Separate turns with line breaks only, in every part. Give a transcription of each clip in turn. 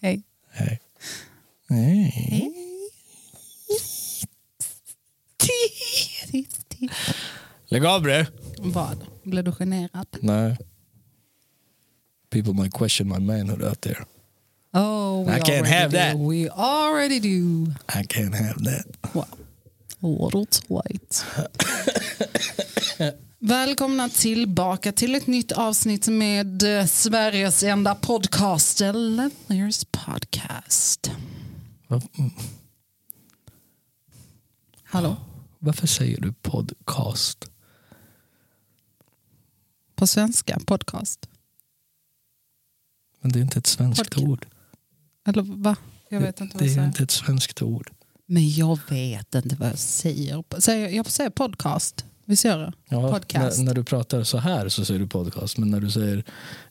Hej.
Hej. Nej.
Titt, titt.
Lägg av bre.
Vad? Blev du generad?
Nej. People might question my manhood out there.
Oh, we
I can't
already
have
do.
that.
We already do.
I can't have that.
Wow. A little twight. Välkomna tillbaka till ett nytt avsnitt med eh, Sveriges enda podcast, Lenners podcast. Hallå?
Varför säger du podcast?
På svenska, podcast.
Men det är inte ett svenskt
Podcast.
ord.
Eller va? Jag vet inte
det
vad jag
är
säger.
inte ett svenskt ord.
Men jag vet inte vad jag säger. säger jag säger podcast. Visst gör jag?
Ja,
podcast.
När, när du pratar så här så säger du podcast. Men när du säger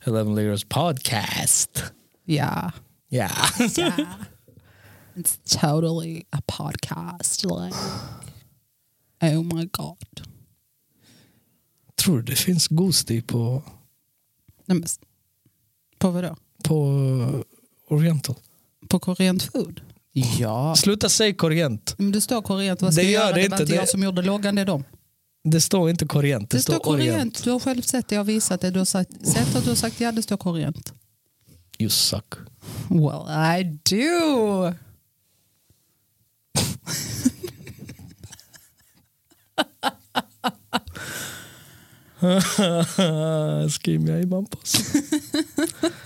11 layers podcast.
Ja.
Ja.
Yeah. It's totally a podcast. Like, oh my god.
Tror du det finns Ghosty på,
Nej, men, s- på vadå?
på Oriental?
På koreant food? Ja.
Sluta säga korient.
Men det står koreant. Vad ska
Det
jag
gör
göra?
det
var
inte.
inte
Det-
jag som gjorde loggan, det är dem.
Det står inte korient.
Det,
Det,
står koreant. Du har själv sett det. Jag har visat det. Du har sagt, sett att du har sagt ja, det står koreant.
You suck.
Well, I do.
Skriver jag i Mampus.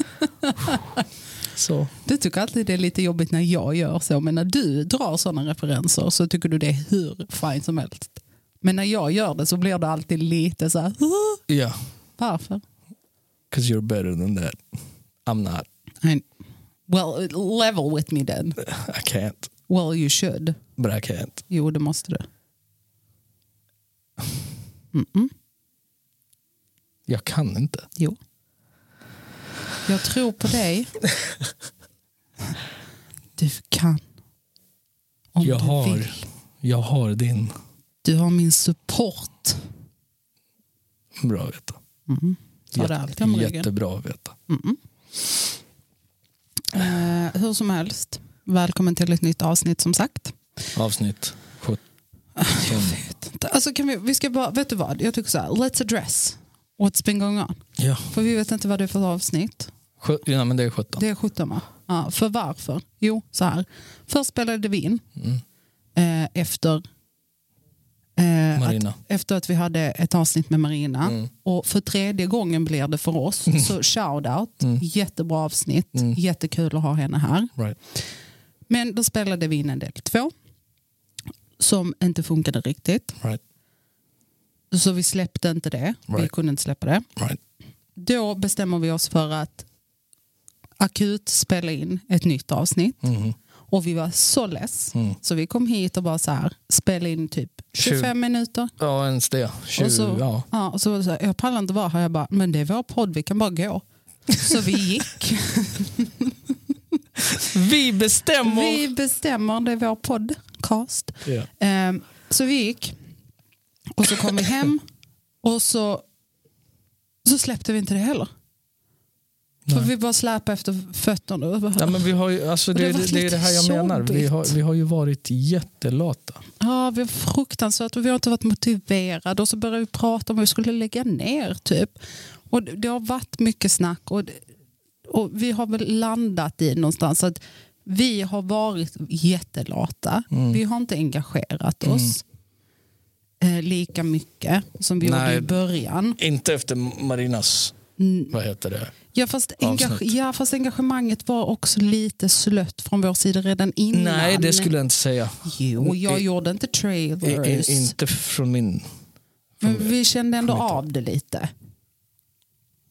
så.
Du tycker alltid det är lite jobbigt när jag gör så, men när du drar sådana referenser så tycker du det är hur fint som helst. Men när jag gör det så blir det alltid lite så här, "Åh,
Ja. Yeah.
varför?
Cause you're better than that. I'm not.
I, well, level with me then.
I can't.
Well, you should.
But I can't.
Jo, det måste du.
Jag kan inte.
Jo. Jag tror på dig. Du kan. Om
jag,
du
har,
vill.
jag har din.
Du har min support.
Bra att veta.
Ta det alltid om ryggen.
jättebra att veta.
Eh, hur som helst, välkommen till ett nytt avsnitt som sagt.
Avsnitt 17.
Alltså kan vi, vi ska bara, vet du vad, jag tycker så här, let's address what's been going on.
Ja.
För vi vet inte vad det är för avsnitt.
Sju- ja, men det är 17.
Det är 17 va? Ja, för varför? Jo, så här. Först spelade vi in
Mm.
eh, efter, eh, att,
Marina.
efter att vi hade ett avsnitt med Marina.
Mm.
Och för tredje gången blir det för oss. Så shout-out,
Mm.
jättebra avsnitt, jättekul att ha henne här.
Right.
Men då spelade vi in en del två som inte funkade riktigt.
Right.
Så vi släppte inte det. Vi
Right.
kunde inte släppa det.
Right.
Då bestämmer vi oss för att akut spela in ett nytt avsnitt.
Mm-hmm.
Och vi var så less.
Mm.
Så vi kom hit och bara så här, spela in typ 25
Tjugo.
minuter.
Ja, ens det. 20,
Och så,
ja.
ja. och så, var det så här, jag pallar inte vara här. Jag bara, men det är vår podd, vi kan bara gå. Så vi gick.
Vi bestämmer.
Vi bestämmer, det är vår podcast.
Ja.
Ehm, så vi gick och så kom vi hem och så, så släppte vi inte det heller. För vi bara släpade efter fötterna. Och bara,
Ja, men vi har ju, alltså
det
det,
har
det,
varit
det är
lite
det här jag menar. Vi
jobbigt.
har, vi har ju varit jättelata.
Ja, vi var fruktansvärt och vi har inte varit motiverade. Och så började vi prata om att vi skulle lägga ner typ. Och det det har varit mycket snack och, det- och vi har väl landat i någonstans att vi har varit jättelata.
Mm.
Vi har inte engagerat oss eh, lika mycket som vi
Nej.
gjorde i början.
Inte efter Marinas, vad heter det?
Ja fast, engage-
Avsnitt.
ja, fast engagemanget var också lite slött från vår sida redan innan.
Nej, det skulle jag inte säga.
Jo, jag
I-
gjorde inte
I, i,
trailers.
inte från min.
Men vi kände ändå av det lite.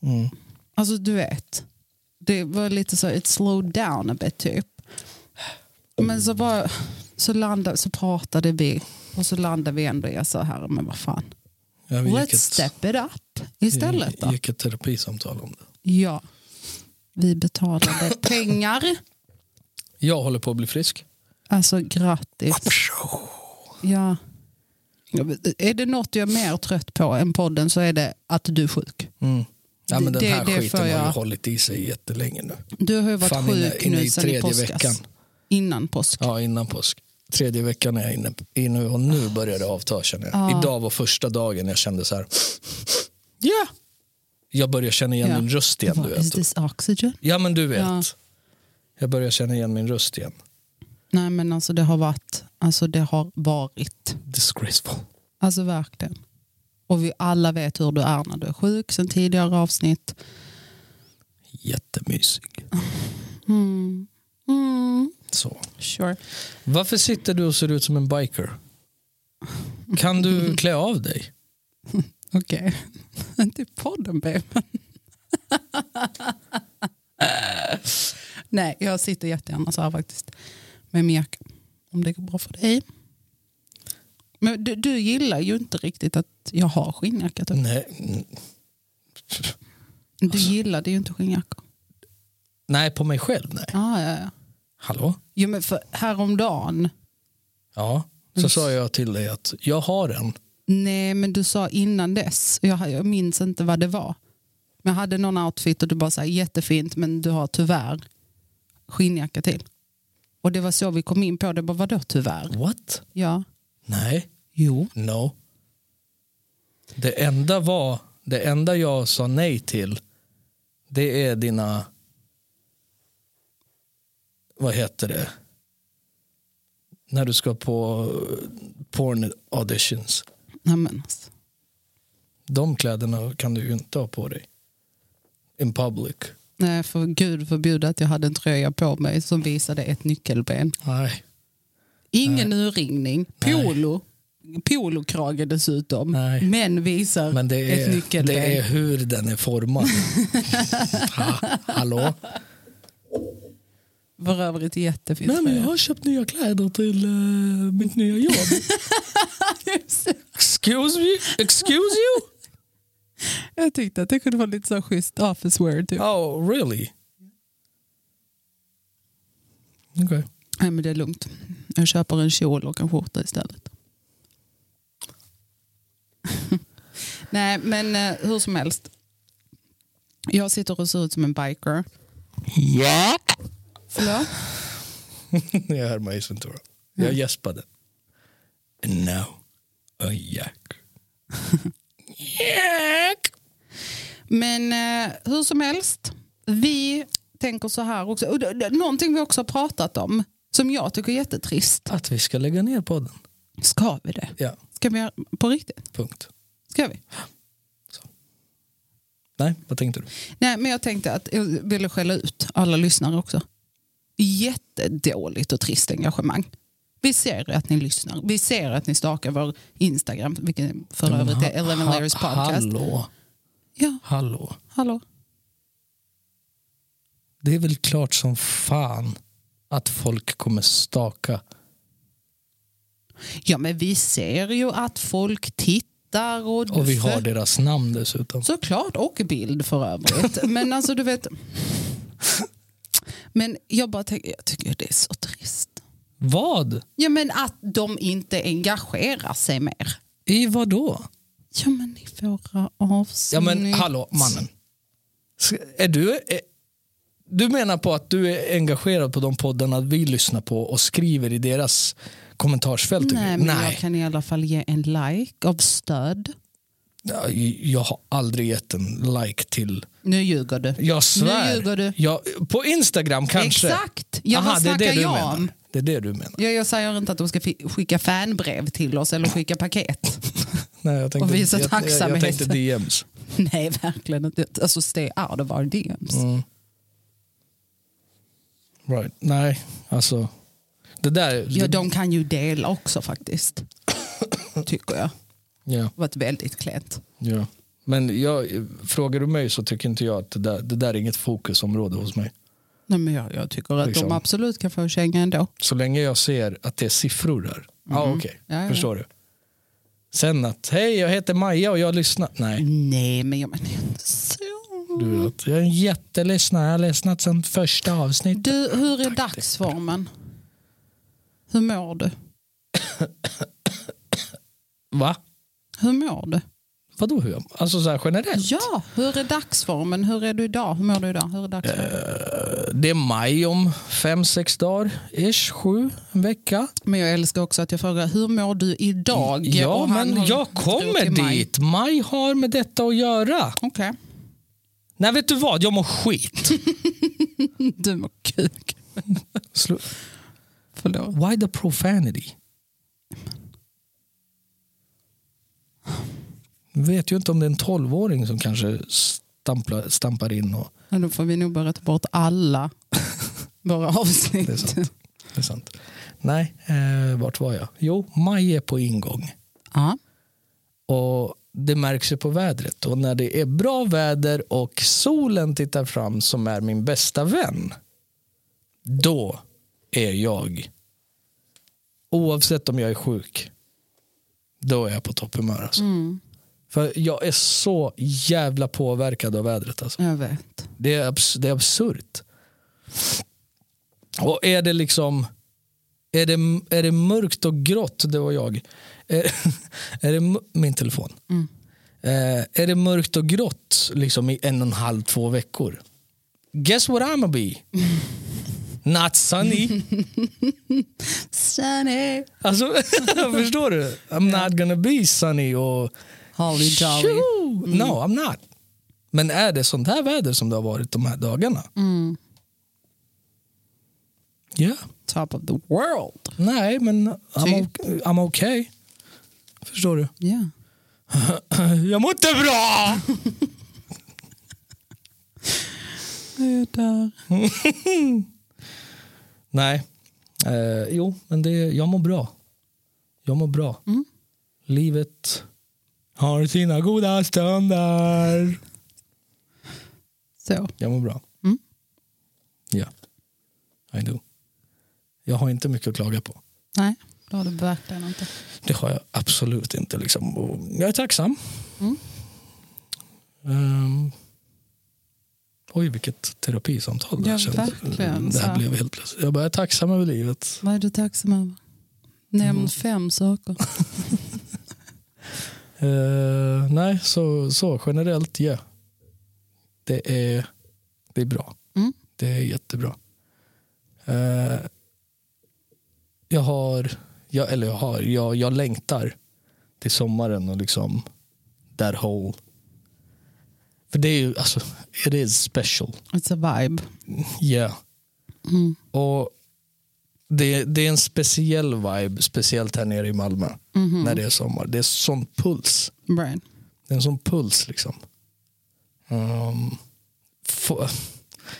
Mm.
Alltså du vet. Det var lite så, it slowed down a bit typ. Men så bara, så landade, så pratade vi och så landade vi ändå i så här, men vad fan.
Ja, vi
Let's
ett- Mm.
step it up istället då.
gick ett terapisamtal om det.
Ja. Vi betalade pengar.
Jag håller på att bli frisk.
Alltså grattis. Ja.
Mm.
Ja, men Är det något jag är mer trött på än podden så är det att du är sjuk.
Ja, men den
Det-
här
det får
skiten har ju
jag-
hållit i sig jättelänge nu.
Du har ju varit
Fan, inne-
sjuk
inne i
nu sedan i
tredje
påskas.
veckan.
Innan påsk.
Ja, innan påsk. Tredje veckan är jag inne, inne och nu börjar det avta känner jag. Idag var första dagen jag kände så här. Ja! Jag börjar känna igen
Ja.
min röst igen. Du
Is
vet.
this oxygen?
Ja, men du vet.
Ja.
Jag börjar känna igen min röst igen.
Nej men alltså det har varit, alltså det har varit.
Disgraceful.
Alltså verkligen. Och vi alla vet hur du är när du är sjuk sen tidigare avsnitt.
Jättemysig.
Mm. Mm.
Så.
Sure.
Varför sitter du och ser ut som en biker? Kan du klä av dig?
Okej. Inte i podden baben. Nej, jag sitter jättegärna så här faktiskt. Med min jacka. Om det går bra för dig. Men du, du gillar ju inte riktigt att jag har skinnjacka. Typ.
Nej.
Du gillade ju inte skinnjackor.
Nej, på mig själv nej.
Ah, ja, ja.
Hallå?
Jo, men för häromdagen.
Ja. Så sa jag till dig att jag har en.
Nej, men du sa innan dess. Jag, jag minns inte vad det var. Men jag hade någon outfit och du bara sa jättefint men du har tyvärr skinnjacka till. Och det var så vi kom in på det. Bara, vadå tyvärr?
What?
Ja.
Nej.
Jo.
No. Det enda var, det enda jag sa nej till, det är dina, vad heter det, när du ska på eh, porn auditions.
Nej, men alltså.
De kläderna kan du ju inte ha på dig. In public.
Nej, för gud förbjude att jag hade en tröja på mig som visade ett nyckelben.
Nej.
Ingen urringning. Polo. Polokrage dessutom.
Nej.
Men visar
Men det
ett
är,
nyckelben.
det är hur den är formad. ha, hallå?
För övrigt jättefint.
Nej, men jag
tröja.
har köpt nya kläder till eh, mitt nya jobb. excuse me? Excuse you?
Jag tyckte att det kunde vara lite så här schysst office wear. Typ.
Oh, really? Okej.
Nej men det är lugnt. Jag köper en kjol och en skjorta istället. Nej men eh, hur som helst. Jag sitter och ser ut som en biker.
Ja.
Förlåt?
jag hör mig Ventura. Jag gäspade. And now, a jack. jack!
Men eh, hur som helst. Vi tänker så här också. Och det- det- Någonting vi också har pratat om som jag tycker är jättetrist.
Att vi ska lägga ner podden.
Ska vi det?
Ja,
Ska vi göra på riktigt?
punkt.
Ska vi?
Nej, vad tänkte du?
Nej, men jag tänkte att jag ville skälla ut alla lyssnare också. Jättedåligt och trist engagemang. Vi ser att ni lyssnar. Vi ser att ni stakar vår Instagram, vilken för övrigt är 11 Layers
Ha-
Podcast.
Hallå,
Ja,
hallå.
hallå.
Det är väl klart som fan att folk kommer staka.
Ja, men vi ser ju att folk tittar. Och,
Och vi har deras namn dessutom.
Såklart, och bild för övrigt. Men alltså du vet... Men jag bara tänker, jag tycker det är så trist.
Vad?
Ja, men att de inte engagerar sig mer.
I vad då?
Ja men i våra avsnitt.
Ja men hallå mannen. S- Är du, är, du menar på att du är engagerad på de poddarna vi lyssnar på och skriver i deras kommentarsfält? och
Nej
grejer?
men
Nej.
jag kan i alla fall ge en like av stöd.
Ja, jag har aldrig gett en like till.
Nu ljuger du.
Jag svär.
Nu ljuger du.
Jag, på Instagram kanske.
Exakt, ja,
Aha,
vad
det är
snackar
det du
jag
menar.
om?
Det är det du menar.
Jag, jag säger inte att de ska fi- skicka fanbrev till oss eller skicka paket.
Nej, jag tänkte,
Och visa
jag, jag, jag,
tacksamhet.
tänkte DMs.
Nej verkligen inte. Alltså stay out of our DMs.
Mm. Right. Nej, alltså. Det där.
Ja,
det,
de kan ju dela också faktiskt. Tycker jag.
ja,
Det har varit väldigt klent.
ja. Men jag, frågar du mig så tycker inte jag att det där, det där är inget fokusområde hos mig.
Nej, men jag, jag tycker att
Liksom.
de absolut kan få en känga ändå.
Så länge jag ser att det är siffror där. Ja, okej.
Mm. Ja, ja.
Förstår du? Sen att, hej jag heter Maja och jag lyssnar. Nej,
Nej men jag menar ju inte så.
du vet. Jag är en jättelyssnare. Jag har lyssnat sedan första avsnittet.
Du, hur är dagsformen? Hur mår du?
Va?
Hur mår du?
Vadå hur? Alltså så här generellt?
Ja, hur är dagsformen? Hur är du idag? Hur mår du idag? Hur är dagsformen?
Eh. Det är maj om fem, sex dagar, ish, sju, en vecka.
Men jag älskar också att jag frågar, hur mår du idag?
Ja,
Och han
men
håller-
jag kommer
till maj.
dit. Maj har med detta att göra.
Okej,
Nej, vet du vad? Jag mår skit.
du mår kuk.
Slu-
Förlåt.
Why the profanity? Jag vet ju inte om det är en tolvåring som kanske stamplar, stampar in. Och,
Ja, Då får vi nog bara ta bort alla våra
det, är
avsnitt.
sant. det är sant. Nej, eh, vart var jag? Jo, maj är på ingång.
Ja.
Och det märks ju på vädret. Och när det är bra väder och solen tittar fram som är min bästa vän. Då är jag, oavsett om jag är sjuk, då är jag på topphumör. Alltså.
Mm,
För jag är så jävla påverkad av vädret. Alltså.
jag vet.
Det är, abs- det är absurt. Och är det liksom är det, är det mörkt och grått, det var jag. Är, är det, m- min telefon.
Mm.
Eh, är det mörkt och grått liksom i en och en halv, två veckor. Guess what I'm gonna be? Not sunny.
Sunny,
Alltså, förstår du? I'm not gonna be sunny och
Holly Jolly.
Tjo! No, I'm not. Men är det sånt här väder som det har varit de här dagarna?
Mm.
Ja.
Top of the world.
Nej, men I'm,
Typ.
okay. I'm okay. Förstår du?
Yeah.
Jag mår inte bra!
Där.
Nej. Eh, jo, men det, jag mår bra. Jag mår bra.
Mm.
Livet har sina goda stunder.
Så.
Jag mår bra.
Mm.
Ja. I do. Jag har inte mycket att klaga på.
Nej, det har du verkligen inte.
Det har jag absolut inte. Liksom. Och jag är tacksam.
Mm.
Ehm. oj, vilket terapisamtal det här
Ja,
kändes.
verkligen,
Det
så
här
här.
blev helt plötsligt. Jag bara, jag är tacksam över livet.
Vad är du tacksam över? Nämn
Mm.
fem saker.
Eh, nej, så, så generellt, ja. Det, är, det är bra.
Mm.
Det är jättebra. Eh, jag har, jag, eller jag har, jag, jag längtar till sommaren och liksom that whole. För det är ju, alltså, it is special.
It's a vibe.
Yeah.
Mm.
Och det, det är en speciell vibe, speciellt här nere i Malmö
Mhm.
när det är sommar. Det är sån puls.
Right.
Det är en sån puls liksom. Ehm, få-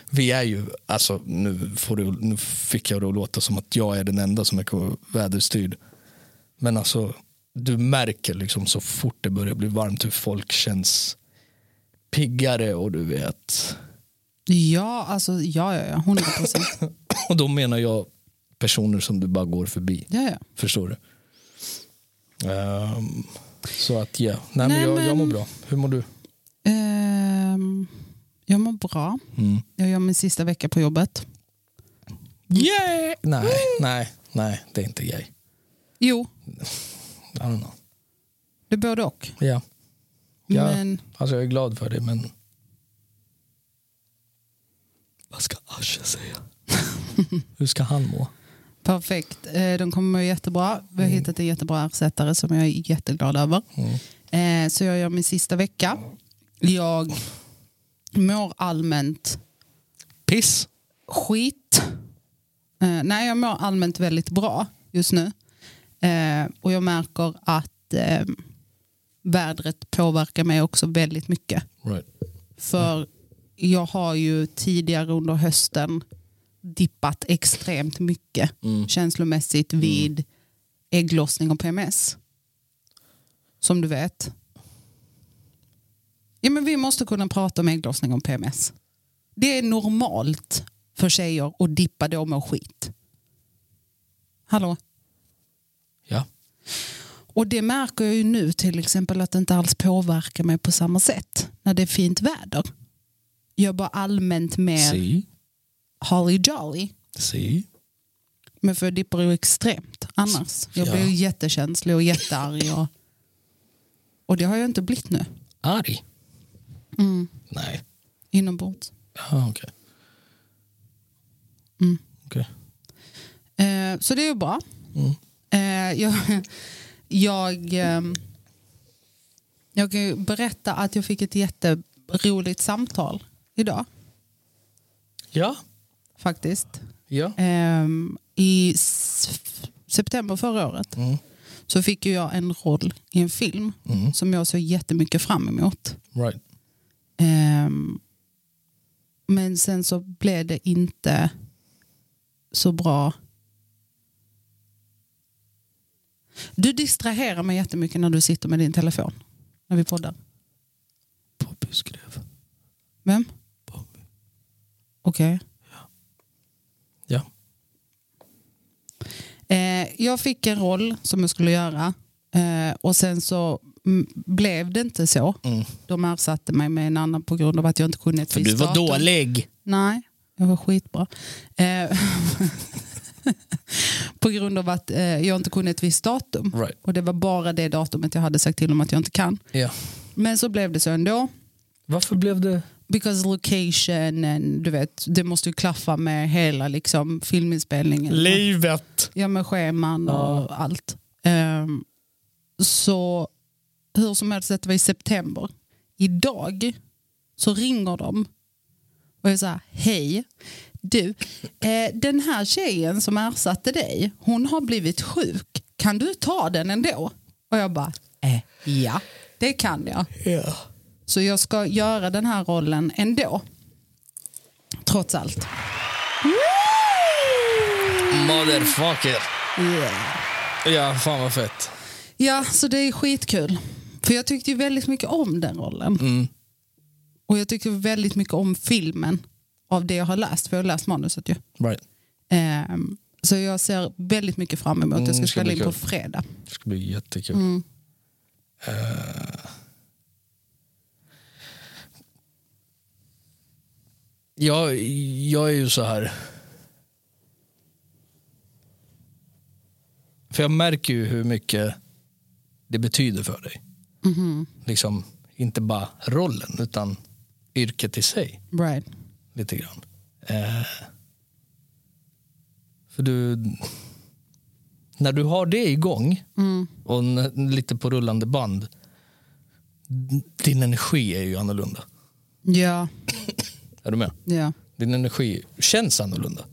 vi är ju, alltså nu, får du, nu fick jag det att låta som att jag är den enda som är k- väderstyrd. Men alltså, du märker liksom så fort det börjar bli varmt hur folk känns piggare och du vet.
Ja, alltså, ja, ja, ja. 100 procent.
Och då menar jag personer som du bara går förbi.
Ja, ja.
Förstår du? Ehm, så att ja, nej,
Nej,
men jag, jag mår
men-
bra. Hur mår du?
Ehm, jag mår bra.
Mm.
Jag gör min sista vecka på jobbet.
Yeah! Nej, nej, nej, det är inte gay.
Jo,
I don't know.
det är både och.
Ja, Ja.
Men
alltså jag är glad för det, men... Vad ska Asche säga? Hur ska han må?
perfekt. Eh, De kommer må jättebra. Vi har hittat en jättebra ersättare som jag är jätteglad över.
Mm.
Eh, Så jag gör min sista vecka. Jag mår allmänt
Piss.
skit. Eh, nej, jag mår allmänt väldigt bra just nu. Eh, och jag märker att eh, vädret påverkar mig också väldigt mycket.
Right.
För jag har ju tidigare under hösten dippat extremt mycket
Mm.
känslomässigt vid ägglossning och PMS. Som du vet. Ja, men vi måste kunna prata om ägglossning och PMS. Det är normalt för tjejer att dippa då med skit. Hallå?
Ja.
Och det märker jag ju nu till exempel att det inte alls påverkar mig på samma sätt när det är fint väder. Jag är bara allmänt mer
Si.
holly jolly.
Si.
Men för jag dippar ju extremt annars. Jag
Ja.
blir ju jättekänslig och jättearg. Och... Och det har jag inte blivit nu.
Arg?
Mm.
Nej.
Inombords.
Ah, okej.
Mm.
Okej.
Eh, så det är ju bra.
Mm.
Eh, jag, jag, ehm, jag kan ju berätta att jag fick ett jätteroligt samtal idag
Ja.
faktiskt.
Ja.
Ehm, I s- september förra året
Mm.
så fick ju jag en roll i en film
Mm.
som jag såg jättemycket fram emot.
Right.
Ehm, men sen så blev det inte så bra. Du distraherar mig jättemycket när du sitter med din telefon. När vi poddar.
Bobby skrev.
Vem?
Bobby.
Okej.
Ja.
Eh, jag fick en roll som jag skulle göra. Eh, och sen så mm, blev det inte så.
Mm.
De ersatte mig med en annan på grund av att jag inte kunde ett
För du
visst
var
datum.
dålig.
Nej, jag var skitbra. Eh, på grund av att eh, jag inte kunde ett visst datum.
Right.
Och det var bara det datumet jag hade sagt till dem att jag inte kan.
Ja.
Men så blev det så ändå.
Varför blev det...
Because location, and, du vet, det måste ju klaffa med hela liksom, filminspelningen.
Livet.
Ja, med scheman och allt. Ehm, så hur som helst, detta var i september. Idag så ringer de och jag säger hej. Du, eh, den här tjejen som ersatte dig, hon har blivit sjuk. Kan du ta den ändå? Och jag bara, eh, ja, det kan jag.
Ja.
Så jag ska göra den här rollen ändå. Trots allt.
Motherfucker.
Yeah.
Ja, fan vad fett.
Ja, så det är skitkul. För jag tyckte ju väldigt mycket om den rollen.
Mm.
Och jag tyckte väldigt mycket om filmen av det jag har läst. För jag har läst manuset ju.
Right.
Ehm, så jag ser väldigt mycket fram emot.
Mm,
Jag ska
det ska
spela
bli
in på
kul.
fredag.
Det ska bli jättekul. Eh. Jag, jag är ju så här. För jag märker ju hur mycket det betyder för dig.
Mhm,
Liksom, inte bara rollen, utan yrket i sig
Right.
lite grann. Eh, för du... När du har det igång
Mm.
och n- lite på rullande band din energi är ju annorlunda.
Ja,
Är du med?
ja.
Din energi känns annorlunda.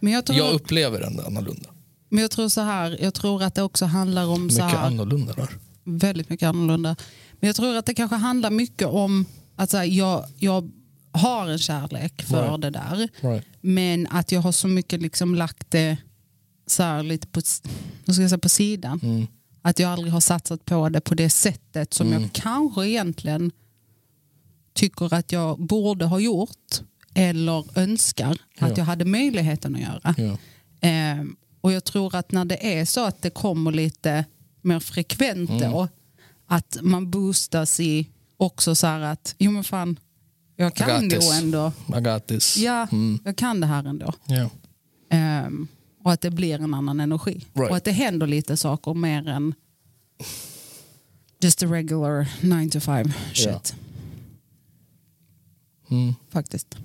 Men, jag tror,
Jag upplever den annorlunda.
men jag tror så här. Jag tror att det också handlar om så
Mycket
här.
annorlunda där.
väldigt mycket annorlunda. Men jag tror att det kanske handlar mycket om att så här, jag, jag har en kärlek för
Right.
det där.
Right.
Men att jag har så mycket liksom lagt det så här lite på, vad ska jag säga, på sidan.
Mm.
Att jag aldrig har satsat på det på det sättet som jag kanske egentligen tycker att jag borde ha gjort eller önskar
Ja.
att jag hade möjligheten att göra.
Ja.
Ehm, och jag tror att när det är så att det kommer lite mer frekvent
Mm.
då, att man boostas i också så här att, jo men fan, jag kan
Grattis.
nog ändå,
I got this.
ja,
Mm.
jag kan det här ändå.
Ja.
Ehm, och att det blir en annan energi.
Right.
Och att det händer lite saker mer än just a regular 9 to 5 shit.
Ja. Mm.
Faktiskt.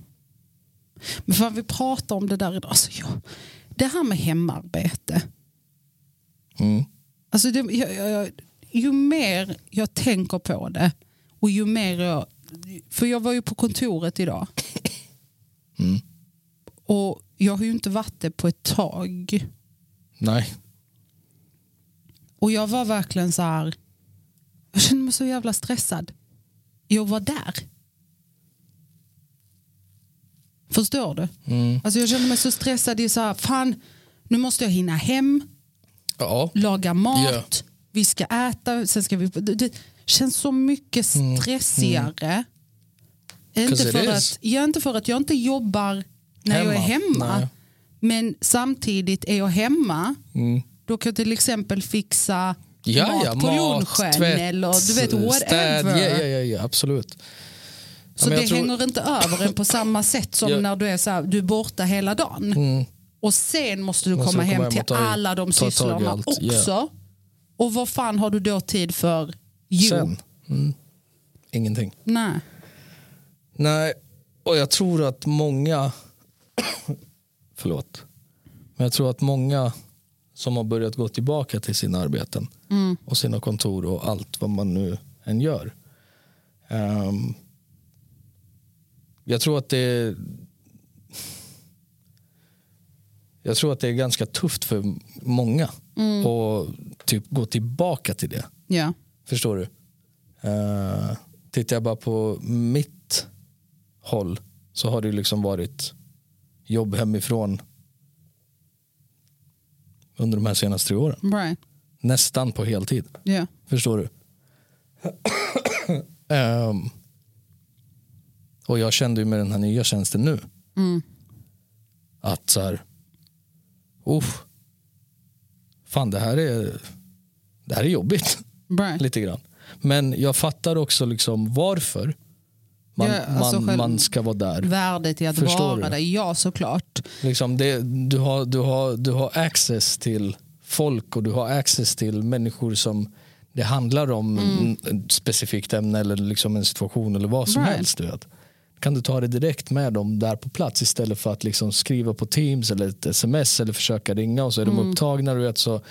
Men fan, vi pratar om det där idag. Alltså, jag, det här med hemarbete.
Mm.
Alltså det, jag, jag, jag, ju mer jag tänker på det och ju mer jag... För jag var ju på kontoret idag.
Mm.
Och jag har ju inte varit det på ett tag.
Nej.
Och jag var verkligen så här... Jag kände mig så jävla stressad. Jag var där. Förstår du?
Mm.
Alltså jag kände mig så stressad. i så här, fan, nu måste jag hinna hem,
Ja.
laga mat,
Ja.
vi ska äta, sen ska vi... Det, det känns så mycket stressigare. Inte,
Because Mm. it
för
is.
att, ja, inte för att jag inte jobbar när jag är
Hemma.
hemma.
Nej.
Men samtidigt är jag hemma
Mm.
då kan jag till exempel fixa
Ja,
mat
ja,
på lunchen eller du vet whatever.
städ. Ja, ja, ja, ja absolut. Ja,
Så
men jag
det
tror-
hänger inte över en på samma sätt som
Ja. Mm.
när du är, så här, du är borta hela dagen. Och sen måste du
Måste
komma
komma
hem
hem
till
och ta i-
alla de
ta tag i
sysslorna
allt, ja.
också. Och vad fan har du då tid för? Jo,
Sen. Mm. Ingenting.
Nej.
Nej, och jag tror att många, förlåt, men jag tror att många som har börjat gå tillbaka till sina arbeten
Mm.
och sina kontor och allt vad man nu än gör. Ehm, jag tror att det är, jag tror att det är ganska tufft för många
Mm.
att typ gå tillbaka till det.
Ja.
Förstår du? Uh, tittar jag bara på mitt håll så har det ju liksom varit jobb hemifrån under de här senaste tre åren.
Right.
Nästan på heltid.
Ja.
Förstår du? Ehm, och jag kände ju med den här nya tjänsten nu
Mm.
att så här, uff, fan det här är, det här är jobbigt.
Right.
lite grann. Men jag fattar också liksom varför man,
Ja, alltså
man,
själv-
man ska vara där.
Värdet i att
Förstår
vara
du?
där, ja såklart.
Liksom det, du, har, du, har, du har access till folk och du har access till människor som det handlar om n- ett specifikt ämne eller liksom en situation eller vad som
Right.
helst. Du vet. Kan du ta det direkt med dem där på plats istället för att liksom skriva på Teams eller ett sms eller försöka ringa och så är de upptagna. Du vet, så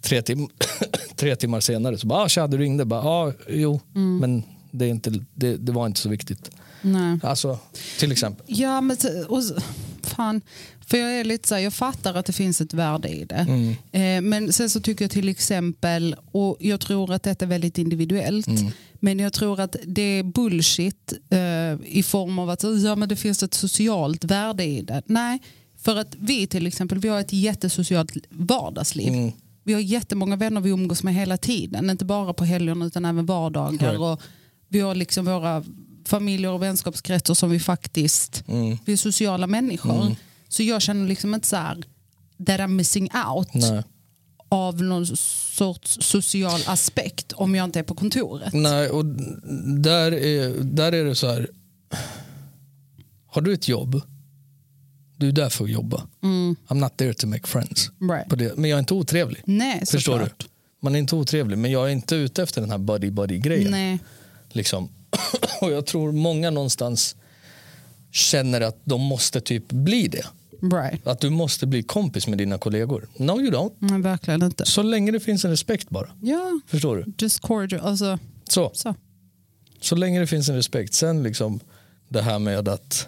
tre, tim- tre timmar senare så bara, ah, tja du ringde. Bara, ah, jo, men det, är inte, det, det var inte så viktigt.
Nej.
Alltså, till exempel.
Ja, men så- och, så- fan. För jag är lite så här, jag fattar att det finns ett värde i det. Eh, men sen så tycker jag till exempel, och jag tror att detta är väldigt individuellt, men jag tror att det är bullshit eh, i form av att så, ja, men det finns ett socialt värde i det. Nej, för att vi till exempel, vi har ett jättesocialt vardagsliv.
Mm.
Vi har jättemånga vänner vi umgås med hela tiden, inte bara på helgerna utan även vardagar.
Right.
Och vi har liksom våra familjer och vänskapskretsar som vi faktiskt,
Mm.
vi är sociala människor. Så jag känner liksom inte så här, that I'm missing out
Nej.
av någon sorts social aspekt om jag inte är på kontoret.
Nej, och där är, där är det så här. Har du ett jobb, du är där för att jobba.
Mm,
I'm not there to make friends.
right.
På det. Men jag är inte otrevlig.
Nej,
Mm. Förstår
såklart.
du? Man är inte otrevlig, men jag är inte ute efter den här buddy-buddy-grejen.
Nej.
Liksom. och jag tror många någonstans känner att de måste typ bli det.
Right.
Att du måste bli kompis med dina kollegor. No you don't.
Nej, verkligen inte.
Så länge det finns en respekt bara.
Ja,
Förstår du?
just cordial. Alltså,
Så.
så.
Så länge det finns en respekt. Sen liksom det här med att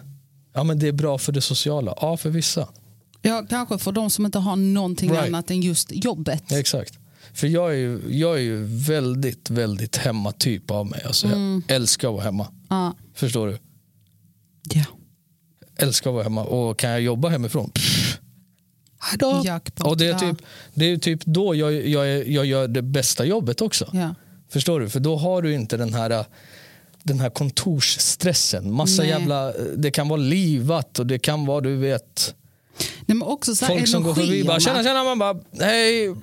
ja, men det är bra för det sociala. Ja, för vissa.
Ja, kanske för de som inte har någonting
Right.
annat än just jobbet.
Ja, exakt. För jag är, ju, jag är ju väldigt, väldigt hemmatyp av mig. Alltså, Jag älskar att vara hemma.
Ja.
Förstår du?
Ja.
Älskar att vara hemma. Och kan jag jobba hemifrån? Pff. Hejdå.
Jackpot.
Och det är
Ja.
typ, det är typ då jag, jag, är- jag gör det bästa jobbet också.
Ja.
Förstår du? För då har du inte den här, den här kontorsstressen. Massa
Nej.
jävla, det kan vara livat och det kan vara du vet
Nej, men också så här
folk som går förbi bara
energierna.
tjena tjena man bara hej.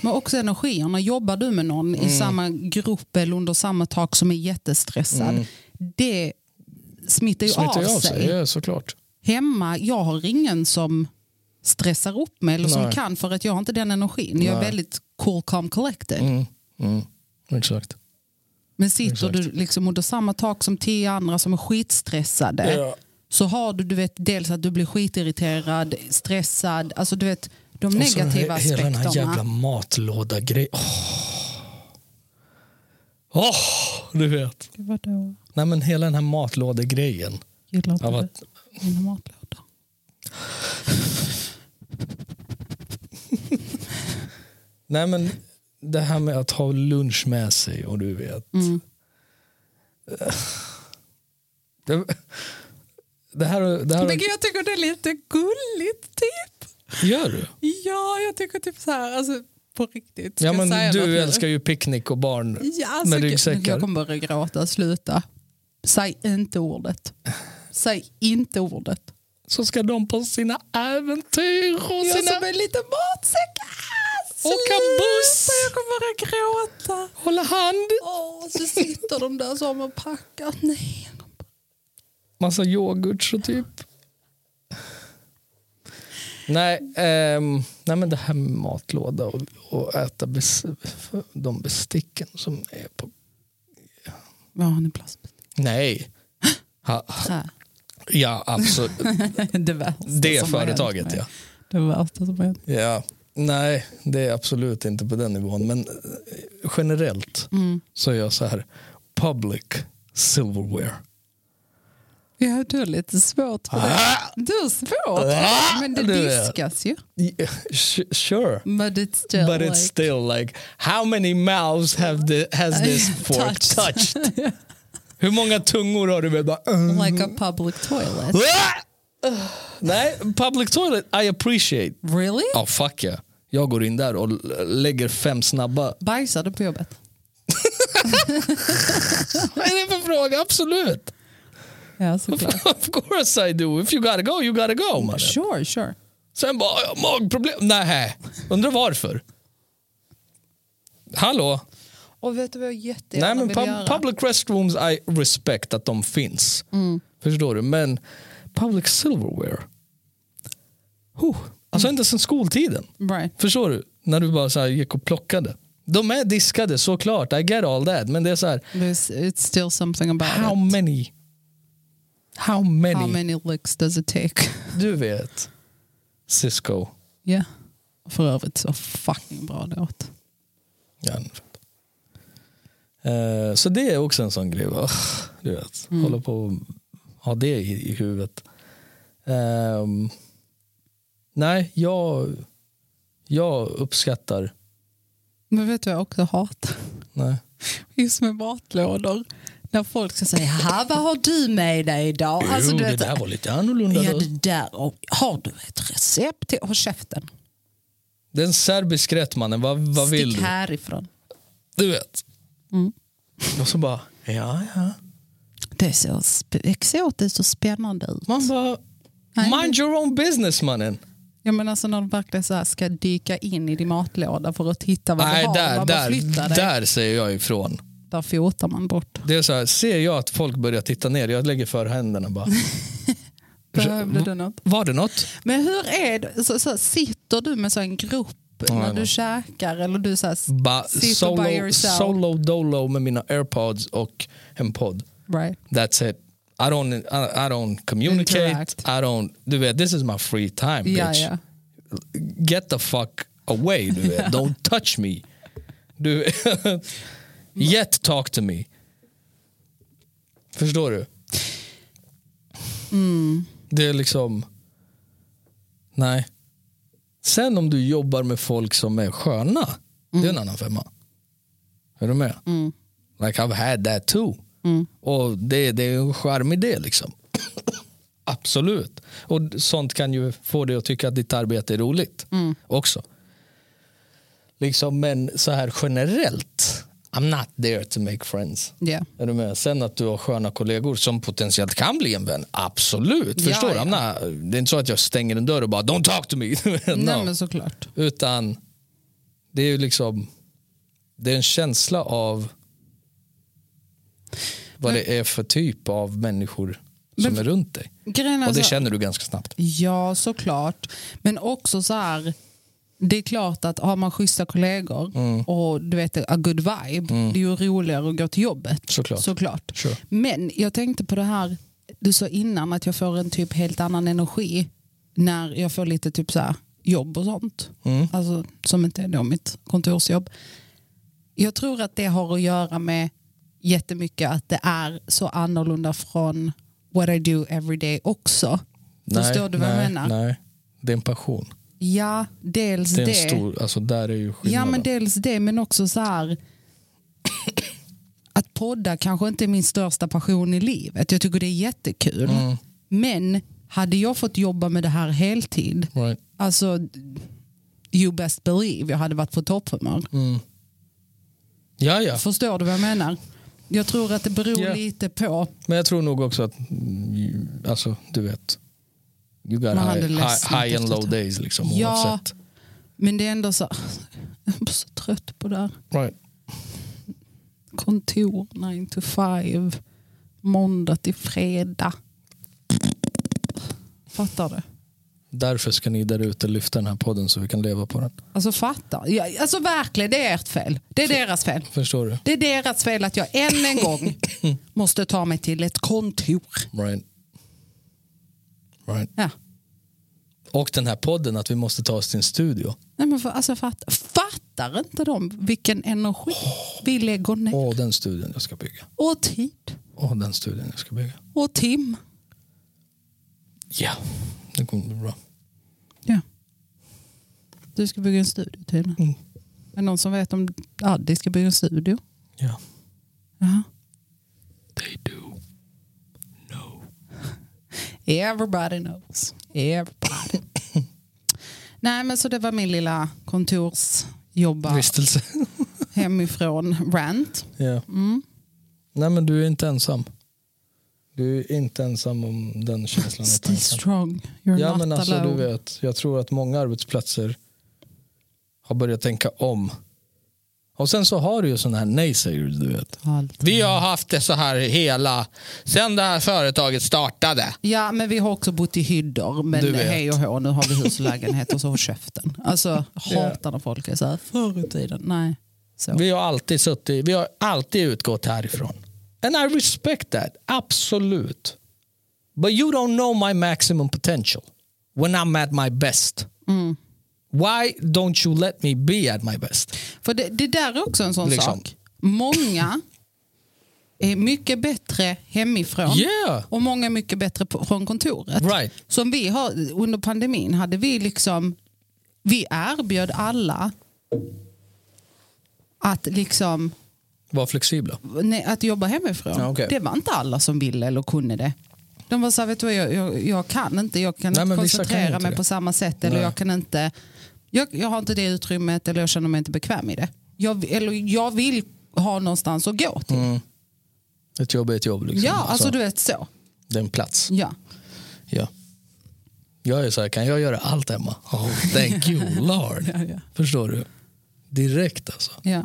Men också energierna. Jobbar du med någon
Mm.
i samma grupp eller under samma tak som är jättestressad, det smittar ju
Mm. Smittar
av
jag
sig.
av sig? Ja, såklart.
Hemma, jag har ingen som stressar upp mig eller som
Nej.
kan för att jag har inte den energin. Jag är
Nej.
väldigt cool, calm, collected.
Mm. Mm. Exakt.
Men sitter
Exakt.
du liksom under samma tak som tio andra som är skitstressade
Ja.
så har du, du vet, dels att du blir skitirriterad, stressad, alltså du vet de
Och så
negativa
he- Hela den här jävla
aspekterna.
matlåda-grejen. Åh, Åh, du vet.
Vadå?
Nej men hela den här matlådegrejen.
Gillar inte
Av
du
att,
mina matlådor?
nej men det här med att ha lunch med sig och du vet.
Mm.
Det, det här, det här
Men gud, jag tycker det är lite gulligt typ.
gör du.
Ja, jag tycker typ så här, alltså på riktigt. Ska
Ja,
jag
men
säga något
du
nu?
älskar ju picknick och barn.
ja, alltså,
med
gud,
ryggsäckar.
Jag kommer börja gråta, sluta. Säg inte ordet. Säg inte ordet.
Så ska de på sina äventyr och
Jag
sina
som en liten matsäck. Ah,
Åka buss.
sluta, Jag kommer börja gråta.
hålla hand.
Åh, så sitter de där så har man packat. Nej. jag kommer-
Massa yoghurt och typ. Nej, ehm, nej, men det här med matlåda och, och äta bes, de besticken som är på
Vad har ni plastbit?
Nej. Ha,
Trä.
ja, absolut.
Det värsta Alltså,
Det
som har hänt
företaget,
mig.
ja.
Det värsta som har hänt.
ja. Nej, det är absolut inte på den nivån. Men eh, generellt
Mm.
så är jag så här, public silverware.
Ja, du är lite svårt för det.
Ah!
Du är svårt.
Ah!
Men det
Du vet.
diskas ju.
Yeah, sh- eh, sure.
But it's still
But it's
like...
still like, how many mouths have the, has this fork
Touched.
touched? Hur många tungor har du med? Bara,
Oh
uh.
Like a public toilet.
Ah! Uh. Nej, public toilet, I appreciate.
Really?
Ja, fuck yeah. Jag går in där och l- lägger fem snabba.
Bajsar du på jobbet?
Vad är det för fråga? Absolut.
Ja, såklart.
of course I do. If you gotta go, you gotta go. mannen.
Sure, sure.
Sen bara, jag har magproblem. Nej, undrar varför. Hallå?
Och vet du vad jag jättegärna
Nej, men
vill
pub-
göra?
public restrooms, I respect att de finns.
Mm.
Förstår du? Men public silverware. Huh. Alltså
Mm.
inte sen skoltiden.
Right.
Förstår du? När du bara så här gick och plockade. De är diskade såklart, I get all that. Men det är så här,
There's, it's still something about
how
it.
many? How many?
How many licks does it take?
Du vet, Cisco.
Ja. För övrigt så fucking bra låt.
Ja, nu fattar jag. Eh, Så det är också en sån grej. va? Du vet,
Mm.
hålla på och ha det i, i huvudet. Ehm, nej, jag, jag uppskattar...
Men vet du vad jag också hatar?
Nej.
Just med matlådor. När folk ska säga, "Jaha, vad har du med dig idag? Alltså,
jo,
du
det
vet,
där var lite annorlunda.
ja,
då.
det där. Och, har du ett recept? till- Håll käften.
Det är en serbisk rätt, mannen. Vad, vad
Stick Mm.
vill du?
härifrån.
Du vet. Och så bara, ja, ja.
Det ser sp- exotiskt och spännande ut.
Man bara, mind your own business, mannen.
Jag menar alltså när de verkligen så här ska dyka in i din matlåda för att hitta vad
Nej,
du har.
där,
man bara flyttar
där,
dig.
där säger jag ifrån.
där fotar man bort.
Det är så här, ser jag att folk börjar titta ner, jag lägger för händerna bara.
Behövde
Mm.
du något?
Var det något?
Men hur är det, så, så, här, sitter du med så en grupp
Ja,
när
jag
du
vet.
käkar eller du så här,
Ba,
sitter by
solo,
yourself?
solo dolo med mina airpods och en podd.
Right.
That's it. I don't, I, I don't communicate.
Interact.
I don't, du vet, this is my free time bitch.
Ja, ja.
Get the fuck away, du vet. Don't touch me. Du vet. Yet talk to me. Förstår du? Det är liksom... Nej. Sen om du jobbar med folk som är sköna, det är en annan femma. Är du med? Like I've had that too. Och det, det är en charm i det liksom. Absolut. Och sånt kan ju få dig att tycka att ditt arbete är roligt
Mm.
också. Liksom, men så här generellt, I'm not there to make friends.
Ja.
Är du med? Sen att du har sköna kollegor som potentiellt kan bli en vän, absolut.
Ja,
Förstår du?
ja.
I'm not- Det är inte så att jag stänger en dörr och bara don't talk to me. no.
Nej men såklart.
Utan det är ju liksom, det är en känsla av vad det är för typ av människor som är runt dig.
Grejen är
Och det
så-
känner du ganska snabbt.
Ja, såklart. Men också så här, det är klart att har man schyssta kollegor
Mm.
och du vet, a good vibe, det är ju roligare att gå till jobbet.
Såklart. Sure.
Men jag tänkte på det här, du sa innan att jag får en typ helt annan energi när jag får lite typ så här jobb och sånt.
Mm.
Alltså, som inte är då mitt kontorsjobb. Jag tror att det har att göra med jättemycket att det är så annorlunda från what I do every day också. Förstår du vad jag
nej,
menar?
Nej, det är en passion.
Ja, dels
Det
det.
är en stor, alltså där är ju
ja,
skillnaden.
men dels det, men också så här att podda kanske inte är min största passion i livet. Jag tycker det är jättekul.
Mm.
Men hade jag fått jobba med det här heltid,
Right.
alltså you best believe, jag hade varit på topphumör.
Mm. Ja, ja.
Förstår du vad jag menar? Jag tror att det beror
Ja.
lite på
Men jag tror nog också att, mm, alltså du vet, you got
Man
high,
hade ledsnat
high, high and
efter
low
ett-
days liksom
Ja.
oavsett.
Men det är ändå så, jag är så trött på det här.
Right.
Kontor 9 to 5, måndag till fredag. Fattar du?
Därför ska ni där ute lyfta den här podden så vi kan leva på den.
Alltså fatta. Ja, alltså verkligen, det är ert fel. Det är deras fel.
Förstår du?
Det är deras fel att jag än en gång måste ta mig till ett kontor.
Right. Right.
Ja.
Och den här podden, att vi måste ta oss till en studio.
Nej, men för, alltså, fatt, fattar inte de vilken energi vi lägger ner?
Åh, den studion jag ska bygga.
Och tid.
Åh, den studion jag ska bygga.
Och tim.
Ja, det kommer bli bra.
Ja. Du ska bygga en studio tydligen.
Mm.
Är det någon som vet om Addi ska bygga en studio?
Ja.
Jaha.
They do. No.
Everybody knows. Everybody. Nej men så det var min lilla kontorsjobba
Vistelse.
hemifrån rant.
ja.
Mm.
Nej, men du är inte ensam. Du är inte ensam om den känslan. och
Stay
tanken.
strong, you're
Ja,
not
men alltså, du
alone.
vet, jag tror att många arbetsplatser har börjat tänka om. Och sen så har du ju sådana här nej-säger du vet.
Allt.
Vi har haft det så här hela, sen det här företaget startade.
Ja men vi har också bott i hyddor men
Du vet.
hej och hå nu har vi hus och lägenhet och så har käften. Alltså jag hatar när folk är så här förr i tiden. Nej. Så.
Vi har alltid suttit, vi har alltid utgått härifrån. And I respect that, absolut. But you don't know my maximum potential when I'm at my best.
Mm.
Why don't you let me be at my best?
För det, det där är också en sån
Liksom.
sak. Många är mycket bättre hemifrån
Yeah!
och många är mycket bättre på, från kontoret.
Right.
Som vi har, under pandemin hade vi liksom, vi erbjöd alla att liksom
Var flexibla.
nej, att jobba hemifrån.
Ja, okej.
Det var inte alla som ville eller kunde det. De var så här, vet du vad, jag, jag, jag kan inte, jag kan
Nej,
inte
men vissa kan
koncentrera
inte
mig
det.
på samma sätt eller
Nej.
jag kan inte, jag, jag har inte det utrymmet eller jag känner mig inte bekväm i det. Jag, eller jag vill ha någonstans att gå till.
Mm. Ett jobb är ett jobb. Liksom.
Ja, alltså
Så,
du vet så.
Det är en plats.
Ja.
Ja. Jag är så här, kan jag göra allt hemma? Oh, thank you Lord.
Ja, ja.
Förstår du? Direkt alltså.
Ja.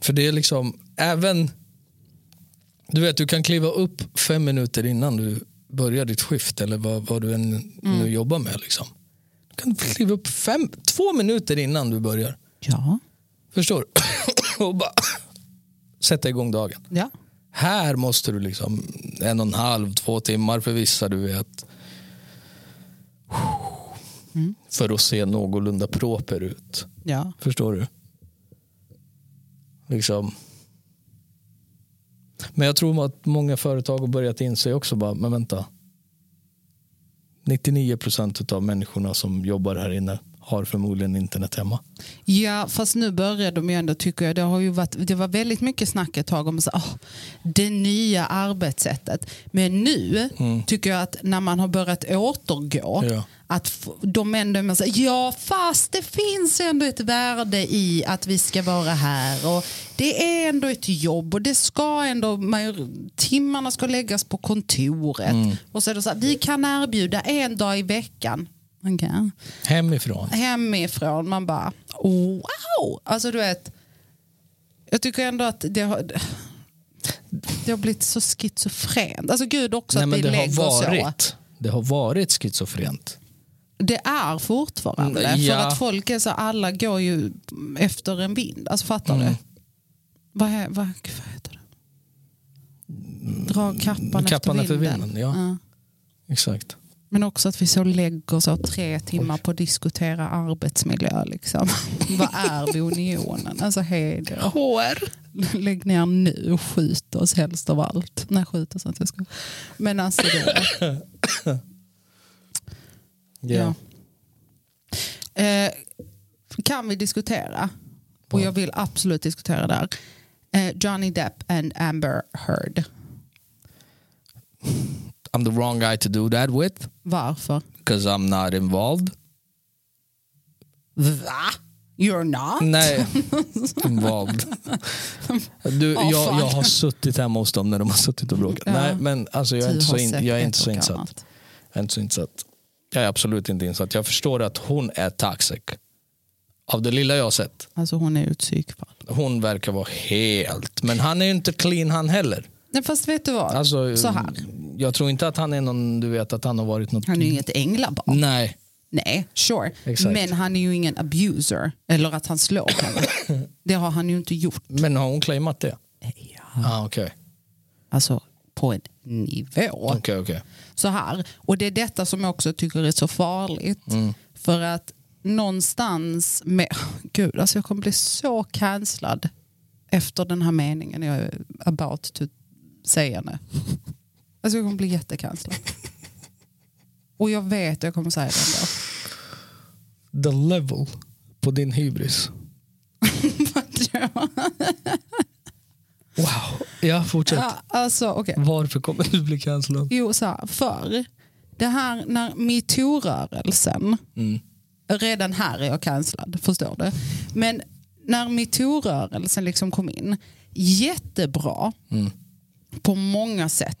För det är liksom, även, du vet du kan kliva upp fem minuter innan du börjar ditt skift eller vad, vad du än nu jobbar med. Liksom. Du kan kliva upp fem, två minuter innan du börjar.
Ja.
Förstår du? Och bara sätta igång dagen.
ja.
Här måste du liksom en och en halv, två timmar för vissa du vet. För att se någorlunda proper ut.
Ja.
Förstår du? Liksom. Men jag tror att många företag har börjat inse också bara, men vänta. 99 procent av människorna som jobbar här inne har förmodligen internet hemma.
Ja, fast nu börjar de ju ändå tycker jag. Det, har ju varit, det var väldigt mycket snack ett tag om så, ah, det nya arbetssättet. Men nu tycker jag att när man har börjat återgå,
Ja.
att f- de ändå är så, här, ja fast det finns ändå ett värde i att vi ska vara här och det är ändå ett jobb och det ska ändå, major- timmarna ska läggas på kontoret. Och så är det så här, vi kan erbjuda en dag i veckan. Okay
Hemifrån.
hemifrån. Man bara wow. Alltså du vet. Jag tycker ändå att det har, det har blivit så schizofrent. Alltså gud också
Nej,
att
men
vi
det har
lägger så.
varit. Det har varit schizofrent.
Det är fortfarande.
Mm, ja.
För att folk är så, alla går ju efter en vind. Alltså fattar
Mm.
du? Vad, är, vad, gud, vad heter det? Dra kappan,
Kappan
efter
efter
vinden.
vinden, ja.
Ja.
Exakt.
Men också att vi så lägger så tre timmar på att diskutera arbetsmiljö. Liksom. Vad är vi i unionen? Alltså hej då.
HR.
Lägg ner nu och skjut oss helst av allt. Nej, skjut oss inte. Jag skojar. Men alltså det.
Ja.
Ja. Eh, kan vi diskutera? Och jag vill absolut diskutera där. Eh, Johnny Depp and Amber Heard.
I'm the wrong guy to do that with.
Varför?
Because I'm not involved.
Va? You're not?
Nej, involved. Du,
Åh,
jag,
fan.
jag har suttit hemma hos dem när de har suttit och bråkat.
Ja.
Nej, men alltså, jag, är
Du
inte så
har
in,
säkert
jag är inte så
och
insatt.
annat.
Jag är inte så insatt. Jag är absolut inte insatt. Jag förstår att hon är toxic. Av det lilla jag har sett.
Alltså hon är ju ett psykfall.
Hon verkar vara helt... Men han är ju inte clean han heller.
Nej, fast vet du vad?
Alltså,
så här.
jag tror inte att han är någon, du vet att han har varit något.
Han är ju inget änglabarn.
Nej,
Nej, sure.
Mm. Exakt.
Men han är ju ingen abuser. Eller att han slår henne. Det har han ju inte gjort.
men har hon claimat det?
Mm.
Ah, Okej,
Alltså på en nivå.
okej, okej.
Så här. Och det är detta som jag också tycker är så farligt. För att någonstans med... Gud, alltså jag kommer bli så cancellad efter den här meningen jag är about to säga nu. Alltså jag kommer bli jättecancellad. Och jag vet att jag kommer säga det ändå.
The level på din hybris. Wow, ja fortsätt.
Ja, alltså, okej.
Varför kommer du bli cancellad?
Jo, så här, för det här när metoo-rörelsen, redan här är jag cancellad, förstår du? Men när metoo-rörelsen liksom kom in, jättebra på många sätt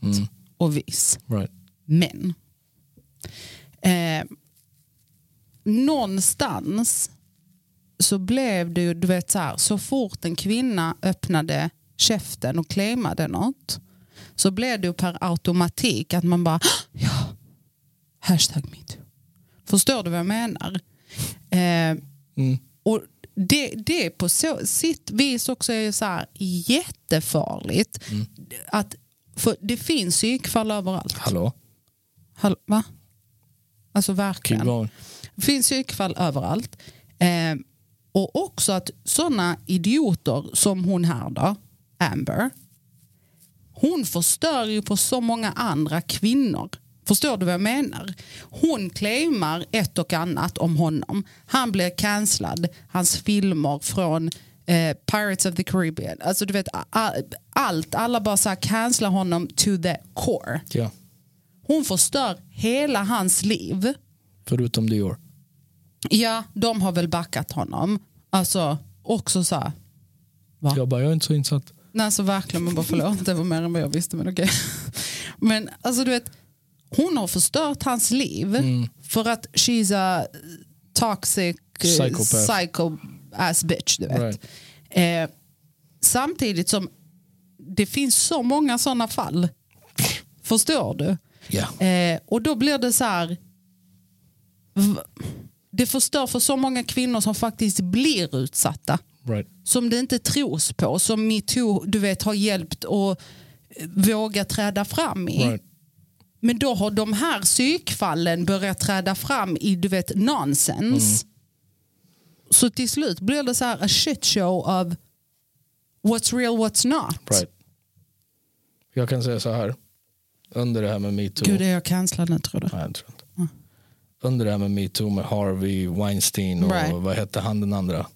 och vis.
Right.
Men eh, någonstans så blev det ju, du vet så här, så fort en kvinna öppnade käften och claimade något så blev det ju per automatik att man bara, "Hå! ja, hashtag metoo. Förstår du vad jag menar? Eh, och det, det på så, sitt vis också är ju så här jättefarligt. Att, för det finns psykfall överallt.
Hallå?
Hall- va? Alltså
Keep
verkligen.
going.
Det finns psykfall överallt. Eh, och också att sådana idioter som hon här då, Amber, hon förstör ju på så många andra kvinnor. Förstår du vad jag menar? Hon claimar ett och annat om honom. Han blir cancellad, hans filmer från eh, Pirates of the Caribbean. Alltså du vet a- a- allt, alla bara så här cancelar honom to the core.
Ja,
Hon förstör hela hans liv.
förutom Dior.
Ja, de har väl backat honom. Alltså också så här. Va?
Jag bara, jag är inte så insatt.
Nej, så verkligen, man bara förlåt, det var mer än vad jag visste, men okej. Men alltså du vet, hon har förstört hans liv
Mm.
för att she's a toxic eh,
Psychopath.
psycho ass bitch, du vet.
Right.
Eh, samtidigt som det finns så många sådana fall. Förstår du?
Ja.
Eh, och då blir det så här. v- Det förstör för så många kvinnor som faktiskt blir utsatta.
Right.
Som det inte tros på. Som metoo du vet, har hjälpt att eh, våga träda fram i.
Right.
Men då har de här psykfallen börjat träda fram i du vet
Mm.
nonsens. Så till slut blir det så här a shit show av what's real, what's not.
Right. Jag kan säga så här. Under det här med metoo.
Gud, är jag cancellad nu tror du?
Nej, jag tror inte. Under det här med metoo med Harvey Weinstein och
Right.
vad hette han den andra?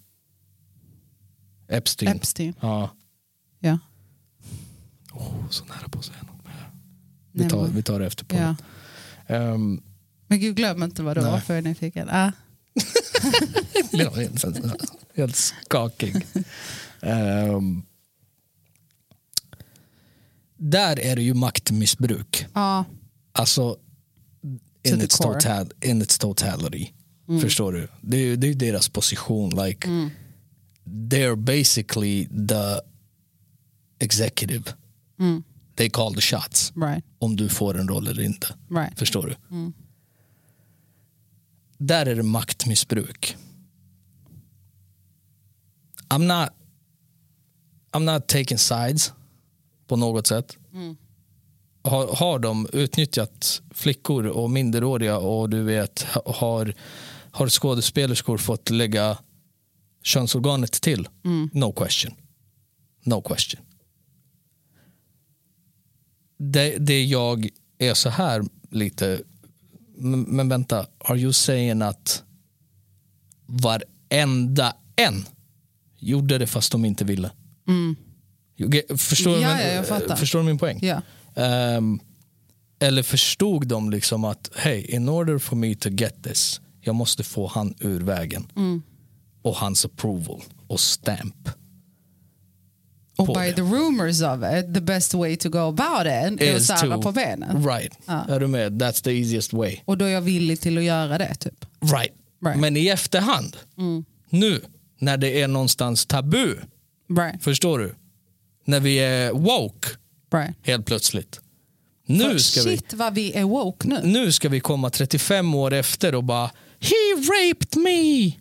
Epstein.
Epstein.
Ja.
Ja.
Oh, så nära på att säga något.
Nej,
Vi tar,
men-
vi tar det efter på.
ja.
Ehm,
Men gud, glöm inte vad det var
Nej.
för jag är nyfiken. Ah.
Ja, helt sen- Helt skakig. Ehm, där är det ju maktmissbruk.
Ja,
Alltså,
To
in
the
its,
core. Mm.
total, in its totality. Förstår du? Det är ju det är ju deras position. Like, They're basically the executive.
Mm.
They call the shots.
right.
Om du får en roll eller inte.
right.
Förstår du? Där är det maktmissbruk. I'm not, I'm not taking sides på något sätt. Har, har de utnyttjat flickor och minderåriga och du vet ha- har, har skådespelerskor fått lägga könsorganet till?
Mm.
No question. No question det, det jag är så här lite, men, men vänta, are you saying att varenda en gjorde det fast de inte ville? You get- Förstår, du
Mm. Ja,
min-
ja, jag fattar.
förstår du min poäng?
Ja.
Ehm, eller förstod de liksom att hey, in order for me to get this, jag måste få han ur vägen.
Mm.
Och hans approval och stamp.
Och
på
by
det.
the rumors of it, the best way to go about it är att sära på benen.
Right. Är du med? That's the easiest way.
Och då är jag villig till att göra det. typ.
Right.
Right. Mm.
Men i efterhand, nu när det är någonstans tabu,
Right,
förstår du? När vi är woke
right,
helt plötsligt. Nu
För
ska vi,
shit vad vi är woke nu.
nu ska vi komma 35 år efter och bara He raped me!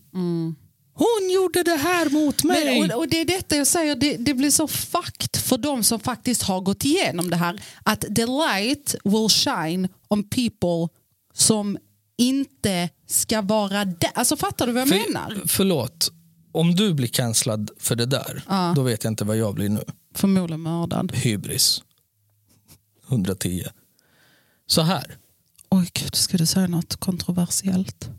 Hon gjorde det här mot mig!
Mm. Men, och, och det är detta jag säger, det, det blir så fakt för de som faktiskt har gått igenom det här. Att the light will shine on people som inte ska vara där. Alltså fattar du vad jag menar?
För, förlåt, om du blir cancellad för det där, då vet jag inte vad jag blir nu.
Förmodligen mördad.
Hybris. 110. Så här.
Oj gud, ska du säga något kontroversiellt?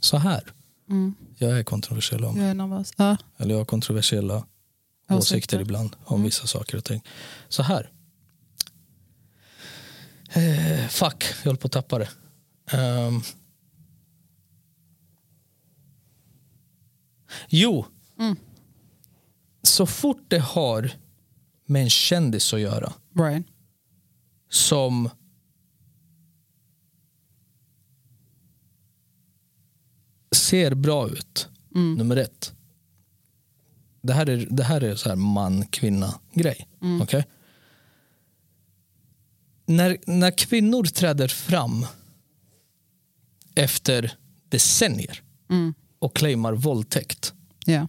Så här.
Mm.
Jag är kontroversiell om,
Jag är nervös. Ja,
eller jag har kontroversiella åsikter,
Åsikter.
ibland om vissa saker och ting. Så här. Eh, fuck, jag höll på att tappa det. Ehm. Jo. Så fort det har med en kändis att göra
Brian.
som ser bra ut, nummer ett. Det här är, det här är så här man, kvinna grej. Okej? När, när kvinnor träder fram efter decennier och claimar våldtäkt
Ja.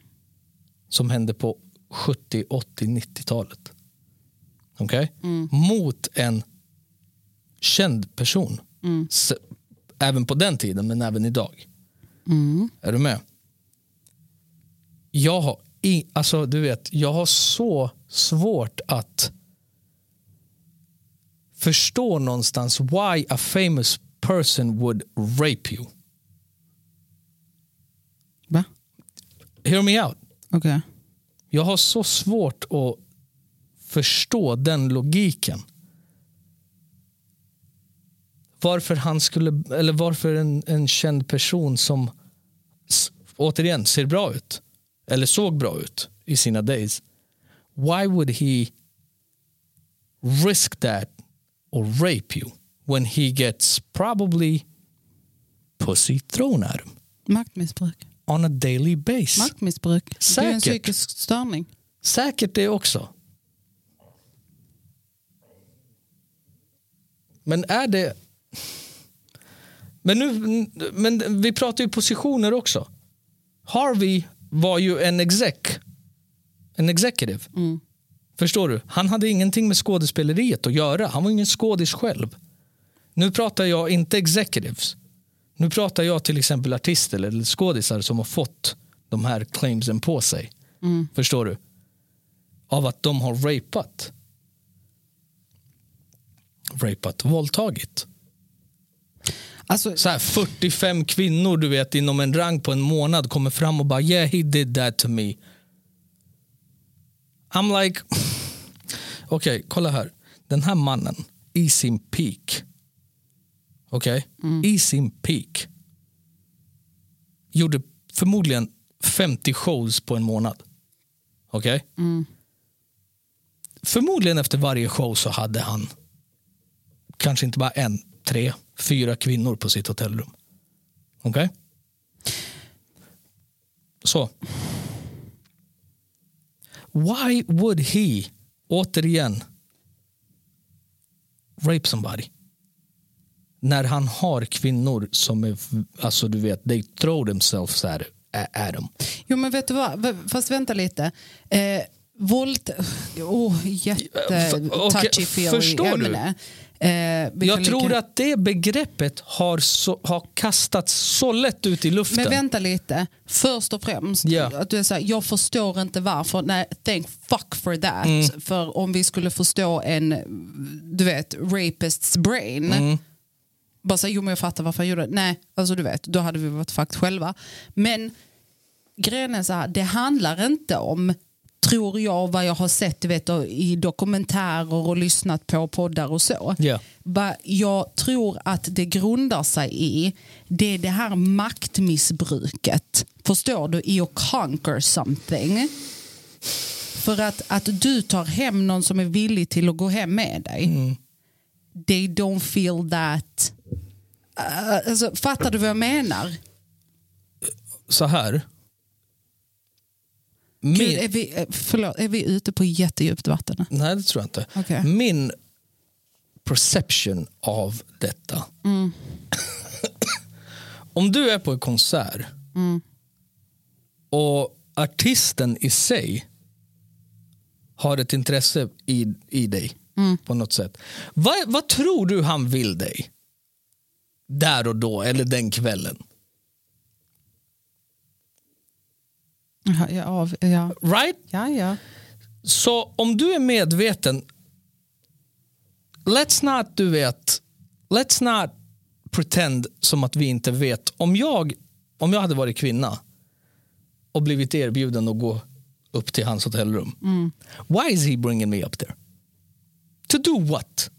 som hände på 70, 80, 90-talet. Okej? Mot en känd person. S- även på den tiden, men även idag. Är du med? Jag har, i, alltså, du vet, jag har så svårt att förstå någonstans why a famous person would rape you.
Va?
Hear me out.
Okej.
Jag har så svårt att förstå den logiken. Varför han skulle, eller varför en, en känd person som s- återigen ser bra ut, eller såg bra ut i sina days. Why would he risk that or rape you when he gets probably pussy thrown at him
Maktmissbruk.
on a daily basis?
Maktmissbruk. Det är en
Säkert.
psykisk störning.
Säkert det också. Men är det... Men, nu, men vi pratar ju positioner också. Harvey var ju en exec. En executive. Förstår du? Han hade ingenting med skådespeleriet att göra. Han var ingen skådis själv. Nu pratar jag inte executives. Nu pratar jag till exempel artister eller skådisar som har fått de här claimsen på sig. Förstår du? Av att de har rapat. Rapat, våldtagit.
Alltså,
Så här 45 kvinnor du vet inom en rang på en månad kommer fram och bara yeah he did that to me. I'm like okej kolla här. Den här mannen i sin peak. Okej? I sin peak. Gjorde förmodligen 50 shows på en månad. Okej? Förmodligen efter varje show så hade han kanske inte bara en, tre, fyra kvinnor på sitt hotellrum. Okej? Så. Why would he, återigen, rape somebody? När han har kvinnor som är, alltså du vet, they throw themselves at, at him.
jo men vet du vad, V- fast vänta lite. Eh, våld... Åh, jätte
F- okej,
touchy feely
förstår du?
ämne. Eh, vi kan
Jag
lika-
tror att det begreppet har, så, har kastats så lätt ut i luften.
Men vänta lite. Först och främst,
Ja.
att du är så här, jag förstår inte varför. Nej, thank fuck for that.
Mm.
För om vi skulle förstå en, du vet, rapists brain.
Mm.
Bara säga, jo men jag fattar varför han gjorde det. Nej, alltså du vet, då hade vi varit fakt själva. Men grejen är så här, det handlar inte om tror jag vad jag har sett du vet, i dokumentärer och lyssnat på poddar och så.
Ja.
Vad jag tror att det grundar sig i det är det här maktmissbruket. Förstår du? I att conquer something. För att, att du tar hem någon som är villig till att gå hem med dig. They don't feel that. Uh, alltså, fattar du vad jag menar?
så här. Min,
Gud, är, vi, eh, förlåt, är vi ute på jättedjupt vatten?
Nej, det tror jag inte.
Okej.
Min perception av detta. Om du är på en konsert och artisten i sig har ett intresse i, i dig på något sätt. Vad, vad tror du han vill dig? Där och då eller den kvällen.
Ja, ja, av- ja.
Right?
ja, ja.
Så om du är medveten, let's not, du vet, let's not pretend som att vi inte vet. Om jag, om jag hade varit kvinna och blivit erbjuden att gå upp till hans hotellrum. Why is he bringing me up there? To do what?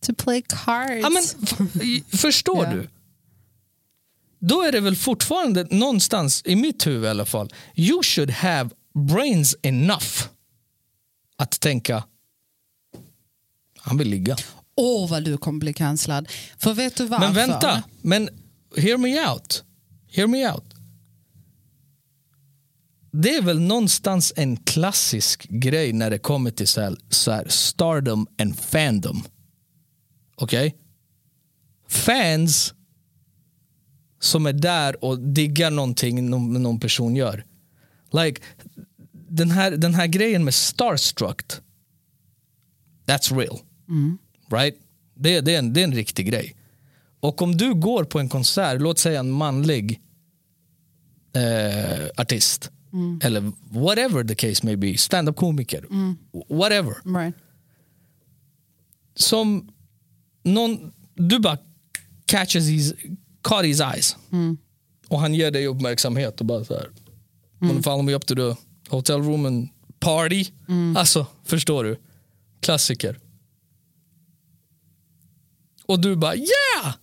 To play cards.
Ja, men, f- förstår
Ja.
du? Då är det väl fortfarande någonstans, i mitt huvud i alla fall, you should have brains enough att tänka han vill ligga.
Åh, vad du kommer bli cancellad. För vet du varför?
Men vänta, men hear me out. Hear me out. Det är väl någonstans en klassisk grej när det kommer till så här, så här stardom and fandom. Okej? Fans som är där och diggar någonting någon, någon person gör. Like, den här, den här grejen med starstruck. That's real. Right? Det, det, är en, det är en riktig grej. Och om du går på en konsert, låt säga en manlig eh, artist. Eller whatever the case may be. Stand-up komiker. Whatever
Right.
som någon, du bara catches his, caught his eyes. Och han ger dig uppmärksamhet och bara så här. Mm. Follow me up to the hotel room and party. Alltså, förstår du? Klassiker. Och du bara yeah!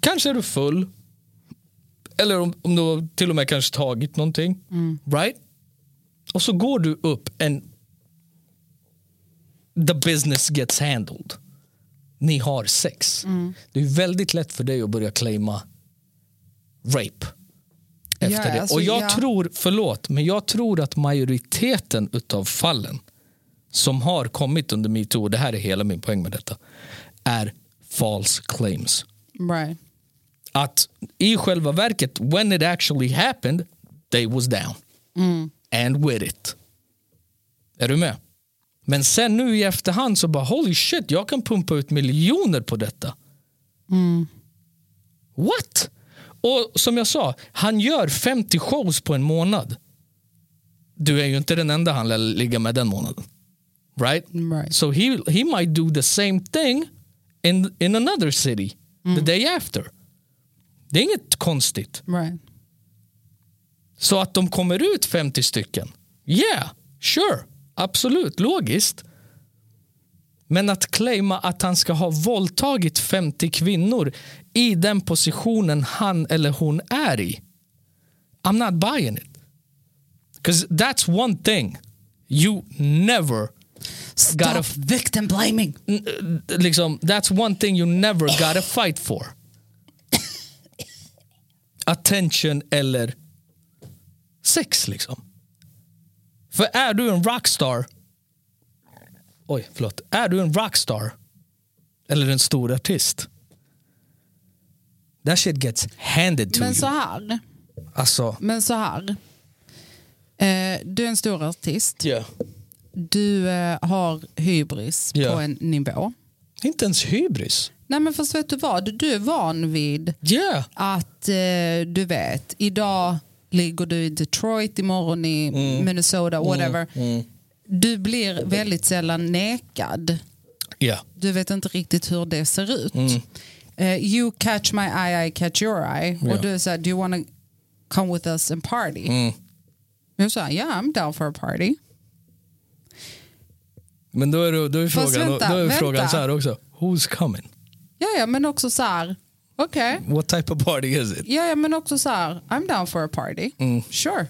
Kanske är du full. Eller om, om du har till och med kanske tagit någonting.
Mm.
Right? Och så går du upp en the business gets handled. Ni har sex.
Mm.
Det är väldigt lätt för dig att börja claima rape. Efter
Ja,
det.
alltså,
och jag
ja.
tror, förlåt, men jag tror att majoriteten utav fallen som har kommit under metoo, och det här är hela min poäng med detta, är false claims
Right.
att i själva verket, when it actually happened, they was down. And with it. Är du med? Men sen nu i efterhand så bara holy shit, jag kan pumpa ut miljoner på detta. What? Och som jag sa, han gör 50 shows på en månad. Du är ju inte den enda han lär ligga med den månaden. Right?
Right.
So he, he might do the same thing in, in another city the day after. Det är inget konstigt.
Right.
Så att de kommer ut 50 stycken, yeah, sure, absolut, logiskt. Men att claima att han ska ha våldtagit 50 kvinnor i den positionen han eller hon är i. I'm not buying it. Because that's one thing you never
Stop
a-
victim blaming.
n- liksom, that's one thing you never gotta fight for. Attention eller sex liksom. För är du en rockstar, oj förlåt, är du en rockstar eller en stor artist, that shit gets handed to
Men så
you.
här.
Alltså,
Men så här. Eh, du är en stor artist.
yeah.
Du eh, har hybris
Ja.
på en nivå.
inte ens hybris.
Nej men fast vet du vad? Du är van vid
Yeah.
att eh, du vet, idag ligger du i Detroit, imorgon i
Mm.
Minnesota, whatever. Du blir väldigt sällan nekad.
Yeah.
Du vet inte riktigt hur det ser ut. Eh, you catch my eye, I catch your eye.
Ja.
Och du är såhär, do you wanna come with us and party? Jag sa, yeah I'm down for a party.
Men då är, det- då är,
Fast
frågan,
vänta,
då är frågan
vänta.
så här också, who's coming?
Ja, ja men också så här, okej.
What type of party is it?
Ja, ja, men också så här, I'm down for a party. Sure.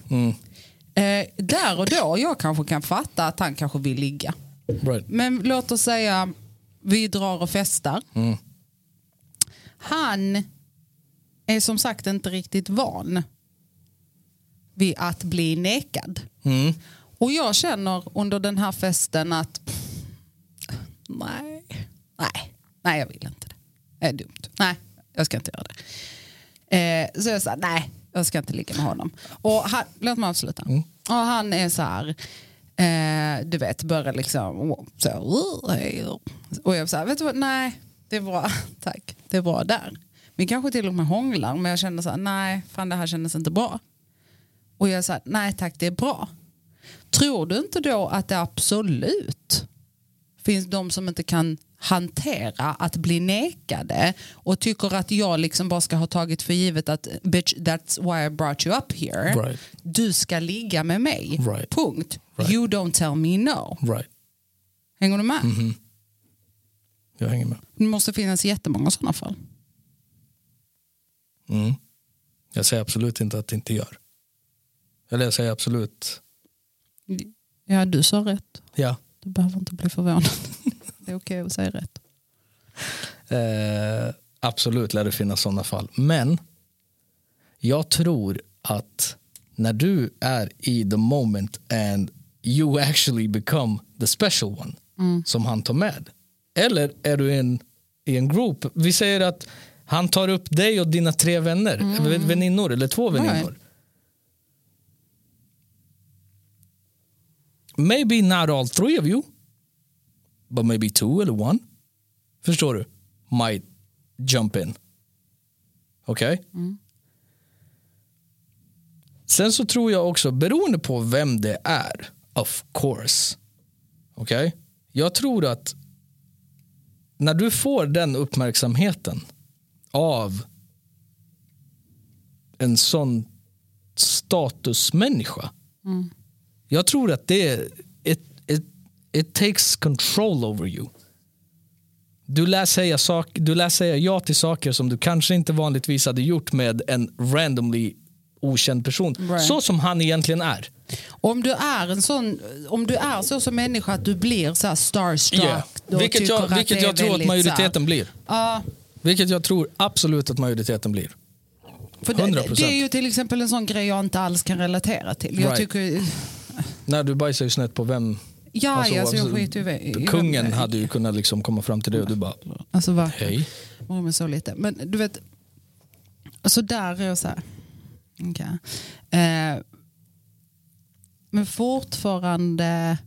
Eh, där och då, jag kanske kan fatta att han kanske vill ligga.
Right.
Men låt oss säga, vi drar och festar. Han är som sagt inte riktigt van vid att bli nekad. Och jag känner under den här festen att pff, nej, nej, Nej, jag vill inte det. Det är dumt. Nej, jag ska inte göra det. Eh, så jag sa, nej, jag ska inte ligga med honom. Och han, låt mig avsluta. Och han är så här, eh, du vet, börjar liksom så, "Uh, hej." Och jag sa, vet du vad, nej, det är bra, tack, det är bra där. Vi kanske till och med hånglar, men jag kände så här, nej, fan det här kändes inte bra. Och jag sa, nej tack, det är bra. Tror du inte då att det absolut finns de som inte kan hantera att bli nekade och tycker att jag liksom bara ska ha tagit för givet att bitch that's why I brought you up here.
Right.
Du ska ligga med mig.
Right.
Punkt.
Right.
You don't tell me no.
Right.
Hänger du med?
Mhm. Jag hänger med.
Det måste finnas jättemånga sådana fall.
Mm. Jag säger absolut inte att det inte gör. Eller jag säger absolut,
Ja, du sa rätt.
ja.
Du behöver inte bli förvånad. Det är okej att säga rätt.
Eh, absolut lär det finnas sådana fall. Men jag tror att när du är i the moment and you actually become the special one som han tar med. Eller är du i en, i en group. Vi säger att han tar upp dig och dina tre vänner, v- väninnor eller två väninnor. Maybe not all three of you. But maybe two eller one. Förstår du? Might jump in. Okej? Sen så tror jag också, beroende på vem det är, of course. Okej? Jag tror att när du får den uppmärksamheten av en sån statusmänniska.
Mm.
Jag tror att det är, it, it, it takes control over you. Du lär, säga sak, du lär säga ja till saker som du kanske inte vanligtvis hade gjort med en randomly okänd person.
Right.
Så som han egentligen är.
Om du är en sån, om du är så som människa att du blir så här starstruck.
Yeah.
och
Vilket
tycker
jag,
att det
vilket
är
jag tror att
väldigt så
majoriteten blir.
här- Ja,
Vilket jag tror absolut att majoriteten blir.
för det,
100%.
det är ju till exempel en sån grej jag inte alls kan relatera till. Jag
Right.
tycker,
När du bajsar ju snett på vem...
ja, alltså, jag
alltså,
skiter ju i- i-
Kungen hade ju kunnat liksom komma fram till dig och du bara,
Alltså verkligen.
hej.
Oh, men så lite. Men du vet, alltså där är jag så här. okej. Eh, men fortfarande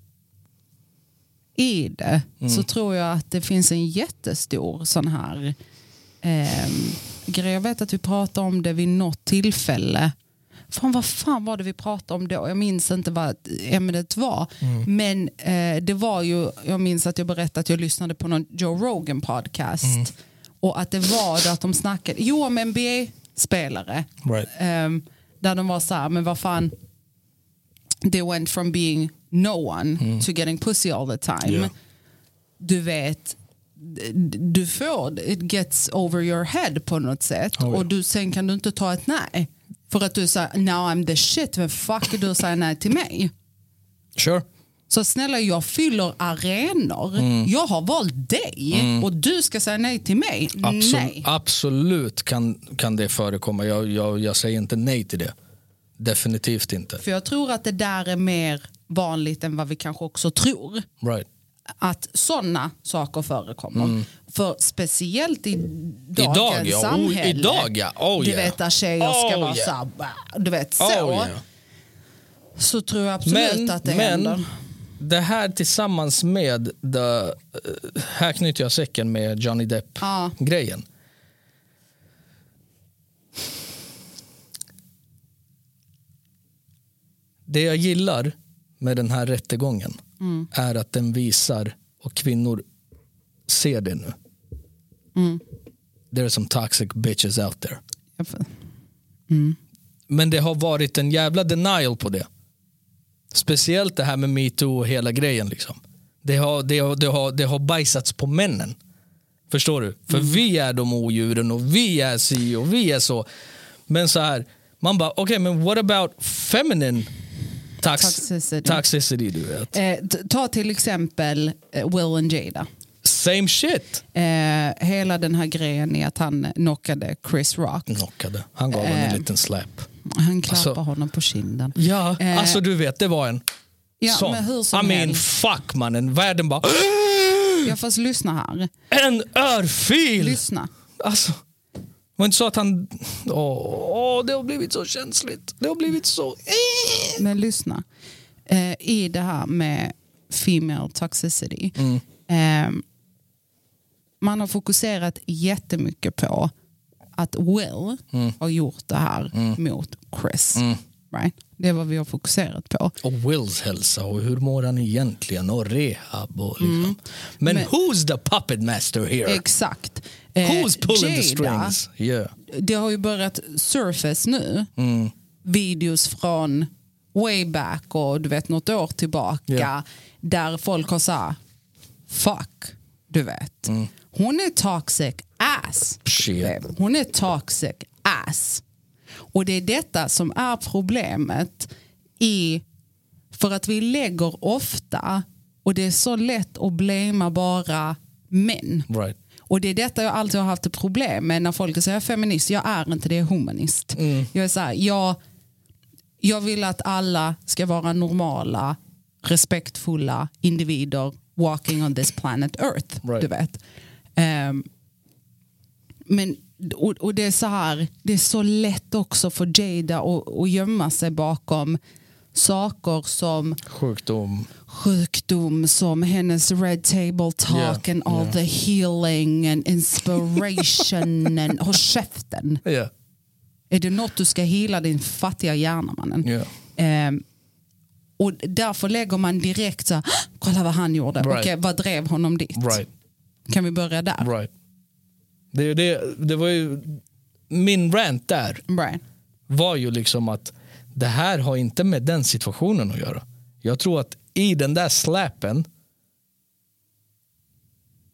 i det så tror jag att det finns en jättestor sån här eh, grej. Jag vet att vi pratade om det vid något tillfälle. Fan, vad fan var det vi pratade om då? Jag minns inte vad ämnet var. Men eh, det var ju, jag minns att jag berättade att jag lyssnade på någon Joe Rogan podcast. Och att det var då att de snackade, jo om NBA-spelare.
Right.
Ehm, där de var så här, men vad fan, they went from being no one to getting pussy all the time.
Mm. Yeah.
Du vet, d- du får, it gets over your head på något sätt.
Oh, ja.
Och du, sen kan du inte ta ett nej. För att du säger, now I'm the shit, men fuck är du säger nej till mig.
Sure.
Så snälla jag fyller arenor.
Mm.
Jag har valt dig och du ska säga nej till mig.
Absolut,
Nej.
absolut kan, kan det förekomma. Jag, jag, jag säger inte nej till det. Definitivt inte.
För jag tror att det där är mer vanligt än vad vi kanske också tror.
Right.
Att sådana saker förekommer. För speciellt i dagens
Idag, Mm. ja. Oh,
samhälle.
idag, ja. Oh,
du
yeah.
vet där tjejer ska
Oh,
vara
yeah.
så här, bah, du vet så.
Oh, yeah.
Så tror jag absolut
Men,
att det händer.
men det här tillsammans med, the, eh, här knyter jag säcken med Johnny
Ja.
Depp-grejen. Det jag gillar med den här rättegången är att den visar, och kvinnor ser det nu. There are some toxic bitches out there. Men det har varit en jävla denial på det. Speciellt det här med metoo och hela grejen. Liksom. Det, har, det, har, det, har, det har bajsats på männen. Förstår du? För vi är de odjuren och vi är si och vi är så. Men så här, man bara, okej men what about feminine tax-
Toxicity.
toxicity du vet.
Eh, t- ta till exempel eh, Will and Jada.
Same shit.
Eh, hela den här grejen är att han knockade Chris Rock.
Knockade. Han gav henne en
Eh.
liten slap.
Han klappar
Alltså-
honom på kinden.
Ja,
Eh,
alltså du vet, det var en
Ja,
sån.
men hur som
I mean
helst.
fuck mannen, världen bara
Ja, fast lyssna här.
En örfil!
Lyssna.
Alltså, var det inte så att han... Åh, åh, det har blivit så känsligt. Det har blivit så...
Men lyssna. Eh, I det här med female toxicity.
Mm.
Eh, man har fokuserat jättemycket på att Will
Mm.
har gjort det här mot Chris. Right? Det är vad vi har fokuserat på.
Och Wills hälsa och hur mår han egentligen och rehab och liksom. Men,
Men-
who's the puppet master here?
Exakt. Eh,
who's pulling the
Jada,
strings? Yeah.
det har ju börjat surface nu. Videos från way back och du vet något år tillbaka.
Ja.
Där folk har sagt fuck, du vet. Hon är toxic ass.
Shit.
babe. Hon är toxic ass. Och det är detta som är problemet i för att vi lägger ofta och det är så lätt att blamea bara män.
Right.
Och det är detta jag alltid har haft ett problem med när folk säger jag är feminist. Jag är inte det, jag är humanist. Jag är så här, jag, jag vill att alla ska vara normala, respektfulla individer walking on this planet earth.
Right.
Du vet. Ehm, men, och, och det är så här, det är så lätt också för Jada att, att gömma sig bakom saker som
Sjukdom.
sjukdom som hennes red table talk
Ja,
and all the healing and inspiration. and, håll käften.
Yeah.
Är det något du ska hila din fattiga hjärna mannen?
Yeah.
Ehm, och därför lägger man direkt så här, "Hå! kolla vad han gjorde.
Right.
Okej, vad drev honom dit?
Right.
Kan vi börja där?
Right. Det, är ju det, det var ju min rant där.
Right.
var ju liksom att det här har inte med den situationen att göra. Jag tror att i den där släpen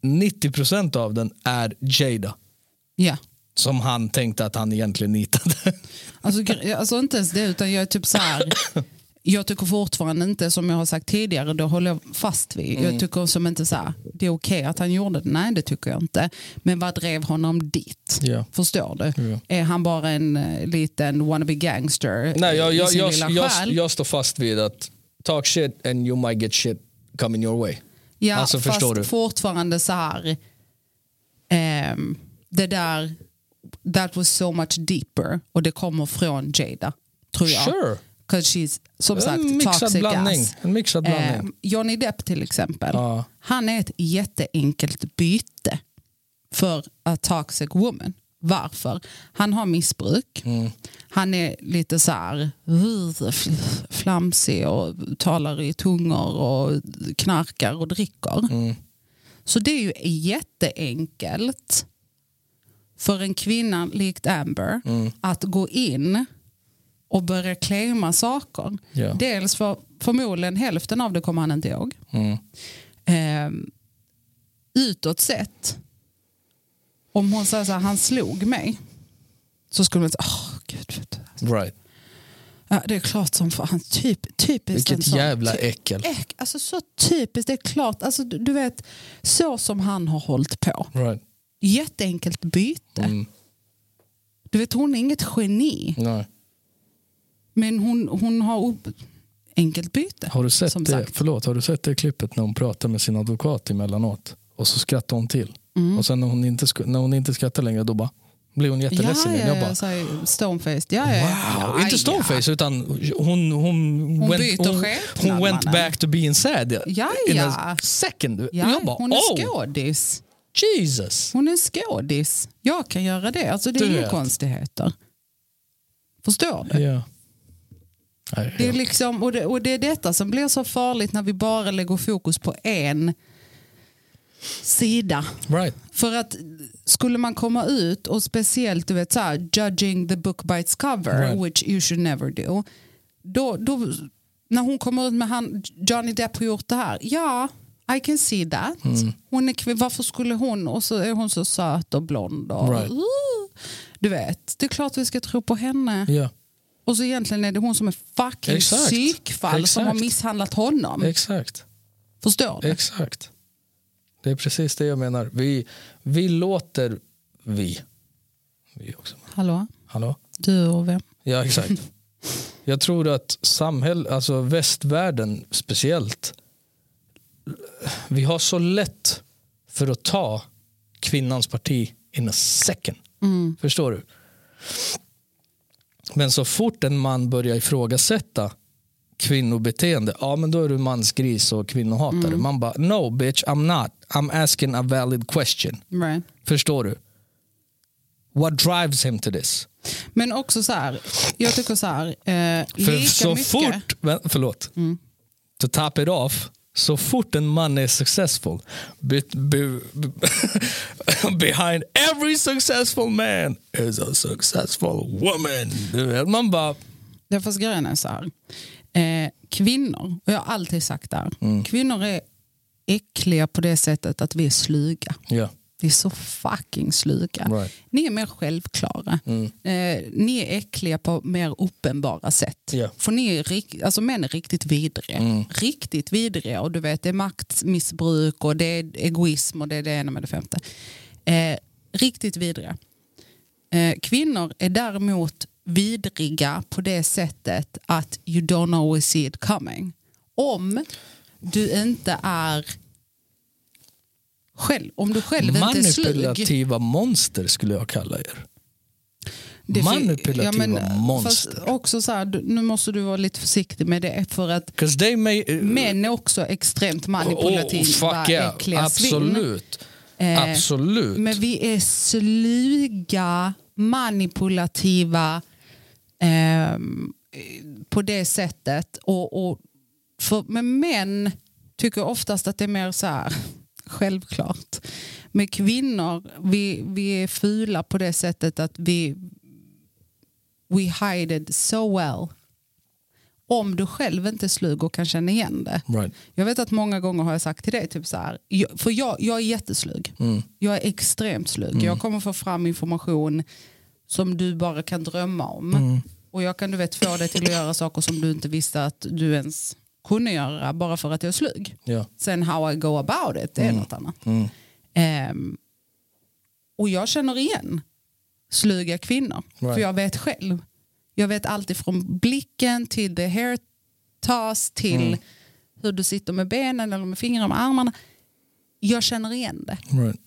90% av den är Jada
Ja.
som han tänkte att han egentligen nitade.
Alltså, gre- alltså inte ens det, utan jag är typ så här. Jag tycker fortfarande inte, som jag har sagt tidigare, då håller jag fast vid.
Mm.
Jag tycker som inte så här, det är okej att han gjorde det. Nej, det tycker jag inte. Men vad drev honom dit?
Ja.
Förstår du?
Ja.
Är han bara en eh, liten wannabe gangster
Nej, jag,
i
jag,
sin
jag,
lilla
jag,
själ?
jag, står fast vid att talk shit and you might get shit coming your way.
ja,
alltså,
fast
förstår du?
fortfarande så här, ehm, det där, that was so much deeper och det kommer från Jada, tror jag.
Sure.
'Cause she's, som sagt,
en mixad
toxic
blandning.
ass.
En mixad
Eh,
blandning.
Johnny Depp till exempel.
Ja.
Han är ett jätteenkelt byte för a toxic woman. Varför? Han har missbruk. Han är lite så här uh, flamsig och talar i tungor och knarkar och dricker. Så det är ju jätteenkelt för en kvinna likt Amber
Mm.
att gå in och börja claima saker.
Ja.
Dels för förmodligen hälften av det kommer han inte ihåg.
Mm.
Eh, utåt sett, om hon säger så här, han slog mig, så skulle man säga, åh gud, vet du."
Right.
ja, det är klart som fan, typ, typiskt en
Vilket
sån-
jävla äckel.
Äck, alltså så typiskt, det är klart, alltså, du, du vet, så som han har hållit på.
Right.
Jätteenkelt byte.
Mm.
Du vet, hon är inget geni.
Nej.
Men hon, hon har upp... enkelt byte.
Har du sett
som
det?
Sagt.
Förlåt, har du sett det klippet när hon pratar med sin advokat emellanåt och så skrattar hon till
Mm.
och sen när hon inte, sku- när hon inte skrattar längre då bara blir hon
Ja,
jätteledsen.
ja,
igen.
ja,
jag bara,
så här, stonefaced. Ja, ja, ja.
wow, inte stoneface utan hon, hon, hon,
byter
hon,
skepnad,
hon went
mannen.
back to being sad
Ja,
in
ja.
a second.
Ja,
jag bara,
hon är
oh,
skådis.
Jesus.
Hon är skådis. Jag kan göra det. Alltså, det
Du
är inga
vet.
konstigheter. Förstår du?
Ja. Nej,
Det är,
ja.
liksom, och, det, och det är detta som blir så farligt när vi bara lägger fokus på en sida.
Right.
För att skulle man komma ut och speciellt du vet så här, judging the book by its cover,
Right.
which you should never do. Då, då, när hon kommer ut med han, Johnny Depp har gjort det här. Ja, I can see that.
Mm.
Hon är kvin- varför skulle hon, och så är hon så söt och blond. Och,
Right.
Uh, du vet, det är klart vi ska tro på henne.
Ja,
Och så egentligen är det hon som är fucking
Exakt.
psykfall som har
Exakt.
misshandlat honom.
exakt.
Förstår du?
Exakt. Det är precis det jag menar. Vi, vi låter... Vi. Vi också.
Hallå?
Hallå?
Du och vem?
Ja, exakt. Jag tror att samhäll, alltså västvärlden speciellt, vi har så lätt för att ta kvinnans parti in a second.
Mm.
Förstår du? Men så fort en man börjar ifrågasätta kvinnobeteende, ja men då är du mansgris och kvinnohatare. Man bara, no bitch I'm not. I'm asking a valid question.
Right.
Förstår du? What drives him to this?
Men också så här, jag tycker så här, eh,
För
lika
så
mycket. Mm.
fort, vä- förlåt, to top it off, så fort en man är successful, be, be, behind every successful man is a successful woman. Du vet, man bara,
Ja, fast grejen är så här. Eh, kvinnor, och jag har alltid sagt det här.
Mm.
Kvinnor är äckliga på det sättet att vi är sluga.
ja,
Vi är så fucking sluga.
Right. Mm.
Ni är mer självklara. Eh, ni är äckliga på mer uppenbara sätt.
Ja. Mm.
För ni är rik- alltså män är riktigt vidriga. Riktigt vidriga. Och du vet, det är maktmissbruk och det är egoism och det är det ena med det femte. Eh, riktigt vidriga. Eh, kvinnor är däremot vidriga på det sättet att you don't always see it coming. Om du inte är själv, om du själv inte är slug.
manipulativa monster skulle jag kalla er.
Det fi-
manipulativa monster.
Fast också så här, du- nu måste du vara lite försiktig med det för att
'Cause they may, Oh,
män är också extremt manipulativa,
fuck yeah,
äckliga svin.
absolut.
Eh,
absolut.
Men vi är sluga, manipulativa ehm, på det sättet. Och, och för, men män tycker oftast att det är mer så här självklart. Men kvinnor, vi, vi är fula på det sättet att vi we hide it so well. Om du själv inte är slug och kan känna igen det.
Right.
Jag vet att många gånger har jag sagt till dig, typ så här, jag- för jag, jag är jätteslug. Jag är extremt slug. Jag kommer få fram information som du bara kan drömma om. Och jag kan du vet, få dig till att göra saker som du inte visste att du ens kunde göra bara för att jag är slug.
Ja.
Sen how I go about it, det är något annat. Ehm, och jag känner igen sluga kvinnor.
Right.
För jag vet själv. Jag vet alltid från blicken till the hair toss till hur du sitter med benen eller med fingrarna och armarna. Jag känner igen det.
Right.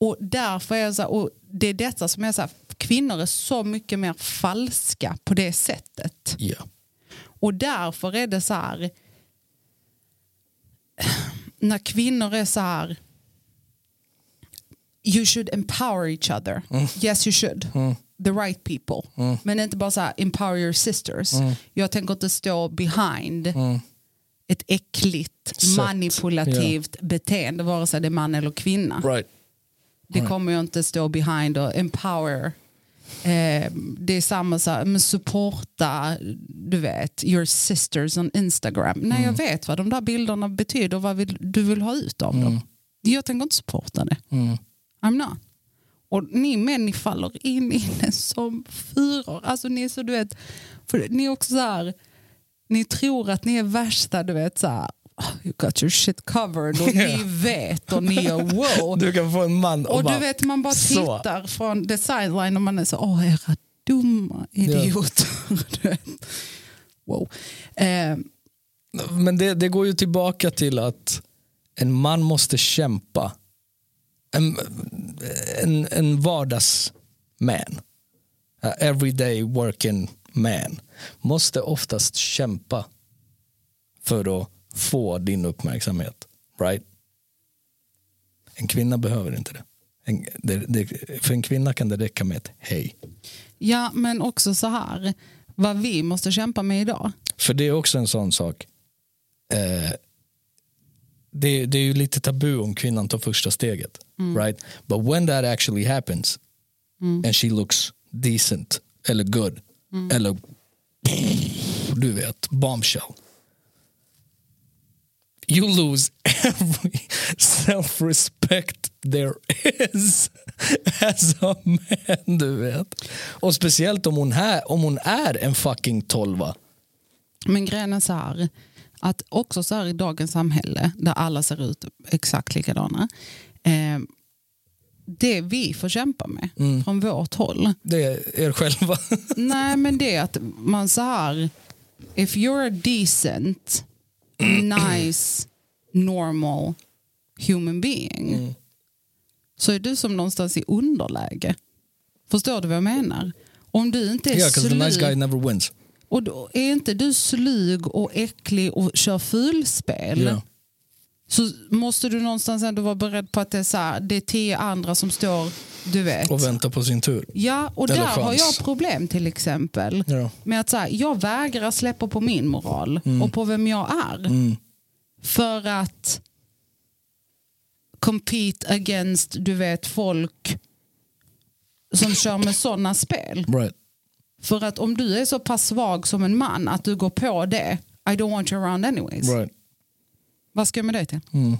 Och därför är jag så här, och det är detta som jag säger, kvinnor är så mycket mer falska på det sättet.
Yeah.
Och därför är det så här, när kvinnor är så här, you should empower each other. Yes you should. The right people. Men inte bara så här, empower your sisters. Jag tänker inte stå behind ett äckligt,
Sätt.
manipulativt beteende, vare sig det är man eller kvinna.
Right.
Det kommer ju inte stå behind och empower. Eh, det är samma så här, men supporta, du vet, your sisters on Instagram. Nej, jag vet vad de där bilderna betyder och vad vill, du vill ha ut av dem. Jag tänker inte supporta det. I'm not. Och ni män, ni faller in i det som fyror. Alltså ni är så, du vet, för ni är också så här, ni tror att ni är värsta, du vet så här, "Oh, you got your shit covered och ni vet och ni är wow.
Du kan få en man och,
Och
bara,
du vet man bara
så.
tittar från the sideline och man är så, åh era dumma idioter. Du vet. wow. Eh,
Men det, det går ju tillbaka till att en man måste kämpa. En, en, en vardagsman, a everyday working man, måste oftast kämpa för att få din uppmärksamhet. Right? En kvinna behöver inte det. En, det, det. För en kvinna kan det räcka med ett hej.
ja men också så här, vad vi måste kämpa med idag.
För det är också en sån sak. Eh, det, det är ju lite tabu om kvinnan tar första steget. Right? But when that actually happens and she looks decent eller good eller du vet, bombshell. You lose every self-respect there is as a man, du vet. Och speciellt om hon, här, om hon är en fucking tolva.
Men grejen är så här, att också så här i dagens samhälle där alla ser ut exakt likadana. Eh, det vi får kämpa med
Mm.
från vårt håll,
Det är er själva.
Nej, men det är att man så här, if you're a decent, nice, normal human being
Mm.
så är du som någonstans i underläge. Förstår du vad jag menar? Om du inte är
Yeah, because
slyg
the nice guy never wins.
och då är inte du slyg och äcklig och kör fulspel
Yeah.
så måste du någonstans ändå vara beredd på att det är, så här, det är tio andra som står, du vet.
Och vänta på sin tur.
Ja, och
Eller
där har
chans.
jag problem till exempel.
Ja.
Med att så här, jag vägrar släppa på min moral och på vem jag är.
Mm.
För att compete against, du vet, folk som kör med sådana spel.
Right.
För att om du är så pass svag som en man att du går på det, I don't want you around anyways.
Right.
Vad ska jag med det till?
Mm.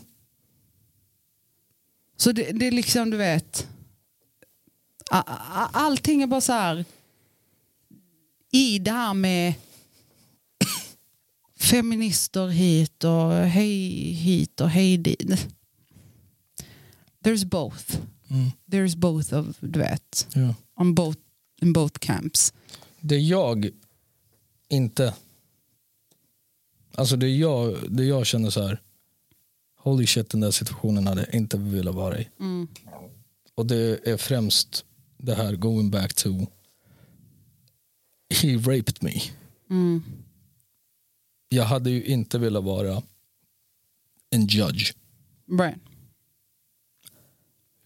Så det, det är liksom, du vet, a- a- allting är bara så här i det här med feminister hit och hej hit och hej dit. There's both.
Mm.
There's both of, du vet,
Ja.
on both, in both camps.
Det jag inte... Alltså det jag, det jag känner så här... Holy shit, den där situationen hade jag inte velat vara i. Och det är främst det här going back to he raped me.
Mm.
Jag hade ju inte velat vara en judge.
Right.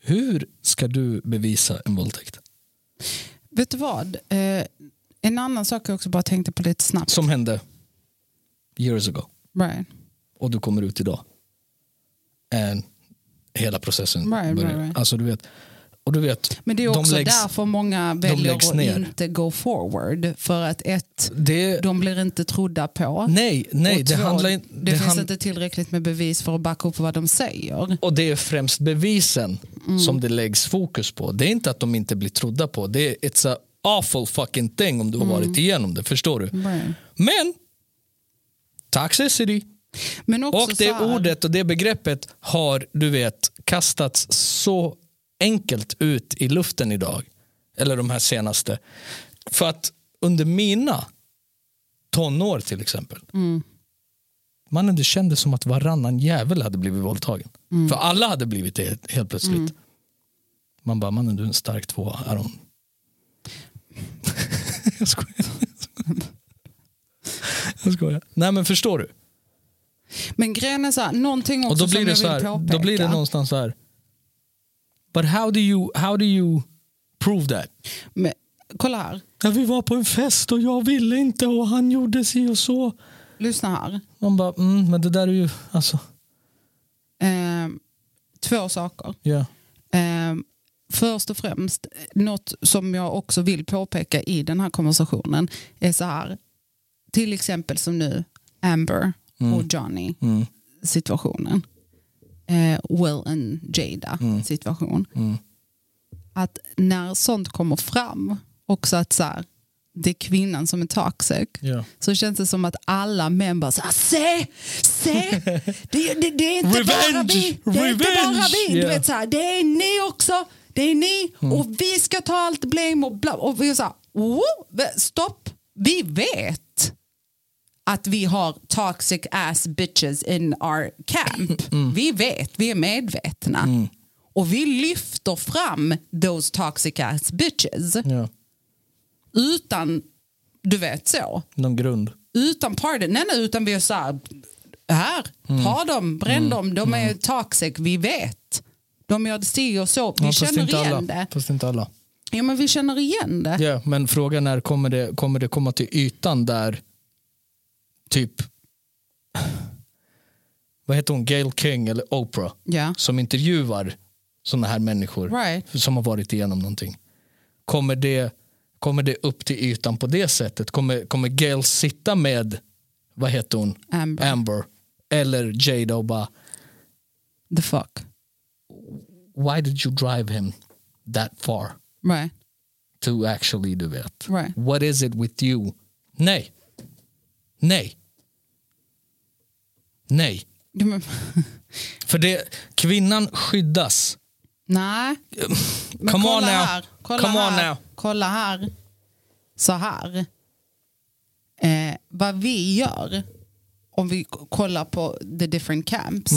Hur ska du bevisa en våldtäkt?
Vet du vad? Eh, en annan sak jag också bara tänkte på lite snabbt.
Som hände years ago.
Right.
och du kommer ut idag. And hela processen
Right, right,
börjar.
right.
Alltså, du vet, och du vet,
Men det är
De
också
läggs-
därför många väljer
läggs ner.
att inte go forward. För att ett,
det,
de blir inte trodda på.
nej, nej,
och
det
två,
handlar in,
det, finns
hand-
inte tillräckligt med bevis för att backa upp vad de säger.
Och det är främst bevisen
Mm.
som det läggs fokus på. Det är inte att de inte blir trodda på. Det är it's a awful fucking thing om du
Mm.
har varit igenom det, förstår du?
Right.
Men toxicity
Men också
och det
så här,
ordet och det begreppet har, du vet, kastats så enkelt ut i luften idag. Eller de här senaste. För att under mina tonår till exempel.
Mm.
Mannen, det kändes som att varannan jävel hade blivit våldtagen.
Mm.
För alla hade blivit det helt- helt plötsligt. Man bara, mannen du är en stark tvåa. Aron. Jag skojar. Jag skojar. Nej men förstår du?
Men grejen är så här, någonting också
Och då blir,
som
det
jag
så
vill
här,
påpeka.
då blir det någonstans så här. But how do you, how do you prove that?
Men, kolla här,
Ja, vi var på en fest och jag ville inte och han gjorde si och så.
lyssna här.
Man bara, mm, men det där är ju, alltså,
Ehm, två saker.
ja.
Ehm, först och främst, något som jag också vill påpeka i den här konversationen är så här, till exempel som nu Amber och Johnny
Mm.
situationen. Eh, Will and Jada situation.
Mm.
Att när sånt kommer fram, också att så här, det är kvinnan som är toxic,
Ja.
så känns det som att alla män bara så här, se, se, det, det, det är inte bara
Revenge!
vi, det är inte bara
Revenge!
vi, du
Ja.
vet så här, det är ni också, det är ni
Mm.
och vi ska ta allt blame och bla, och vi är så här, "Wow, stopp, vi vet att vi har toxic ass bitches in our
Mm.
camp. Vi vet, vi är medvetna. Och vi lyfter fram those toxic ass bitches
ja.
utan, du vet så,
Någon grund.
utan pardon, nej, nej utan vi är så här, här
Mm.
ta dem, bränn dem, de är toxic, vi vet. De gör si och så, vi
Ja, fast
känner
inte
igen
alla.
det.
Fast inte alla.
Ja men vi känner igen det.
Ja, men frågan är, kommer det, kommer det komma till ytan där typ, vad heter hon, Gail King eller Oprah?
Ja.
som intervjuar sådana här människor
Right.
som har varit igenom någonting. Kommer det, kommer det upp till ytan på det sättet? Kommer, kommer Gail sitta med, vad heter hon,
Amber.
Amber eller Jada och bara,
The fuck.
why did you drive him that far
Right.
to actually, du vet.
Right.
What is it with you? Nej. Nej. Nej.
Ja, men-
För det, kvinnan skyddas.
Nej. Men
Come on
kolla
now.
här. Kolla
Come
här.
on now.
Kolla här. Så här.
Mm.
Eh, vad vi gör, om vi k- kollar på the different camps,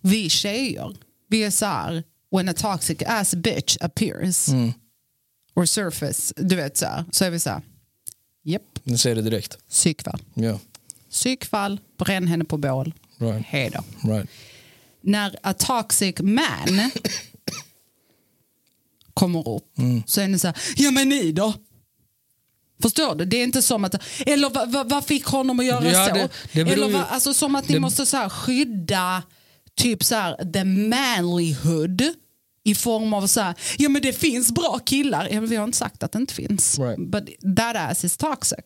vi tjejer, vi är så här, when a toxic ass bitch appears
Mm.
or surface, du vet så här, så är vi så här, japp,
Ni ser det direkt.
psykfall.
Ja,
Psykfall, bränn henne på bål,
right.
hej då.
right.
När a toxic man kommer upp
Mm.
så är ni så här, ja men ni då? Förstår du? Det är inte som att, eller vad vad- vad fick honom att göra
Ja,
så?
det- det beror
eller
ju-
vad, alltså som att ni
det-
måste så här skydda typ så här the manlyhood i form av så här, ja men det finns bra killar. Ja, men vi har inte sagt att det inte finns.
Right. Mm.
But that ass is toxic.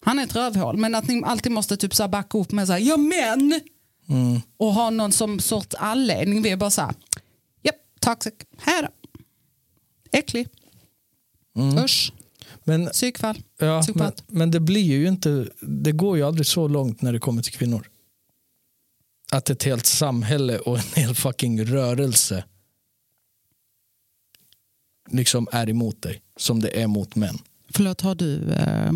Han är ett rövhål. Men att ni alltid måste typ så här backa upp med så här, ja men!
Mm.
Och ha någon som sorts anledning. Vi är bara så här, japp, toxic, här då. Äcklig.
Mm.
Usch,
Men,
psykfall,
ja, men,
psykopat.
men det blir ju inte, det går ju aldrig så långt när det kommer till kvinnor. Att ett helt samhälle och en hel fucking rörelse liksom är emot dig som det är mot män.
Förlåt, har du eh,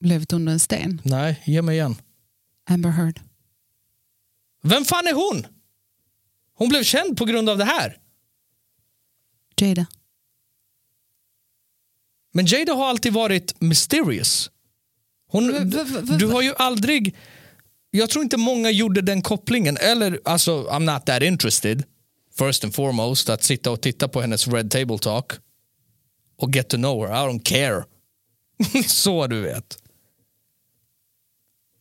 levt under en sten?
Nej, ge mig igen.
Amber Heard.
Vem fan är hon? Hon blev känd på grund av det här.
Jada.
Men Jada har alltid varit mysterious. Hon,
V- v- v-
du har ju aldrig... Jag tror inte många gjorde den kopplingen. Eller alltså, I'm not that interested. First and foremost, att sitta och titta på hennes Red Table Talk och get to know her. I don't care. Så du vet.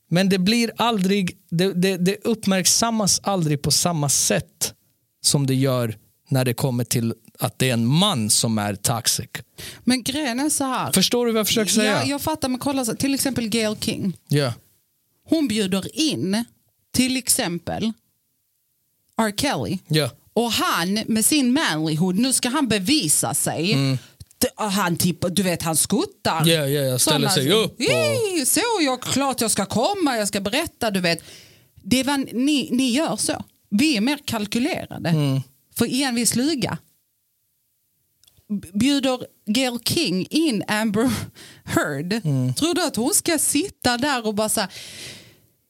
Men det blir aldrig, det, det, det uppmärksammas aldrig på samma sätt som det gör när det kommer till att det är en man som är toxic.
Men grejen är så här.
Förstår du vad jag försöker säga?
Ja, jag fattar, men kolla. så här, Till exempel Gail King.
Ja.
Hon bjuder in till exempel R. Kelly.
Ja.
Och han med sin manlyhood, nu ska han bevisa sig. D- Han tippar, du vet han skuttar.
Mm. Ja, ja, ja, ställer
Sådana-
sig upp och-
"Yay, Så, jag, klart jag ska komma, jag ska berätta, du vet. Det är vad ni, ni gör så. Vi är mer kalkylerade.
Mm.
För igen, vi är sluga. B- Bjuder Gail King in Amber Heard,
Mm.
tror du att hon ska sitta där och bara säga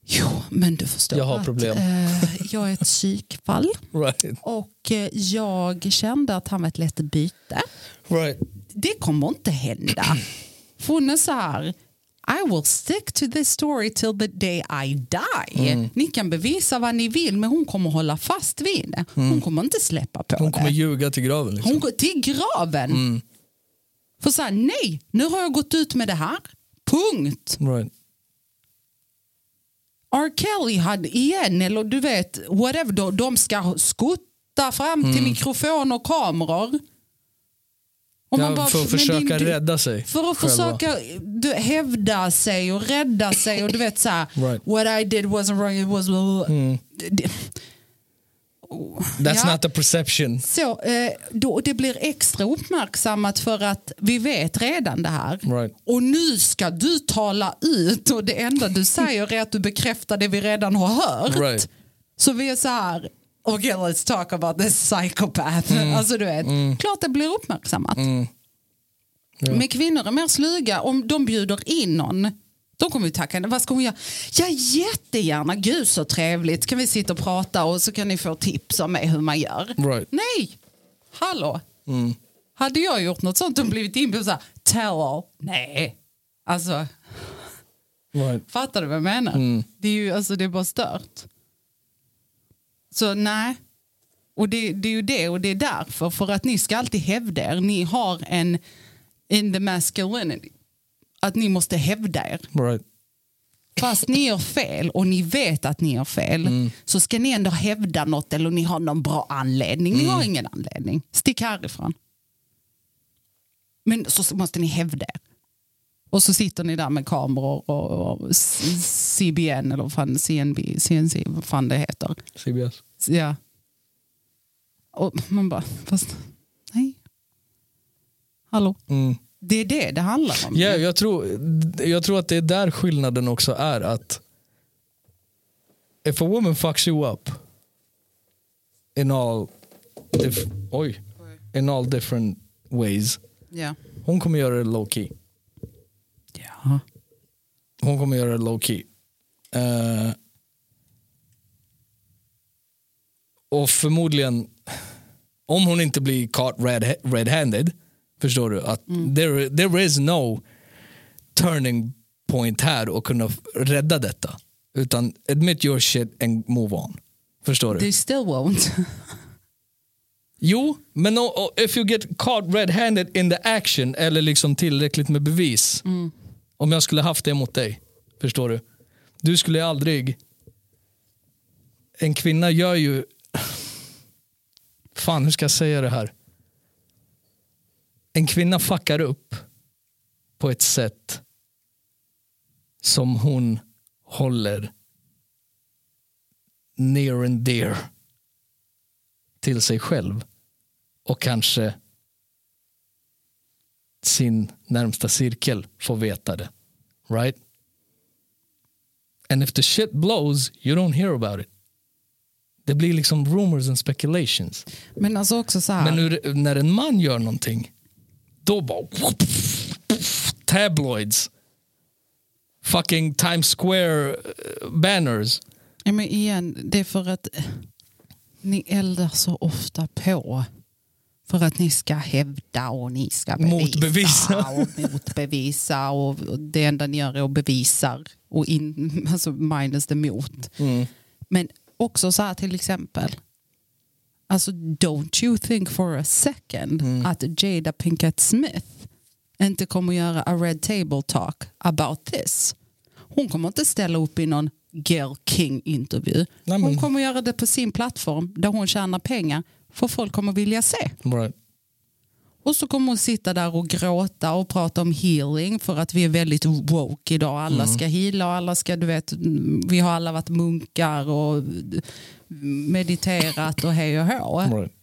Jo, men du förstår
Jag har
att
problem."
eh, jag är ett psykfall.
Right.
Och eh, jag kände att han var ett lätt byte.
Right.
Det kommer inte hända. För hon är så här, I will stick to this story till the day I die.
Mm.
Ni kan bevisa vad ni vill men hon kommer hålla fast vid det. Hon kommer inte släppa på
Mm. Hon
det.
kommer Mm. ljuga till graven. Liksom.
Hon går till graven. För så här, nej, nu har jag gått ut med det här. Punkt.
Right.
R. Kelly hade igen, eller du vet, whatever, då, de ska skutta fram till
Mm.
mikrofon och kameror. Och
ja, för att
men
försöka
din-
rädda sig.
För att
själva.
försöka du, hävda sig och rädda sig och du vet så här,
Right.
what I did wasn't wrong, it was... Mm.
That's
Ja.
not a perception.
Så, eh, då, det blir extra uppmärksammat för att vi vet redan det här.
Right.
Och nu ska du tala ut och det enda du säger är att du bekräftar det vi redan har hört.
Right.
Så vi är så här, okay let's talk about this psychopath.
Mm.
Alltså du vet, klart det blir uppmärksammat. Men kvinnor är mer sluga, om de bjuder in någon de kommer ju tacka henne. Vad ska hon göra? Ja, jättegärna. Gud så trevligt. Kan vi sitta och prata och så kan ni få tips om mig hur man gör.
Right.
Nej, hallå. Hade jag gjort något sånt och blivit inbjuden så här, tell all. Nej, alltså
Right.
fattar du vad jag menar? Det är ju alltså det är bara stört. Så nej, och det, det är ju det och det är därför för att ni ska alltid hävda er. Ni har en in the masculinity att ni måste hävda er.
Right.
Fast ni gör fel och ni vet att ni gör fel
Mm.
så ska ni ändå hävda något eller ni har någon bra anledning. Ni
Mm.
har ingen anledning. Stick härifrån. Men så måste ni hävda er. Och så sitter ni där med kameror och, och C- CBN eller vad fan CNB, CNC, vad fan det heter.
CBS.
Ja. Och man bara, fast nej. Hallå?
Mm.
Det är det det handlar om.
Ja, jag, tror, jag tror att det är där skillnaden också är att if a woman fucks you up in all, dif- oj, in all different ways
Ja.
hon kommer göra det low key.
ja.
Hon kommer göra det low key. Eh, Och förmodligen, om hon inte blir caught red- red-handed, förstår du, att there, there is no turning point här och kunna f- rädda detta. Utan admit your shit and move on. Förstår du?
They still won't.
Jo, men o- o- if you get caught red-handed in the action eller liksom tillräckligt med bevis. Om jag skulle haft det mot dig, förstår du? Du skulle aldrig... En kvinna gör ju... Fan, hur ska jag säga det här? En kvinna fuckar upp på ett sätt som hon håller near and dear till sig själv och kanske sin närmsta cirkel får veta det. Right? And if the shit blows, you don't hear about it. Det blir liksom rumors and speculations.
Men alltså också så här.
Men ur, när en man gör någonting, då bara... Tabloids. Fucking Times Square eh, banners.
Ja, men igen, det är för att eh, ni eldar så ofta på för att ni ska hävda och ni ska bevisa
Motbevisa.
och motbevisa och och det enda ni gör är att bevisar och in, alltså minus det mot. Men också så här till exempel, alltså don't you think for a second att Jada Pinkett Smith inte kommer göra a red table talk about this. Hon kommer inte ställa upp i någon Girl King-intervju.
Nej, men-
Hon kommer göra det på sin plattform där hon tjänar pengar för folk kommer vilja se.
Right.
Och så kommer hon sitta där och gråta och prata om healing för att vi är väldigt woke idag. Alla
Mm.
ska heala och alla ska, du vet, vi har alla varit munkar och mediterat och hej och hå.
Right.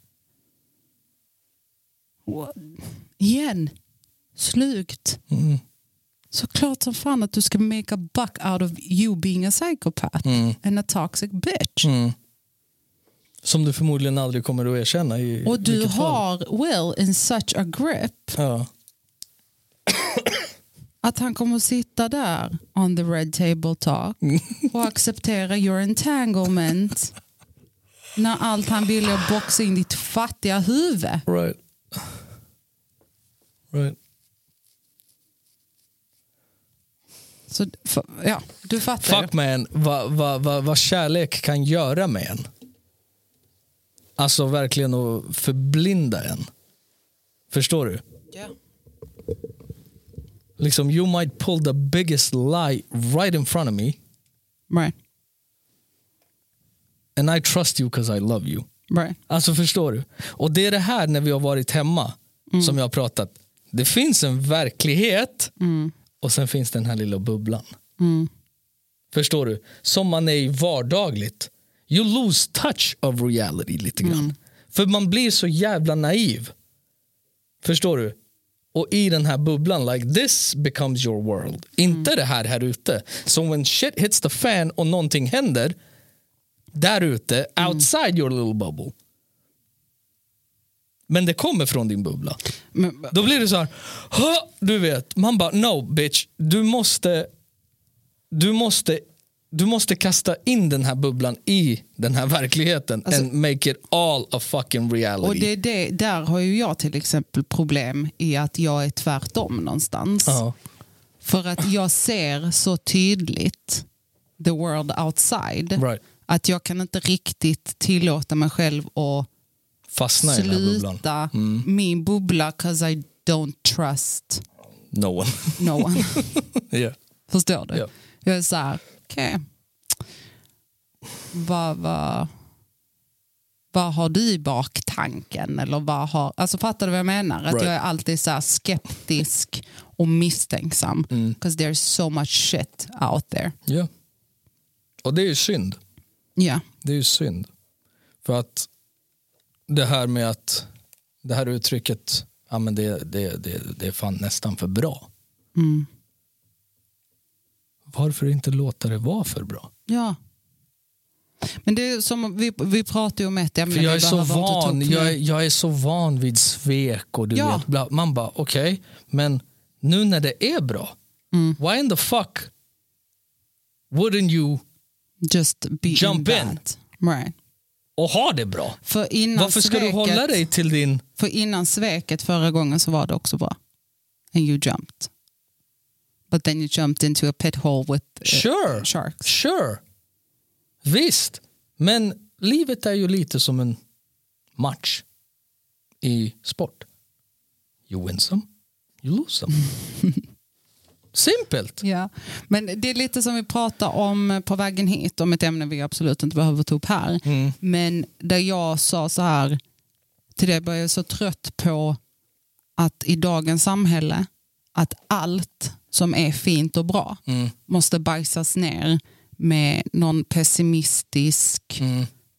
Och igen, slugt.
Mm.
Så klart som fan att du ska make a buck out of you being a psychopath and a toxic bitch.
Mm. Som du förmodligen aldrig kommer att erkänna. I
Och du
vilket fall.
har Will in such a grip
Ja.
att han kommer att sitta där on the red table talk
Mm.
och acceptera your entanglement när allt han vill är att boxa in ditt fattiga huvud.
Right. Right.
Så, f- ja, du fattar. ju.
Fuck man, vad va, va, va kärlek kan göra med en. Alltså verkligen att förblinda en. Förstår du? Liksom you might pull the biggest lie right in front of me
Right,
and I trust you because I love you.
right.
Alltså förstår du? Och det är det här när vi har varit hemma som jag har pratat. Det finns en verklighet och sen finns den här lilla bubblan. Förstår du? Som man är i vardagligt. You lose touch of reality lite grann. För man blir så jävla naiv. Förstår du? Och i den här bubblan, like this becomes your world. Inte det här här ute. Så when shit hits the fan och någonting händer där ute, outside your little bubble. Men det kommer från din bubbla.
Men,
Då blir det så här, "Hå!" du vet, man bara no bitch, du måste, du måste, du måste kasta in den här bubblan i den här verkligheten and make it all a fucking reality.
Alltså- Och det, är det, där har ju jag till exempel problem i att jag är tvärtom någonstans.
Ja.
För att jag ser så tydligt the world outside.
Right.
Att jag kan inte riktigt tillåta mig själv att
Fastna i den här bubblan. Mm.
sluta min bubbla 'cause I don't trust
No one.
no one.
yeah.
Förstår du?
Ja.
Jag är så här, okej. Vad, vad, vad har du i baktanken? Eller vad har, alltså fattar du vad jag menar? Att
Right.
jag är alltid så här skeptisk och misstänksam.
Mm.
Because there's so much shit out there.
Yeah. Och det är ju synd.
Ja,
det är ju synd. För att det här med att det här uttrycket, ja men det, det, det, det är fan nästan för bra.
Mm.
Varför inte låta det vara för bra?
ja. Men det är som, vi, vi pratar ju om ett ämne.
För jag
vi
är så
behöver inte ta
van,
upp
jag
nu.
är, jag är så van vid svek och du
Ja.
vet, bla, man bara okej, men nu när det är bra,
Mm.
why in the fuck wouldn't you
Just be
Jump
in.
in.
that. Right.
och ha det bra.
För innan,
Varför ska
sveket,
du hålla dig till din...
för innan sveket förra gången så var det också bra. And you jumped. But then you jumped into a pit hole with eh,
Sure,
sharks.
sure. Visst, men livet är ju lite som en match i sport. You win some, you lose some. Simpelt.
Ja. Men det är lite som vi pratade om på vägen hit, om ett ämne vi absolut inte behöver ta upp här. Men där jag sa så här, till det jag är så trött på att i dagens samhälle, att allt som är fint och bra måste bajsas ner med någon pessimistisk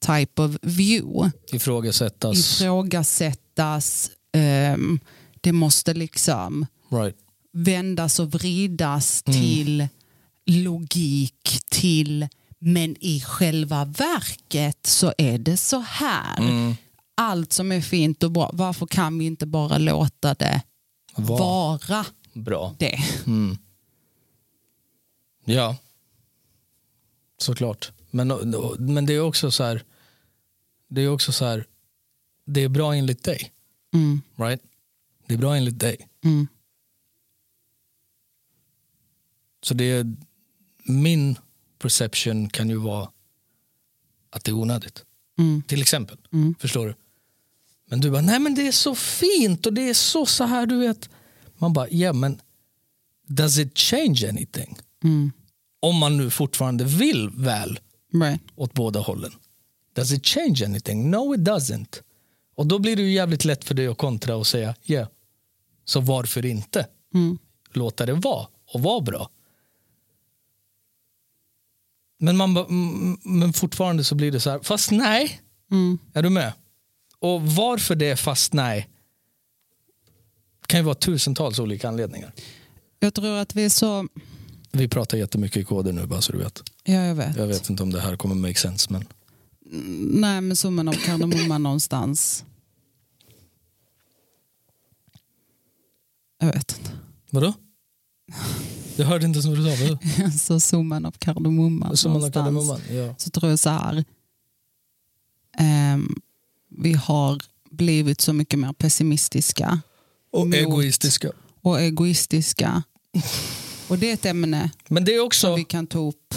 type of view
Ifrågasättas.
ifrågasättas. ehm, det måste liksom
Right.
vändas och vridas
Mm.
till logik, till men i själva verket så är det så här.
Mm.
Allt som är fint och bra, varför kan vi inte bara låta det
Var
vara
bra.
det?
Mm. Ja, såklart. Men, men det är också så här, det är också så här, det är bra enligt dig.
Mm.
Right? Det är bra enligt dig.
Mm.
Så det är, min perception kan ju vara att det är onödigt.
Mm.
Till exempel.
Mm.
Förstår du? Men du bara, nej men det är så fint och det är så så här du vet. Man bara, ja men does it change anything?
Mm.
Om man nu fortfarande vill väl
Right.
åt båda hållen. Does it change anything? No it doesn't. Och då blir det ju jävligt lätt för dig att kontra och säga yeah. Så varför inte
Mm.
låta det vara och vara bra? Men, man, ba- mm, men fortfarande så blir det så här, fast nej,
Mm.
är du med? Och varför det är fast nej kan ju vara tusentals olika anledningar.
Jag tror att vi är så...
Vi pratar jättemycket i koder nu bara så du vet.
Ja, jag vet.
Jag vet inte om det här kommer make sense men
Nej, men summan av kardemumman någonstans. Jag vet inte.
Vadå? Jag hörde inte som du sa. Vadå?
Alltså summan av kardemumman
Som man har
någonstans.
kardemumman. Ja.
Så tror jag så här. ehm, vi har blivit så mycket mer pessimistiska
Och
Mot.
egoistiska.
och egoistiska. Och det är ett ämne
Men det är också,
vi kan ta upp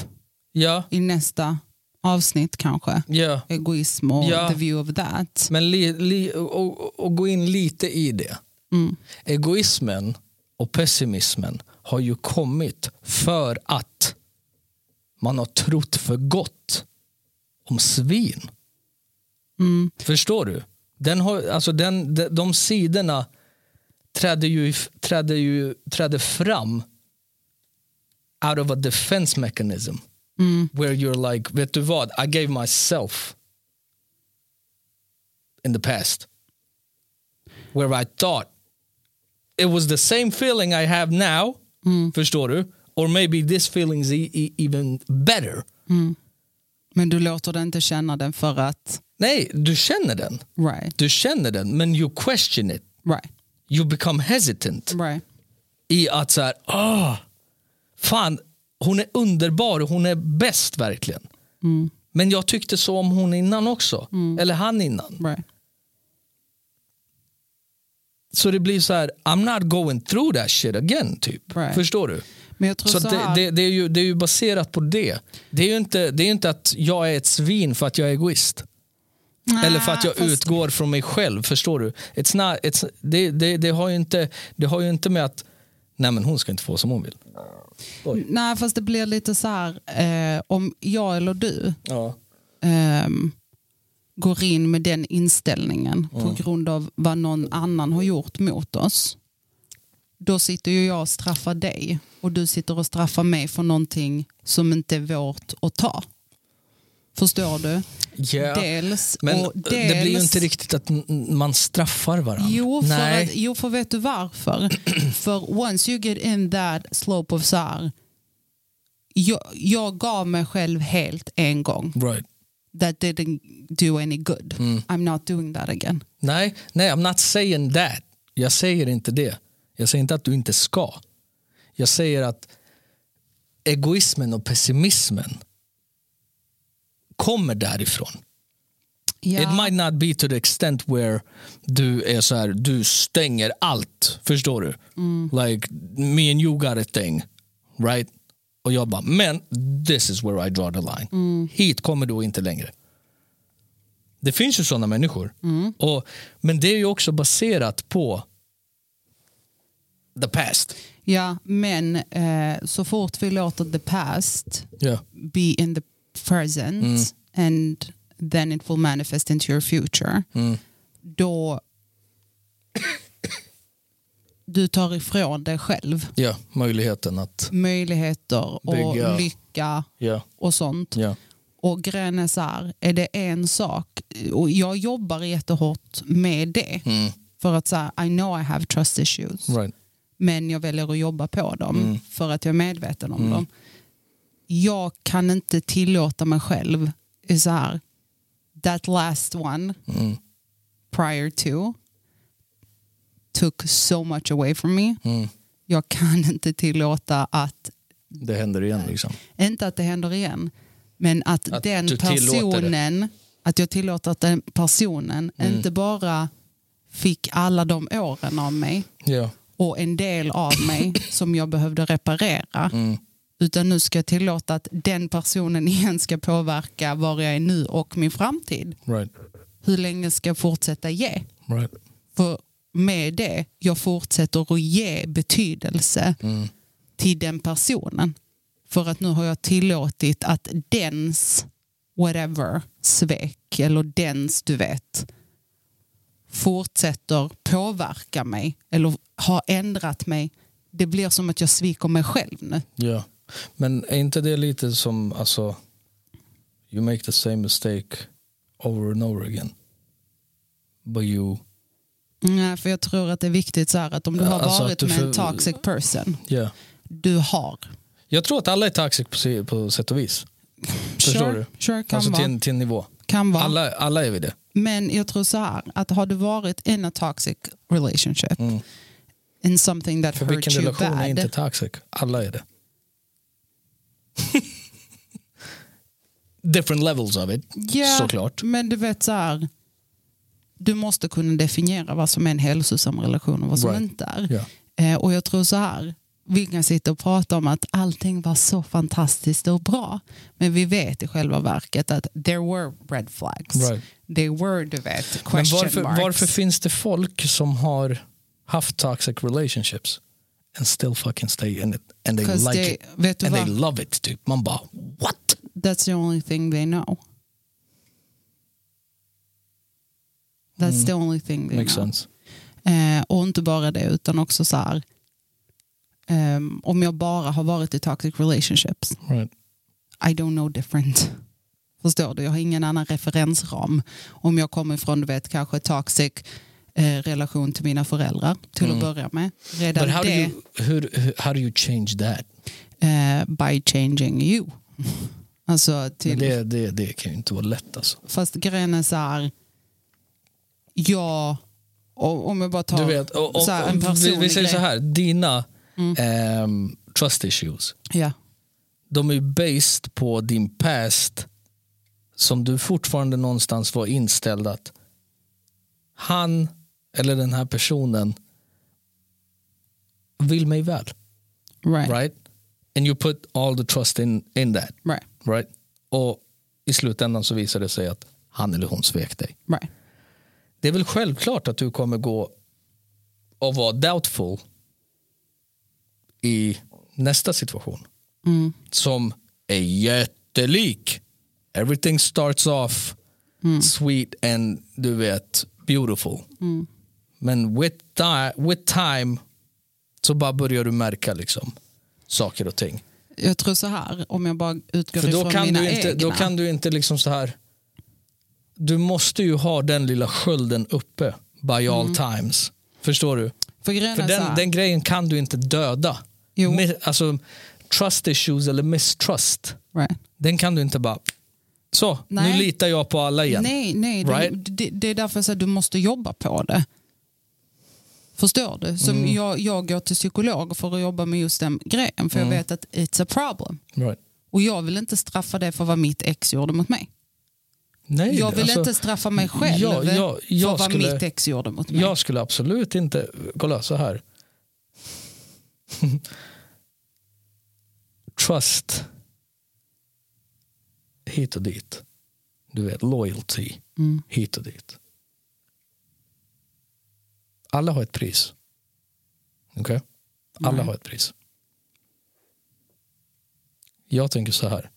ja,
i nästa avsnitt kanske.
ja.
Egoism och
Ja.
the view of that.
Men li, li, och, och- och gå in lite i det.
Mm.
Egoismen och pessimismen har ju kommit för att man har trott för gott om svin.
Mm.
Förstår du? Den har, alltså den, de, de sidorna trädde ju, trädde ju trädde fram out of a defense mechanism.
Mm.
Where you're like, vet du vad? I gave myself in the past. Where I thought it was the same feeling I have now. Förstår du? Or maybe this feeling is e- e- even better.
Men du låter det inte känna den för att...
Nej, du känner den.
Right,
Du känner den, men you question it.
right,
you become hesitant
right.
i att så här, ah, fan, hon är underbar och hon är bäst verkligen. Men jag tyckte så om hon innan också, eller han innan.
right.
Så det blir så här, I'm not going through that shit again, typ.
Right.
Förstår du?
Men jag tror
Så
så,
det,
här.
det, det, är ju, det är ju baserat på det. Det är ju inte, det är ju inte att jag är ett svin för att jag är egoist.
Nej,
Eller för att jag
fast-
utgår från mig själv, förstår du? It's not, it's, det, det, det, har ju inte, det har ju inte med att, nej men hon ska inte få som hon vill. Oj.
Nej, fast det blir lite så här, eh, om jag eller du
Ja.
ehm, går in med den inställningen
Mm.
på grund av vad någon annan har gjort mot oss, då sitter ju jag och straffar dig och du sitter och straffar mig för någonting som inte är vårt att ta. Förstår du?
Ja,
Dels,
men
och dels,
det blir ju inte riktigt att n- n- man straffar varandra.
Jo för,
Nej.
att, jo, för vet du varför? för once you get in that slope of så här, jag, jag gav mig själv helt en gång.
Right.
That didn't do any good.
Mm.
I'm not doing that again.
Nej, nej, I'm not saying that. Jag säger inte det. Jag säger inte att du inte ska. Jag säger att egoismen och pessimismen kommer därifrån.
Ja.
It might not be to the extent where du är så här, du stänger allt. Förstår du? Like, me and you got a thing. Right? Och jag bara, men this is where I draw the line. Hit kommer du inte längre. Det finns ju sådana människor. Och, men det är ju också baserat på the past.
Ja, men eh, så fort vi låter the past
Yeah.
be in the present
Mm.
and then it will manifest into your future.
Mm.
Då du tar ifrån dig själv
Ja, möjligheten att...
möjligheter och
Bygga.
lycka
Ja,
och sånt.
ja.
Och grejen är så här, är det en sak, och jag jobbar jättehårt med det. För att så här, I know I have trust issues.
Mm, Right.
men jag väljer att jobba på dem
Mm.
för att jag är medveten om dem. Jag kan inte tillåta mig själv i så här, that last one
Mm,
prior to took so much away from me.
mm.
Jag kan inte tillåta att,
Det händer igen liksom.
inte att det händer igen, men att,
Att
den
du tillåter det.
personen, att jag tillåter att den personen
Mm.
inte bara fick alla de åren av mig,
Ja.
och en del av mig som jag behövde reparera. Utan nu ska jag tillåta att den personen igen ska påverka var jag är nu och min framtid.
Right.
Hur länge ska jag fortsätta ge?
Right.
För med det, jag fortsätter att ge betydelse
Mm.
till den personen. För att nu har jag tillåtit att dens whatever svek eller dens du vet fortsätter påverka mig eller har ändrat mig. Det blir som att jag sviker mig själv nu.
Ja. Men är inte det lite som, alltså, you make the same mistake over and over again. But you,
Nej, för jag tror att det är viktigt så här att om du har
Alltså att
varit
du
med en
för-
toxic person,
yeah.
du har.
Jag tror att alla är toxic på, se- på sätt och vis. Förstår
sure,
du?
Sure, kan
Alltså
vara.
till en, till en nivå.
kan vara.
Alla, alla är vi det.
Men jag tror så här, att har du varit in a toxic relationship in something that
Mm. För vilken
hurt you
relation är
bad.
inte toxic? Alla är det. Different levels of it,
Ja,
såklart.
Men du vet så här, du måste kunna definiera vad som är en hälsosam relation och vad som
Right.
inte är.
Ja.
Eh, och jag tror så här, vi kan sitta och prata om att allting var så fantastiskt och bra. Men vi vet i själva verket att there were red flags.
Right.
They were, du vet,
Men
question
varför,
marks.
varför finns det folk som har haft toxic relationships and still fucking stay in it and they
'Cause
like
they-
it
vet du
and they
vad?
love it typ. Man bara what?
That's the only thing they know. That's the only thing they
Mm. Makes
know.
sense.
Eh, och inte bara det, utan också så här. ehm, om jag bara har varit i toxic relationships,
Right.
I don't know different. Förstår du? Jag har ingen annan referensram. Om jag kommer från, du vet, kanske toxic eh, relation till mina föräldrar till att börja med. Redan
Mm. But how do
det,
you hur, hur- how do you change that?
eh, by changing you. Alltså
Men
till
det, det, det kan ju inte vara lätt alltså.
Fast grejen är så här, jag, och- om jag bara tar
Du vet, och, och,
så här, en
vi,
personlig
vi säger
grej. Mm.
så här, dina ehm, trust issues,
Ja,
de är ju based på din past som du fortfarande någonstans var inställd att han eller den här personen vill mig väl.
right. right.
Right? And you put all the trust in, in that.
Right,
Right? Och i slutändan så visar det sig att han eller hon svek dig.
right.
Det är väl självklart att du kommer gå och vara doubtful i nästa situation. Som är jättelik. Everything starts off sweet and du vet beautiful. Men with, ti- with time så bara börjar du märka liksom saker och ting.
Jag tror så här, om jag bara utgår
För då
ifrån
kan,
mina
du inte,
egna.
då kan du inte liksom så här. Du måste ju ha den lilla skölden uppe by all
Mm.
times. Förstår du?
för grejen
För
är så
den,
här,
den grejen kan du inte döda.
alltså- Jo.
Mi- alltså, trust issues eller misstrust.
right.
Den kan du inte bara... Så, nu
Nej.
litar jag på alla igen.
Nej, nej
Right?
det, det, det är därför jag säger att du måste jobba på det. Förstår du? Som
Mm.
jag, jag går till psykolog för att jobba med just den grejen, för
Mm.
jag vet att it's a problem.
Right.
Och jag vill inte straffa det för vad mitt ex gjorde mot mig.
Nej,
Jag vill
alltså,
inte straffa mig själv
Ja, ja, jag
för vad
skulle-
mitt ex gjorde mot mig.
Jag skulle absolut inte, kolla så här. Trust hit och dit. Du vet, loyalty
Mm.
hit och dit. Alla har ett pris. Okej? Alla
Nej.
har ett pris. Jag tänker så här.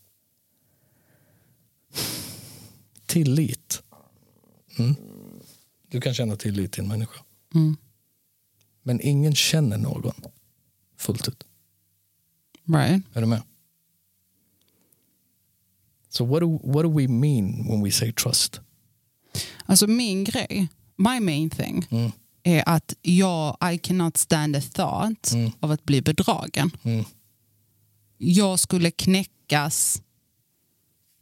Tillit. Mm. Du kan känna tillit till en människa.
Mm.
Men ingen känner någon fullt ut.
Right.
Är du med? So what do, what do we mean when we say trust?
Alltså min grej, my main thing,
Mm.
är att jag, I cannot stand the thought
Mm.
av att bli bedragen.
Mm.
Jag skulle knäckas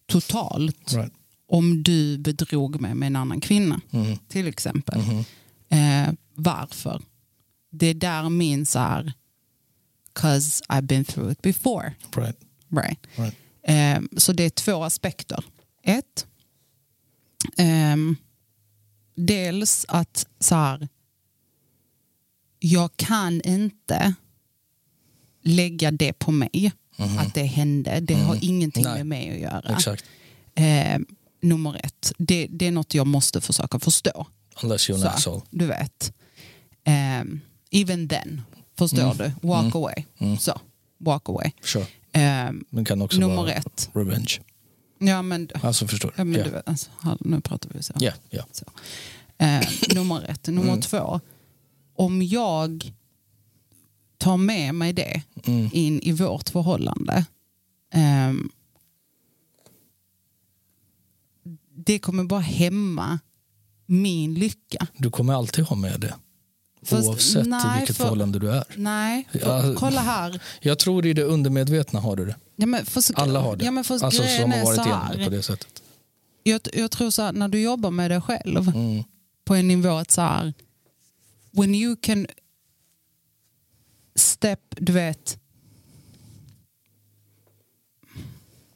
totalt
Right.
om du bedrog mig med en annan kvinna,
Mm.
till exempel.
Mhm.
Eh, varför? Det är där min så här, 'cause I've been through it before.
Right.
Right.
Right.
Ehm, så det är två aspekter. Ett, ehm, dels att så här, jag kan inte lägga det på mig, att det hände. Det har ingenting
Mhm. Nej.
med mig att göra.
Exakt.
Ehm, nummer ett, det, det är något jag måste försöka förstå.
Unless you're an
Så,
asshole.
Du vet. Ehm, even then, förstår
Mm.
du? Walk away. Så, walk away.
Sure.
Ehm,
Men kan Mm. också
Nummer
vara
ett.
revenge.
Ja men,
Alltså förstår
ja, men
Ja.
du vet, alltså, hall- nu pratar vi så.
Ja, Mm. ja.
så. Eh, nummer ett. Nummer två. Om jag tar med mig det
Mm.
in i vårt förhållande. ehm, det kommer bara hämma min lycka.
Du kommer alltid ha med det.
Fast-
Oavsett i
nej,
vilket
för-
förhållande du är.
Nej, för,
Ja.
kolla här.
Jag tror i det undermedvetna har du det.
Ja, men för,
Alla har det.
Ja, men för,
alltså
grejen
som har
är
varit
så
igenom det på
här.
det sättet.
Jag, jag tror så här, när du jobbar med dig själv.
Mm.
på en nivå att så här, when you can step, du vet,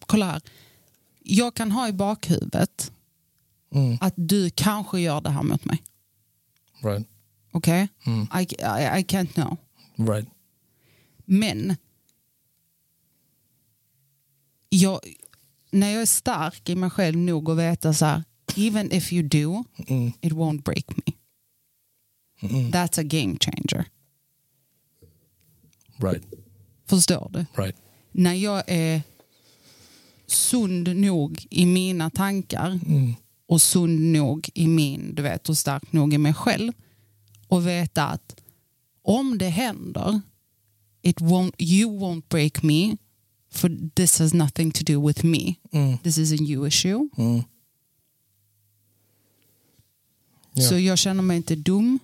kolla här, jag kan ha i bakhuvudet
Mm.
att du kanske gör det här mot mig,
Right.
okej?
Mm.
I, I, I can't know.
Right.
Men jag, när jag är stark i mig själv nog att veta så här, even if you do,
Mm.
it won't break me.
Mm.
That's a game changer.
Right.
Förstår du?
Right.
när jag är sund nog i mina tankar
Mm.
och sund nog i min, du vet, och stark nog i mig själv och veta att om det händer, it won't, you won't break me for this has nothing to do with me.
Mm.
This is a you issue.
Mm. Ja.
Så jag känner mig inte dum.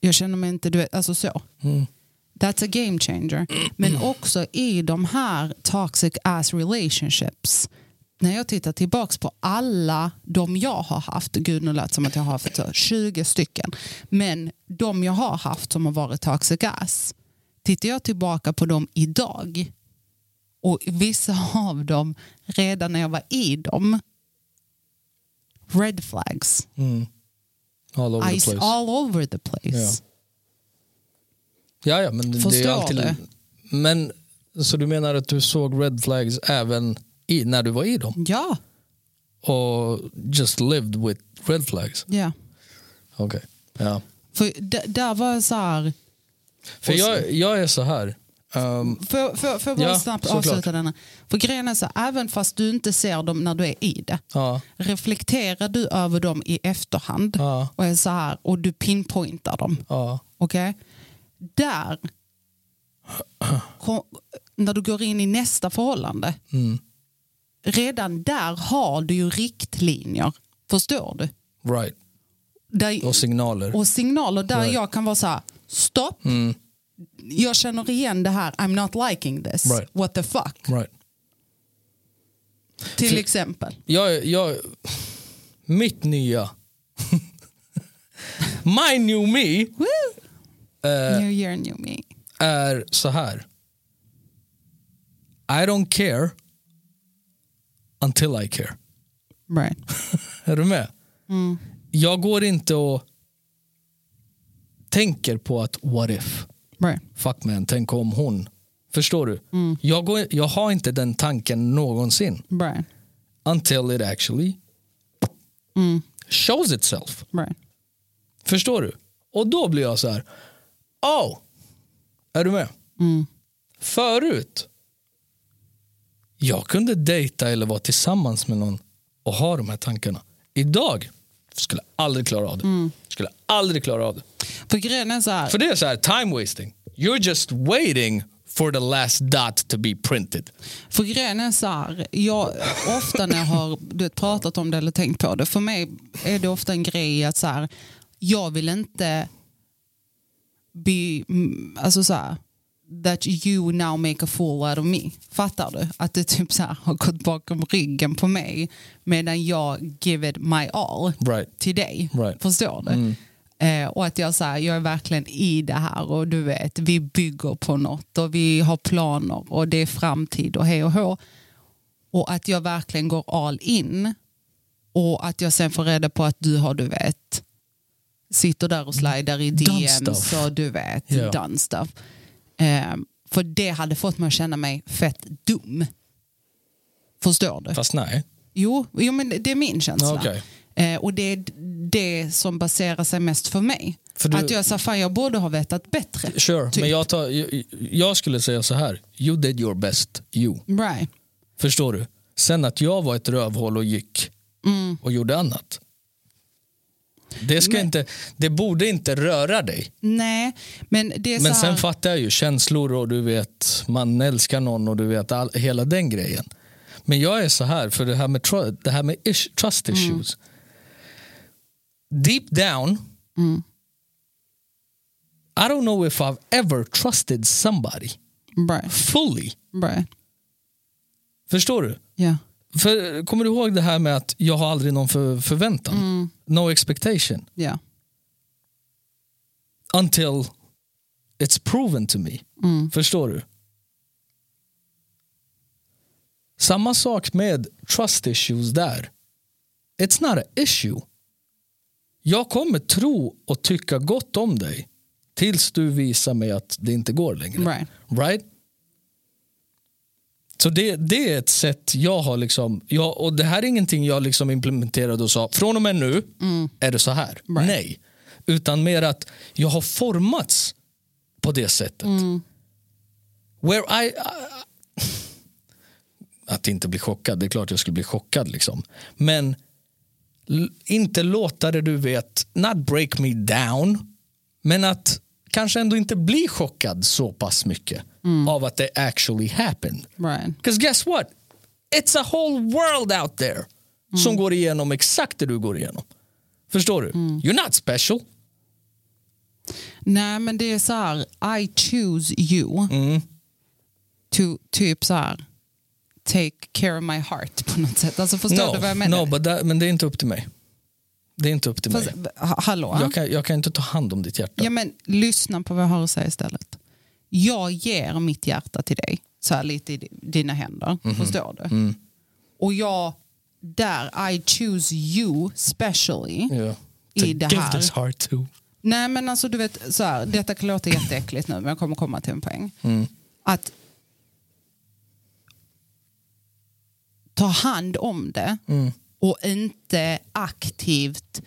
Jag känner mig inte, du vet, alltså så.
Mm.
That's a game changer. Men också i de här toxic ass relationships. När jag tittar tillbaka på alla de jag har haft, gud nu lät det som att jag har haft så 20 stycken, men de jag har haft som har varit toxic ass, tittar jag tillbaka på dem idag och vissa av dem redan när jag var i dem, red flags,
Mm. All over
Ice
the place.
all over the place.
Ja. Ja, ja, men det är
Förstår
ju alltid...
du?
Men, så du menar att du såg red flags även i, när du var i dem?
Ja,
Och just lived with red flags?
ja.
Okej. Ja.
För d- där var jag så här,
För
Och Um, så-
jag, jag är så här. Ehm,
Får får- får jag bara
Ja,
snabbt
såklart.
avsluta denna? För grejen är så, även fast du inte ser dem när du är i det,
ja,
reflekterar du över dem i efterhand
ja,
och, är så här, och du pinpointar dem.
ja.
Okej? Där, kom, när du går in i nästa förhållande,
Mm.
redan där har du ju riktlinjer. Förstår du?
Right.
Där,
Och signaler.
och signaler där
Right.
jag kan vara så här, stopp,
Mm.
jag känner igen det här, I'm not liking this,
Right.
what the fuck,
Right.
till
För-
exempel.
Jag, jag, mitt nya... My new me
Woo!
eh,
New year, new me.
är så här. I don't care until I care.
Right.
Är du med?
Mm.
Jag går inte och tänker på att what if?
Right.
Fuck man, tänk om hon. Förstår du?
Mm.
Jag, går, jag har inte den tanken någonsin.
Right.
Until it actually
Mm.
shows itself.
Right.
Förstår du? Och då blir jag så här. Oh! Är du med?
Mm.
Förut, jag kunde dejta eller vara tillsammans med någon och ha de här tankarna. Idag skulle jag aldrig klara av det. Skulle jag aldrig klara av det.
För grejen är så här.
För det är så här, time wasting. You're just waiting for the last dot to be printed.
För grejen är så här, jag, ofta när jag har du vet, pratat om det eller tänkt på det, för mig är det ofta en grej att så här, jag vill inte be, mm, alltså så här, that you now make a fool out of me. Fattar du? Att det typ så här har gått bakom ryggen på mig medan jag give it my all
Right.
till dig.
Right. Mm.
Förstår du? Eh, och att jag, så här, jag är verkligen i det här och du vet, vi bygger på något och vi har planer och det är framtid och hej och hå. Och att jag verkligen går all in och att jag sen får reda på att du har, du vet, sitter där och slidar i
Done
DMs
stuff.
och du vet,
Ja.
done stuff. Eh, för det hade fått mig att känna mig fett dum. Förstår du?
Fast nej.
Jo, jo men det är min känsla.
Okej.
Eh, och det är det som baserar sig mest för mig.
För du-
Att jag sa, fan jag borde ha vetat bättre.
Sure,
Typ.
men jag, tar, jag, jag skulle säga så här. You did your best, you.
Right.
Förstår du? Sen att jag var ett rövhål och gick
Mm.
och gjorde annat. Det, ska inte, det borde inte röra dig.
Nej, men det är
Men
så här,
sen fattar jag ju känslor och du vet man älskar någon och du vet all, hela den grejen. Men jag är så här, för det här med, tru- det här med ish, trust
Mm.
issues. Deep down,
Mm.
I don't know if I've ever trusted somebody
right,
fully.
right.
Förstår du?
Ja.
För, kommer du ihåg det här med att jag har aldrig någon för, förväntan? No expectation.
Ja.
Until it's proven to me.
Mm.
Förstår du? Samma sak med trust issues där. It's not an issue. Jag kommer tro och tycka gott om dig tills du visar mig att det inte går längre.
Right.
Right? Så det, det är ett sätt jag har liksom, jag, och det här är ingenting jag liksom implementerade och sa, från och med nu är det så här. Nej. Utan mer att jag har formats på det sättet. Where I, I, att inte bli chockad, det är klart jag skulle bli chockad liksom. Men l- inte låta det du vet, not break me down, men att kanske ändå inte bli chockad så pass mycket
Mm.
av att det actually happened.
Right.
Because guess what? It's a whole world out there
Mm.
som går igenom exakt det du går igenom. Förstår du?
Mm.
You're not special.
Nej, men det är så här, I choose you.
Mm.
To typ så här, take care of my heart på något sätt. Alltså förstår du vad jag menar?
no but that, men det är inte upp till mig. Det är inte upp till
Fast,
mig.
ha- hallå?
Jag kan, jag kan inte ta hand om ditt hjärta.
Ja, men lyssna på vad jag har att säga istället. Jag ger mitt hjärta till dig, så här lite i di- dina händer.
Mhm.
Förstår du?
Mm.
Och jag, där, I choose you specially.
Ja.
I
To
det här.
Give this heart to.
Nej men alltså du vet, så här, detta kan låta jätteäckligt nu men jag kommer komma till en poäng.
Mm.
Att ta hand om det
Mm.
och inte aktivt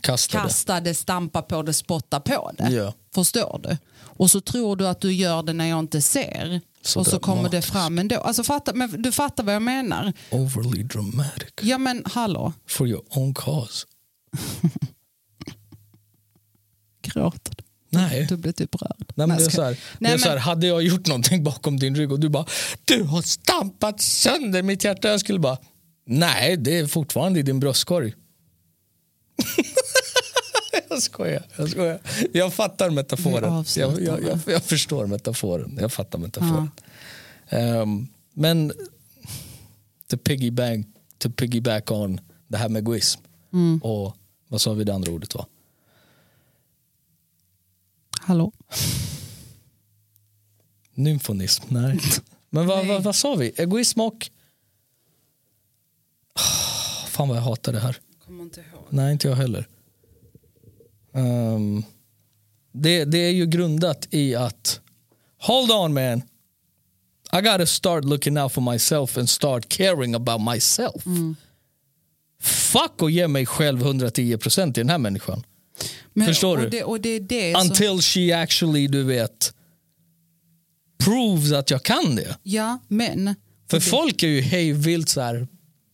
Kasta det.
kasta det, stampa på det, spotta på det.
Ja.
Förstår du? Och så tror du att du gör det när jag inte ser.
Så
och så kommer det
dramatiskt.
fram ändå. Alltså, fattar, men du fattar vad jag menar.
Overly dramatic.
Ja men hallå,
For your own cause.
gråter du?
Nej.
Du blir typ rörd.
Nej, men det är
jag
så
ska-
här, det
Nej,
är så här,
men-
hade jag gjort någonting bakom din rygg och du bara du har stampat sönder mitt hjärta. Jag skulle bara nej det är fortfarande i din bröstkorg. jag skojar. Jag, skojar. jag fattar
Vi
metaforen.
avslutar
Jag, jag, jag, jag förstår metaforen. Jag fattar metaforen. Ehm, men to piggyback, to piggyback on det här med egoism.
Mm.
Och vad sa vi det andra ordet var?
Hallå?
Nymfonism, nej. Men vad,
Nej.
vad, vad sa vi? Egoism och... Ah, fan vad jag hatar det här.
Kommer inte ihåg.
Nej, inte jag heller. Ehm, det, det är ju grundat i att Hold on man. I gotta start looking out for myself and start caring about myself. Fuck och ge mig själv 110% i den här människan.
Men,
Förstår
och
du?
Det, och det är det som,
Until she actually, du vet, proves att jag kan det.
ja, men,
För folk är ju hej vilt så här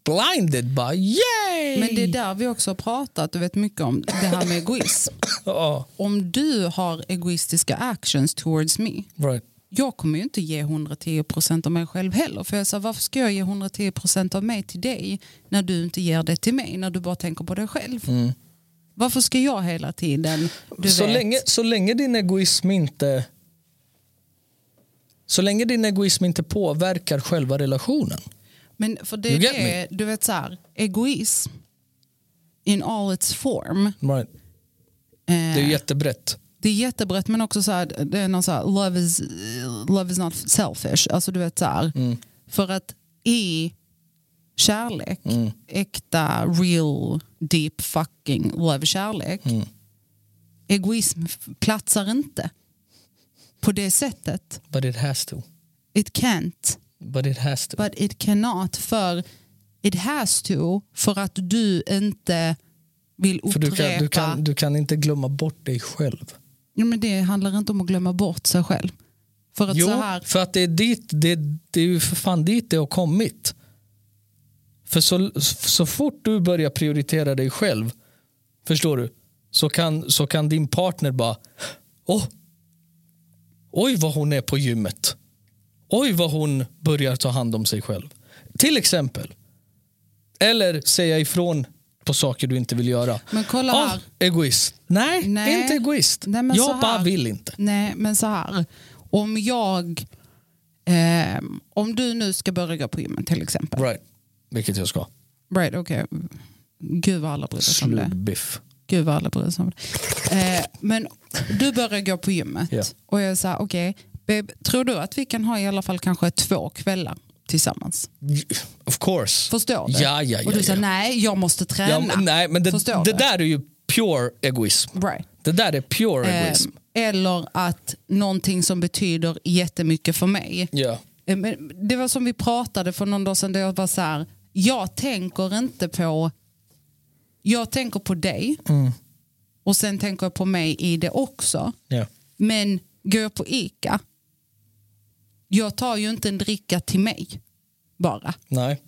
blinded bara yay!
men det är där vi också har pratat du vet, mycket om det här med egoism.
Ja,
Om du har egoistiska actions towards me,
right.
jag kommer ju inte ge 110 procent av mig själv heller. För jag sa, varför ska jag ge 110 procent av mig till dig när du inte ger det till mig, när du bara tänker på dig själv? Varför ska jag hela tiden, du
Mm. så,
vet,
länge, så länge din egoism inte så länge din egoism inte påverkar själva relationen.
Men för det
You
är
get
det, du vet så här, egoism in all its form. Eh,
Right. Det är ju jättebrett.
det är jättebrett men också så här, det är någon så här, love is, love is not selfish. Alltså du vet så här,
Mm.
för att i kärlek,
Mm.
äkta, real, deep fucking love kärlek,
Mm.
egoism f- platsar inte på det sättet.
But it has to.
It can't.
But it has to.
But it cannot för it has to för att du inte vill upprepa.
För du kan, du, kan, du kan inte glömma bort dig själv.
Ja, men det handlar inte om att glömma bort sig själv. För att
Jo,
så här,
för att det är, dit, det, det är ju för fan dit det har kommit. För så, så fort du börjar prioritera dig själv, förstår du, så kan, så kan din partner bara, åh, oj vad hon är på gymmet. Oj vad hon börjar ta hand om sig själv. Till exempel. Eller säga ifrån på saker du inte vill göra.
Men kolla
"Ah,
här."
egoist. Nej,
Nej.
inte egoist.
Nej, men så
jag
här.
bara vill inte.
nej men så här, om jag, ehm, om du nu ska börja gå på gymmet till exempel.
Right. Vilket jag ska.
Right, okay. Gud vad alla bryr sig om det.
Slugbiff.
Gud vad alla bryr sig om det. Eh, men du börjar gå på gymmet
Ja.
och jag sa okej, babe, tror du att vi kan ha i alla fall kanske två kvällar tillsammans?
Of course.
Förstår du?
Ja, ja, ja.
och du sa
ja.
nej, jag måste träna.
Ja, men- nej, men det,
Förstår
det
du?
där är ju pure egoism.
Right.
Det där är pure egoism.
Eh, eller att någonting som betyder jättemycket för mig.
Ja.
Eh, men Det var som vi pratade för någon dag sedan där jag var så här, jag tänker inte på, jag tänker på dig
Mm.
och sen tänker jag på mig i det också.
Ja.
Men går jag på Ica, jag tar ju inte en dricka till mig bara.
Nej.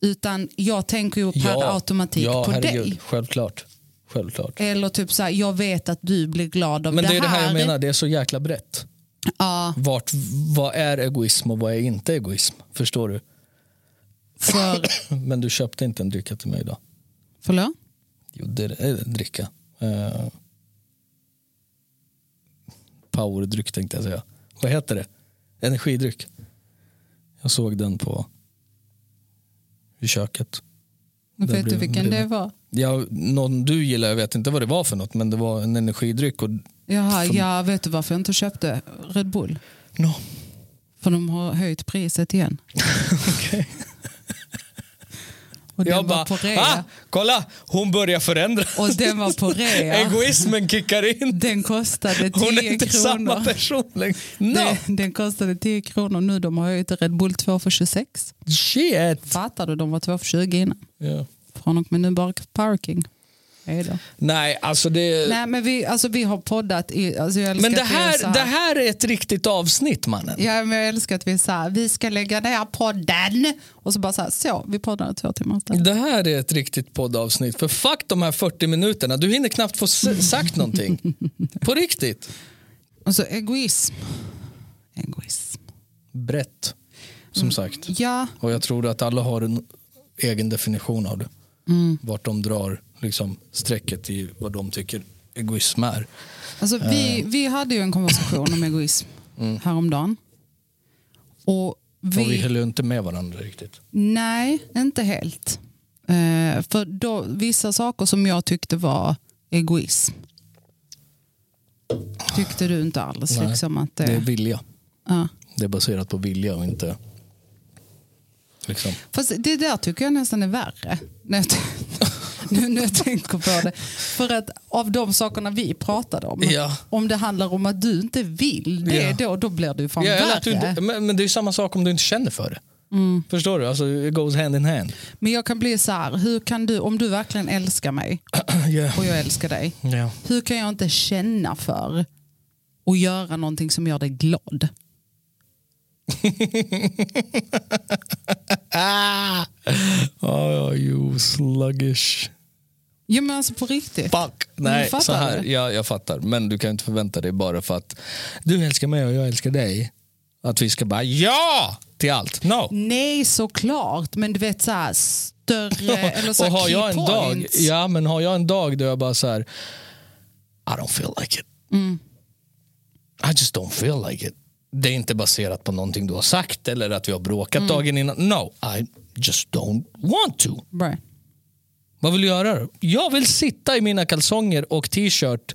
Utan jag tänker ju per
Ja.
automatik
ja,
på
herregud.
dig.
Självklart. Självklart.
Eller typ så här, jag vet att du blir glad av
Men
det,
det, är det här
här
jag menar, det är så jäkla brett.
Ja,
Vart, vad är egoism och vad är inte egoism? Förstår du?
för,
Men du köpte inte en dricka till mig idag.
förlåt?
Jo, det är en dricka. Eh, powerdryck tänkte jag säga. Vad heter det? Energidryck. Jag såg den på i köket.
Nu
Det
vet du
blev-
vilken
blev-
det var?
Jag, någon du gillar, jag vet inte vad det var för något, men det var en energidryck. Och,
Jaha,
För-
ja, vet du varför jag inte köpte Red Bull?
no.
För de har höjt priset igen.
Okej.
Och den
Jag
var
bara,
på
ah,
rea.
kolla, hon börjar förändra.
Och den var på rea.
Egoismen kickar in.
Den kostade 10
Hon är inte samma
kronor.
person längre. No.
Den, den kostade 10 kronor nu. De har höjt Red Bull 2 för 26.
Shit.
Fattar du? De var 2 för 20 innan.
Ja.
Från och med nu bara parking. Hej då.
Nej, alltså det...
Nej, men vi, alltså, vi har poddat. I, alltså, jag älskar
Men det
att vi är
här,
så
det här är ett riktigt avsnitt mannen.
Ja, men jag älskar att vi är så här, vi ska lägga ner podden. Och så bara så här, så, vi poddar i två timmar istället.
Det här är ett riktigt poddavsnitt. För fuck de här 40 minuterna, du hinner knappt få s- sagt någonting. På riktigt.
Alltså egoism. Egoism.
Brett,
Mm.
som sagt.
Ja,
Och jag tror att alla har en egen definition av det.
Mm.
Vart de drar liksom, strecket i vad de tycker egoism är.
alltså vi, vi hade ju en konversation om egoism häromdagen. Och Mm. vi,
Och vi höll ju inte med varandra riktigt.
Nej, inte helt. Eh, för då, vissa saker som jag tyckte var egoism tyckte du inte alls.
Nej,
Liksom att det,
Det är vilja.
ja.
Det är baserat på vilja och inte... Liksom.
Fast det där tycker jag nästan är värre. När jag t- nu när jag tänker på det. För att av de sakerna vi pratade om.
Ja.
Om det handlar om att du inte vill det
Ja.
då, då blir det Mm. ju fan
Ja, eller
värre.
att du inte, men, men det är ju samma sak om du inte känner för det. Förstår du? Alltså, it goes hand in hand.
Men jag kan bli så här, hur kan du, om du verkligen älskar mig
Ja.
och jag älskar dig.
Ja.
Hur kan jag inte känna för och göra någonting som gör dig glad?
Ah! Oh, you sluggish.
Ja men alltså på riktigt.
Fuck.
Men
Nej,
fattar
så här.
du?
Ja, jag fattar. Men du kan inte förvänta dig bara för att du älskar mig och jag älskar dig. Att vi ska bara ja till allt. No.
Nej såklart, men du vet så här större eller så
och
här
har
key
jag en dag,
points.
ja, men har jag en dag då jag bara så här I don't feel like it.
Mm.
I just don't feel like it. Det är inte baserat på någonting du har sagt eller att vi har bråkat
Mm.
dagen innan. No, I just don't want to.
Right.
Vad vill du göra då? Jag vill sitta i mina kalsonger och t-shirt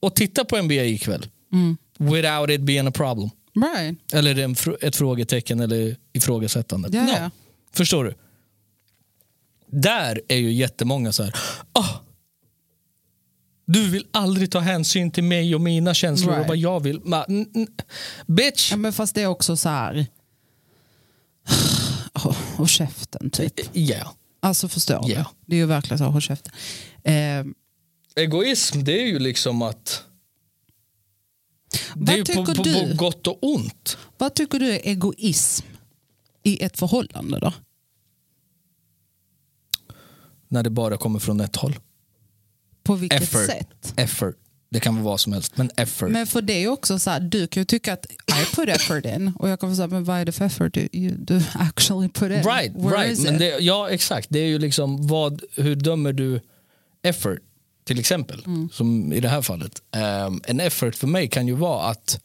och titta på NBA ikväll.
Mm.
Without it being a problem.
Right.
Eller en, fr- ett frågetecken eller ifrågasättande.
Ja, ja.
Förstår du? Där är ju jättemånga så här. "Ah, du vill aldrig ta hänsyn till mig och mina känslor och
Right.
vad jag vill. Ma, n- n- bitch!
Ja, men fast det är också så här... Åh, Och käften typ.
Ja.
Alltså förstår
Ja.
du? Det är ju verkligen så, håll käften. Eh,
Egoism det är ju liksom att...
Vad
Det är ju på,
tycker
på, på
du?
gott och ont.
vad tycker du är egoism i ett förhållande då?
när det bara kommer från ett håll.
På vilket
Effort.
sätt?
Effort. Det kan vara vad som helst, men effort.
Men för det är ju också så här, du kan ju tycka att I put effort in och jag kommer säga, men vad är det för effort du, you- du actually put in?
right,
Eh, Where
right.
is
Men
it?
det, ja, exakt. Det är ju liksom vad, hur dömer du effort till exempel,
Mm.
som i det här fallet. Ehm, en effort för mig kan ju vara att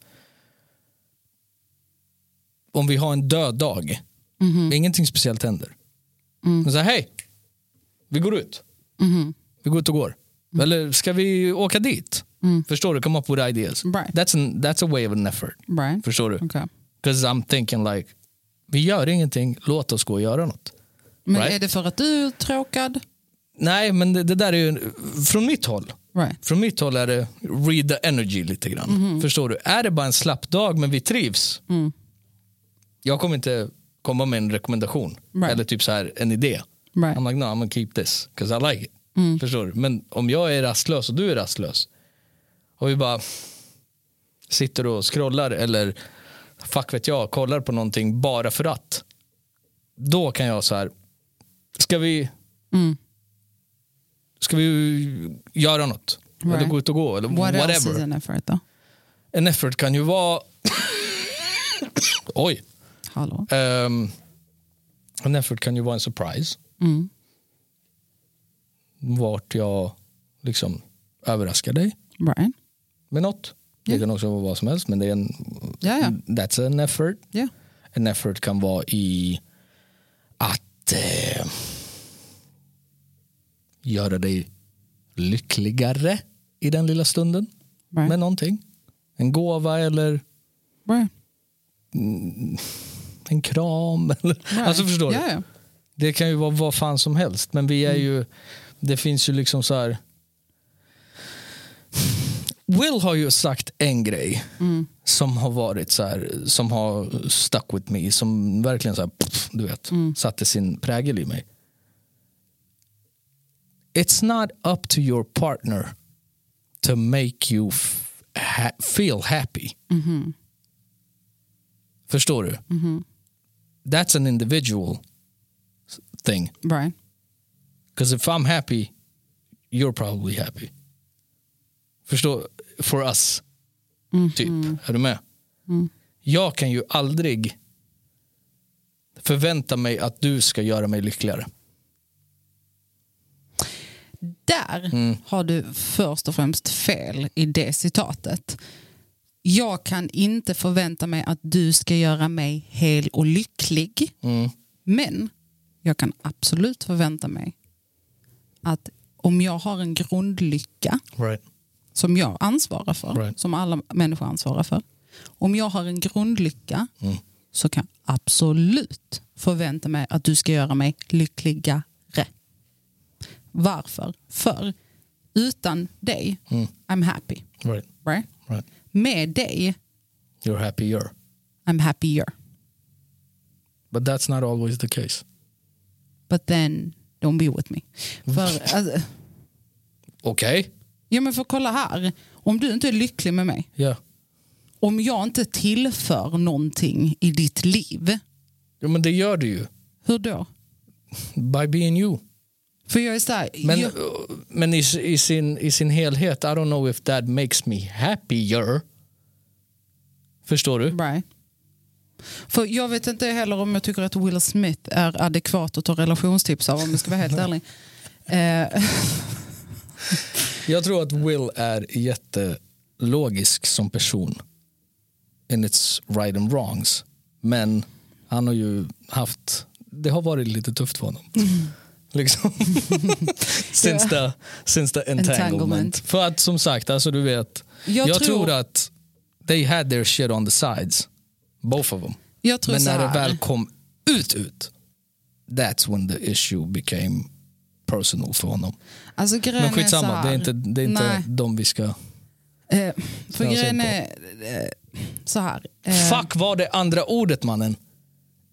om vi har en död dag,
Mm-hmm.
ingenting speciellt händer.
Mm.
Men så här, hej, vi går ut.
Mm-hmm.
Vi går ut och går.
Mm.
Eller ska vi åka dit? Förstår du? Come up with ideas.
Right.
That's, an, that's a way of an effort.
Right.
Förstår du?
Okej.
Because I'm thinking like, vi gör ingenting, låt oss gå och göra något.
Men
Right.
är det för att du är uttråkad?
Nej, men det, det där är ju, från mitt håll,
Right.
från mitt håll är det read the energy lite grann. Förstår du? Är det bara en slapp dag men vi trivs, jag kommer inte komma med en rekommendation
Right.
eller typ så här en idé.
Right. Mm.
I'm like, no, I'm gonna keep this, because I like it. Förstår du? Men om jag är rastlös och du är rastlös och vi bara sitter och scrollar eller fuck vet jag, kollar på någonting bara för att. Då kan jag så här, ska vi
Mm.
ska vi göra något? Eller
Right.
gå ut och gå eller
What else is
whatever.
an effort då?
En effort kan ju vara... Oj.
Hallå?
Ehm, en effort kan ju vara en surprise.
Mm.
Vart jag liksom överraskar dig
Right.
med något. Det kan också vara vad som helst men det är en,
Ja, ja.
that's an effort.
Ja.
En effort kan vara i att eh, göra dig lyckligare i den lilla stunden
Right.
med någonting. En gåva eller
Right.
en kram. Eller, Alltså förstår du?
Ja, ja.
Det kan ju vara vad fan som helst. Men vi är ju, det finns ju liksom så här. Will har ju sagt en grej som har varit så här, som har stuck with me, som verkligen så här, pff, du vet, satte sin prägel i mig. It's not up to your partner to make you f- ha- feel happy. Förstår du? That's an individual thing.
Right.
Because if I'm happy, you're probably happy. Förstå? For us. Typ. Är du med? Jag kan ju aldrig förvänta mig att du ska göra mig lyckligare.
Där
Mm.
har du först och främst fel i det citatet. Jag kan inte förvänta mig att du ska göra mig hel och lycklig.
Mm.
Men jag kan absolut förvänta mig att om jag har en grundlycka
Right.
som jag ansvarar för,
Right.
som alla människor
Mm.
ansvarar för. Om jag har en grundlycka så kan jag absolut förväntar mig att du ska göra mig lyckligare. Varför? För utan dig,
Mm.
I'm happy.
Right.
Right?
Right.
Med dig,
You're happier.
I'm happier.
But that's not always the case.
But then don't be with me.
Mm.
För, alltså,
Okej?
ja, men för kolla här, om du inte är lycklig med mig,
Ja.
om jag inte tillför någonting i ditt liv,
Jo, men det gör du ju.
hur då?
By being you.
För jag är så här,
Men,
jag,
men i, i, sin, i sin helhet, I don't know if that makes me happier. Förstår du?
Right. För jag vet inte heller om jag tycker att Will Smith är adekvat att ta relationstips av om jag ska vara helt ärlig. Eh,
Jag tror att Will är jättelogisk som person. In its right and wrongs. Men han har ju haft, det har varit lite tufft för honom. Liksom. since, the, since the entanglement.
Entanglement.
För att som sagt, alltså du vet.
Jag
Jag,
tror-
tror... att they had their shit on the sides. Both of them.
jag tror
Men
så
när det
här.
väl kom ut ut. That's when the issue became personal för honom.
alltså, grejen
Men
är så
skitsamma,
här.
det är inte, det är inte
Nej.
de vi ska...
Eh, för
Jag har
grejen
sett
är eh, så här. Eh,
Fuck var det andra ordet mannen.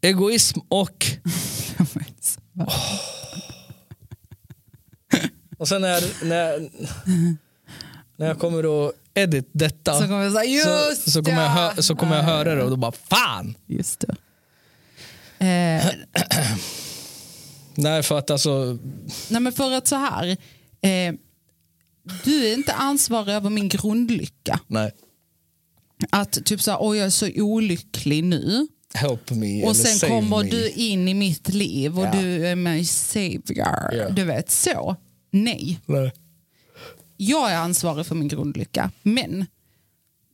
Egoism och... Och sen när, när, när jag kommer att edit detta
så kommer jag säga just
så, så, kommer jag
ja!
hö, så kommer jag höra det och då bara fan.
Just det. Eh,
Nej för att alltså,
Nej men för att så här. Eh, du är inte ansvarig över min grundlycka.
nej.
Att typ så här, oj jag är så olycklig nu.
Help me eller
Och sen
save
kommer
me.
du in i mitt liv och
Ja.
du är min savior.
Ja.
Du vet så. Nej,
Nej.
jag är ansvarig för min grundlycka. Men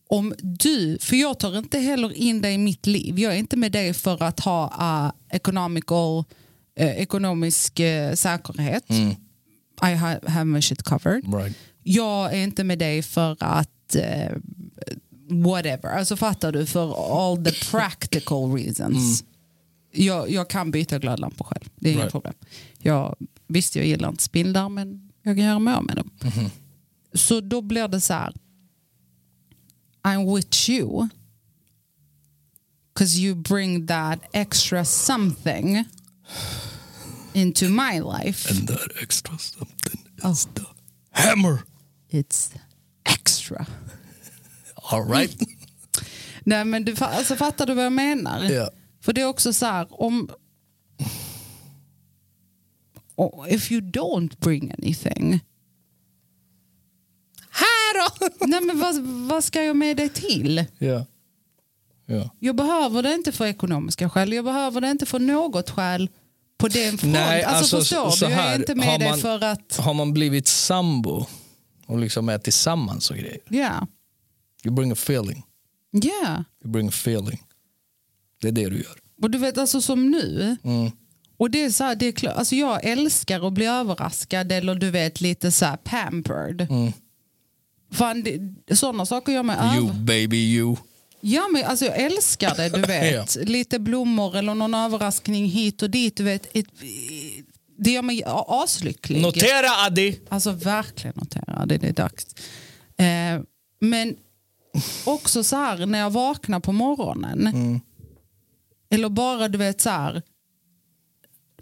om du, för jag tar inte heller in dig i mitt liv. Jag är inte med dig för att ha uh, economical, eh, ekonomisk eh, säkerhet.
Mm.
I ha, have my shit covered.
Right.
Jag är inte med dig för att eh, whatever. Alltså fattar du? För all the practical reasons. Jag, jag kan byta glödlampor själv. Det är inga
Mm. Right.
problem. Jag, visst, jag gillar inte spindlar men jag kan göra mig av med dem.
Mm-hmm.
Så då blir det så här. I'm with you. Because you bring that extra something into my life.
And that extra something
Oh.
is the hammer.
It's extra.
All right.
Mm. Nej men du fa- alltså, fattar du vad jag menar?
Ja.
För det är också så här om... Oh, if you don't bring anything. Här då! Nej men vad, vad ska jag med dig till?
Ja. Ja.
Jag behöver det inte för ekonomiska skäl. Jag behöver det inte för något skäl på den fronten.
Nej,
alltså,
alltså,
förstår
så
du? Jag är
här,
inte
har
med dig
man-
för att...
Har man blivit sambo och liksom är tillsammans och grejer.
Ja. Yeah.
You bring a feeling.
Ja.
You bring a feeling. Det är det du gör.
Och du vet, alltså som nu.
Mm.
Och det är så här, det är klart, alltså jag älskar att bli överraskad eller du vet lite så här pampered. Fan, det, sådana saker gör mig
You
över.
baby you.
Ja, men alltså jag älskar det, du vet. Lite blommor eller någon överraskning hit och dit. Du vet, ett, det gör mig a- aslycklig.
Notera Addi!
Alltså verkligen notera, det det är dags. Eh, men också så här när jag vaknar på morgonen. Eller bara du vet så här.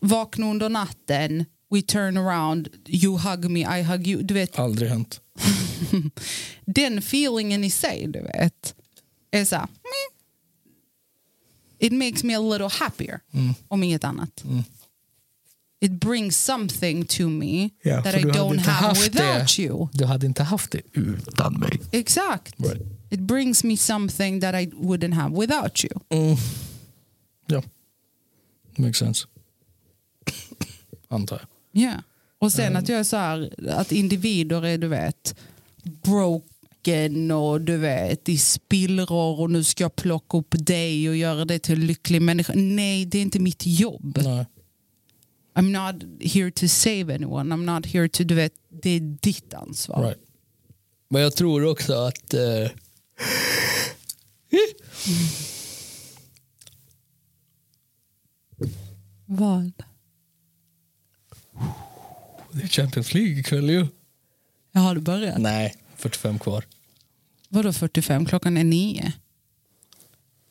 Vakna under natten, we turn around, you hug me, I hug you. Du vet,
Aldrig hänt.
den feelingen i sig du vet. Är så här, meh. It makes me a little happier. Om inget annat. It brings something to me that I don't have without you.
Du hade inte haft det utan mig.
Exakt.
Right.
It brings me something that I wouldn't have without you.
Mm. Ja. Makes sense. Antar jag.
Yeah. Och sen att jag är så här, att individer är du vet broken och du vet i spillror och nu ska jag plocka upp dig och göra dig till en lycklig människa. Nej, det är inte mitt jobb.
Nej.
I'm not here to save anyone. I'm not here to, du vet, det är ditt ansvar.
Right. Men jag tror också att... eh,
vad?
Det är Champions League ikväll ju.
Jag har du börjat?
Nej, 45 kvar.
Vadå 45? Klockan är nio.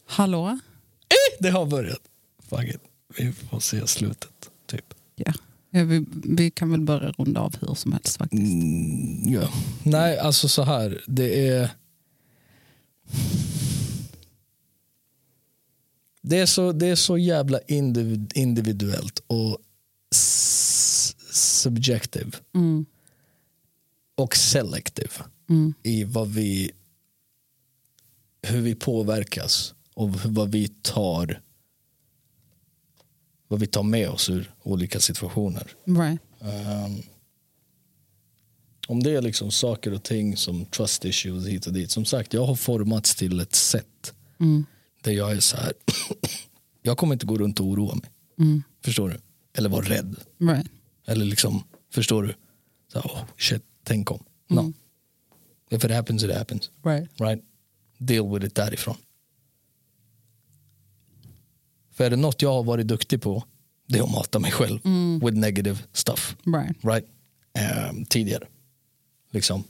Hallå?
Eh, Det har börjat. Fuck it. Vi får se slutet. Typ.
Ja. Ja, vi, vi kan väl börja runda av hur som helst faktiskt.
Ja. Nej, alltså så här. Det är... Det är så, det är så jävla individ, individuellt och s- subjective
Mm.
och selective
Mm.
i vad vi hur vi påverkas och hur- vad vi tar vad vi tar med oss ur olika situationer.
Right.
Ehm, om det är liksom saker och ting som trust issues hit och dit. Som sagt, jag har formats till ett sätt
Mm.
där jag är så här. jag kommer inte gå runt och oroa mig.
Mm.
Förstår du? Eller vara rädd.
Right.
Eller liksom, förstår du? Så, här, oh, shit, tänk om. No. If it happens, it happens.
Right.
Right? Deal with it därifrån. För är det något jag har varit duktig på, det är att mata mig själv with negative stuff
Right.
right? Ehm, tidigare. Liksom,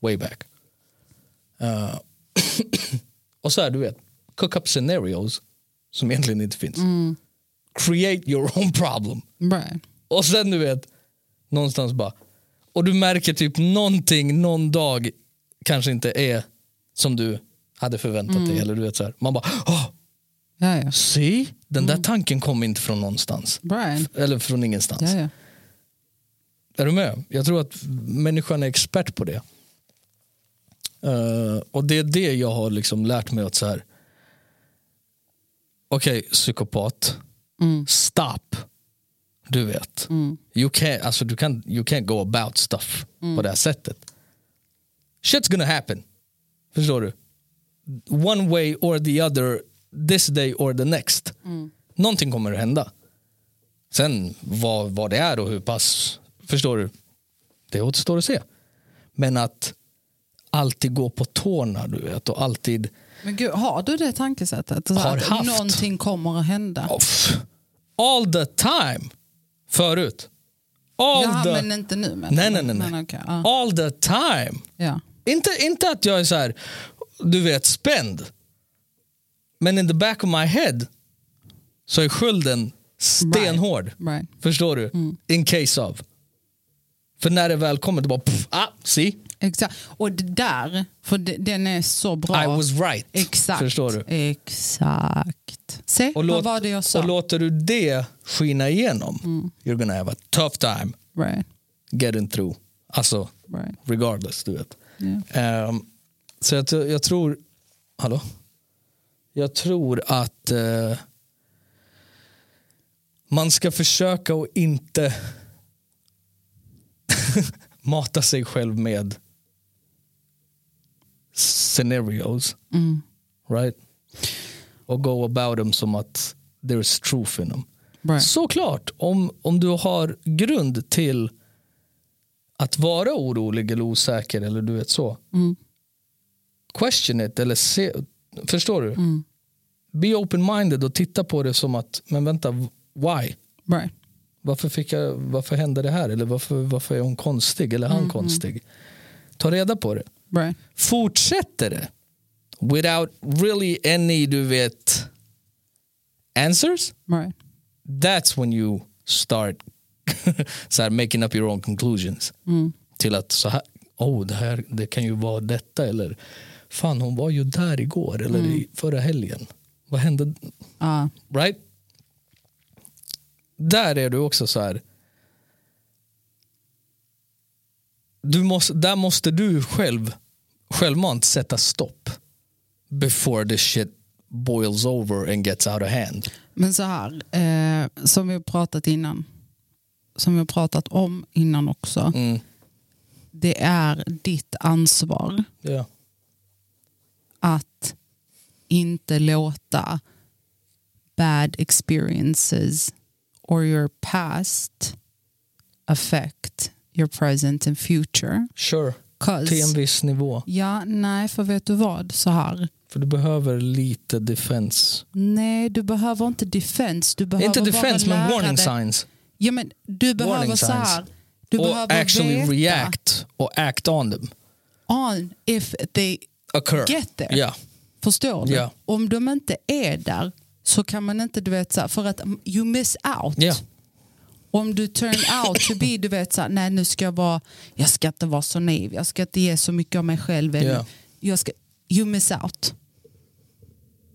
way back. Eh, och så här, du vet, cook up scenarios som egentligen inte finns. Create your own problem.
Right.
Och sen du vet, någonstans bara, och du märker typ någonting någon dag kanske inte är som du hade förväntat dig. Eller du vet så här, man bara, oh,
Ja, ja.
see? Den där tanken kom inte från någonstans.
Right.
Eller från ingenstans.
Ja, ja.
Är du med? Jag tror att människan är expert på det. Eh, och det är det jag har liksom lärt mig att så här. Okej, psykopat.
Mm.
Stop. Du vet.
Mm.
You, can't, alltså, du kan, you can't go about stuff på det här sättet. Shit's gonna happen. Förstår du? One way or the other, this day or the next.
Mm.
Någonting kommer att hända. Sen vad, vad det är och hur pass, förstår du? Det återstår att se. Men att alltid gå på tårna, du vet, och alltid...
Men gud, har du det tankesättet? Så
Har
att
haft.
Någonting kommer att hända.
Off. All the time! Förut. All
Jaha,
the...
men inte nu. Men,
Nej, nej, nej. nej.
Men, okej, ja.
All the time.
Ja.
Inte, inte att jag är så här, du vet, spänd. Men in the back of my head så är skulden stenhård.
Right.
Förstår du?
Mm.
In case of. För när det väl kommer, det bara, pff, ah, see?
Exakt. Och det där, för de- den är så bra.
I was right.
Exakt.
Förstår du?
Exakt. Se,
Och,
vad
låt,
var det jag sa? Mm.
och låter du det skina igenom, you're gonna have a tough time
right.
getting through. Alltså,
Right.
regardless, du vet.
Yeah.
Ehm, så jag, jag tror... Hallå? Jag tror att eh, man ska försöka att inte mata sig själv med scenarios.
Mm.
Right? Och go about them som att there's truth in them.
Right.
Såklart, om, om du har grund till att vara orolig eller osäker eller du vet så.
Mm.
Question it eller se, förstår du?
Mm.
Be open-minded och titta på det som att, men vänta, why?
Right.
Varför, fick jag, varför hände det här? Eller varför, varför är hon konstig? Eller han konstig? Ta reda på det.
Right.
Fortsätter det without really any, du vet, answers?
Right.
that's when you start så här, making up your own conclusions. Till att så här, oh, det här det kan ju vara detta eller fan hon var ju där igår eller i förra helgen. Vad hände?
Ja.
Right? Där är du också så här. Du måste, där måste du själv självmant sätta stopp before the shit boils over and gets out of hand.
Men så här, eh, som vi har pratat innan. Som vi har pratat om innan också.
Mm.
Det är ditt ansvar
Yeah.
att inte låta bad experiences or your past affect your present and future.
Sure.
'Cause-
Till en viss nivå.
Ja, nej, för vet du vad? Så här.
För du behöver lite defense.
Nej, du behöver inte defense. Du behöver
Inte
bara
defense, men
lära
warning
dig.
signs.
Ja, men du behöver
Warning
så här.
signs.
Du
Och
behöver
actually
veta
react och act on them.
on if they
Occur.
get there.
Ja,
Förstår du?
Ja.
Om de inte är där så kan man inte, du vet, så här, för att mm, you miss out.
ja.
Om du turn out to be, du vet, så här, nej nu ska jag vara, jag ska inte vara så naiv, jag ska inte ge så mycket av mig själv. Eller,
Ja.
jag ska, you miss out.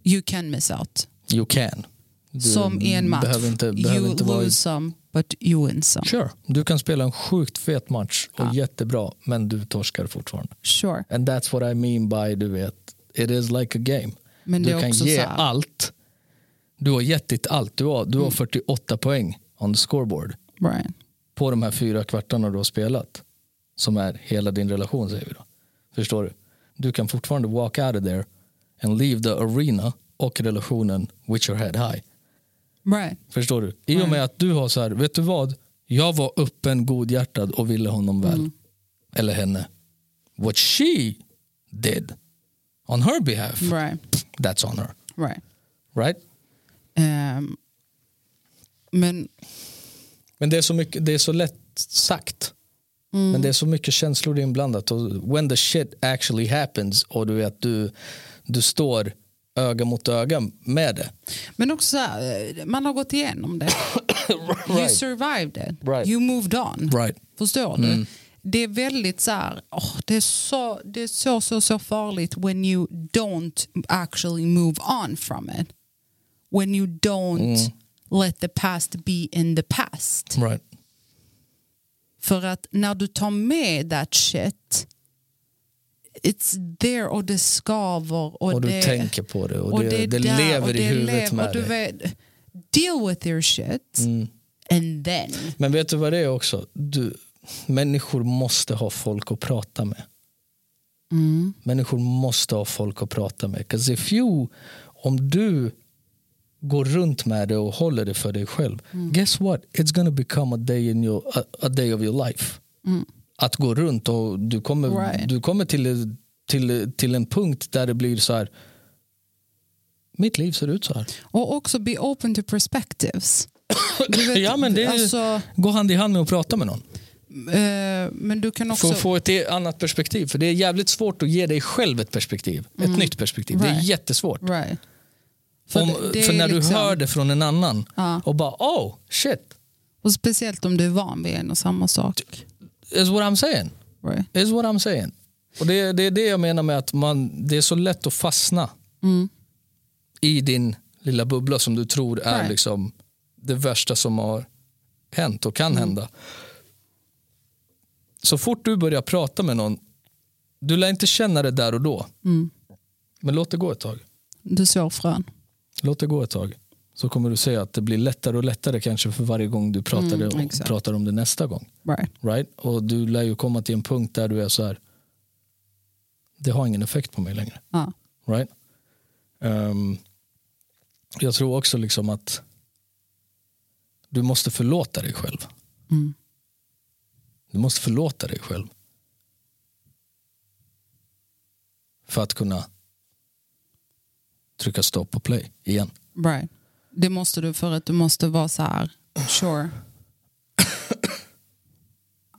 You can miss out.
You can. Du
Som i en match.
Behöver inte, behöver
you
inte vara i
lose some, but you win some.
Sure, du kan spela en sjukt fet match och
Ja.
jättebra, men du torskar fortfarande.
Sure.
And that's what I mean by, du vet, it is like a game.
Men det
du
är
kan
också
ge
så här- Mm.
allt. Du har gett ditt allt. Du har, du har 48 poäng on the scoreboard
Brian.
på de här fyra kvartarna du har spelat. Som är hela din relation, säger vi då. Förstår du? Du kan fortfarande walk out of there and leave the arena och relationen with your head high.
Brian.
Förstår du? I och med att du har så här, vet du vad? Jag var öppen, godhjärtad och ville honom väl. Eller henne. What she did on her behalf,
Brian.
that's on her.
Right.
Right?
Ehm, men
Men det är så, mycket, det är så lätt sagt.
Mm.
Men det är så mycket känslor inblandat. Och when the shit actually happens och du vet, du, du står öga mot öga med det.
Men också, så här, eh, man har gått igenom det. You survived it.
Right.
You moved on.
Right. Mm.
Förstår du? Det är väldigt så här, åh, det är, så, det är så, så, så farligt when you don't actually move on from it. When you don't
Mm.
let the past be in the past.
Right.
För att när du tar med that shit, it's there och det skaver. Och,
Och, du
det,
tänker på det och, det,
är
det,
där,
lever
och
i
det
huvudet
lever,
med
och du
dig. Mm.
vet, Deal with your shit and then.
Men vet du vad det är också? Du, människor måste ha folk att prata med. Människor måste ha folk att prata med. 'Cause if you, om du går runt med det och håller det för dig själv,
Mm.
guess what? It's gonna become a day, in your, a, a day of your life. Att gå runt och du kommer,
Mm. Right.
du kommer till, till, till en punkt där det blir så här, mitt liv ser ut så här.
Och också be open to perspectives. Du vet,
ja, men det är,
alltså,
Gå hand i hand med att prata med någon.
eh, men du kan också...
För att få ett e- annat perspektiv. För det är jävligt svårt att ge dig själv ett perspektiv. Ett nytt perspektiv. Det är
Mm. Right.
jättesvårt.
right.
För,
För
Om,
det- det
för
är
när du
liksom-
hör det från en annan
Ja.
och bara oh shit,
Och speciellt om du är van vid en och samma sak.
Typ. is what I'm saying.
Right.
Is what I'm saying. Och det, är- det är det jag menar med att man, det är så lätt att fastna
Mm.
i din lilla bubbla som du tror är
Right.
liksom det värsta som har hänt och
Mm.
kan hända. Så fort du börjar prata med någon, du lär inte känna det där och då.
Mm.
Men låt det gå ett tag.
Du sår frön.
Låt det gå ett tag. Så kommer du se att det blir lättare och lättare kanske för varje gång du pratar,
Mm,
det och
exakt.
pratar om det nästa gång.
Right.
Right? Och du lär ju komma till en punkt där du är så här. Det har ingen effekt på mig längre.
Ja.
Right? Ehm, jag tror också liksom att du måste förlåta dig själv.
Mm.
Du måste förlåta dig själv. För att kunna trycka stopp och play igen.
Right. Det måste du för att du måste vara så här. Sure.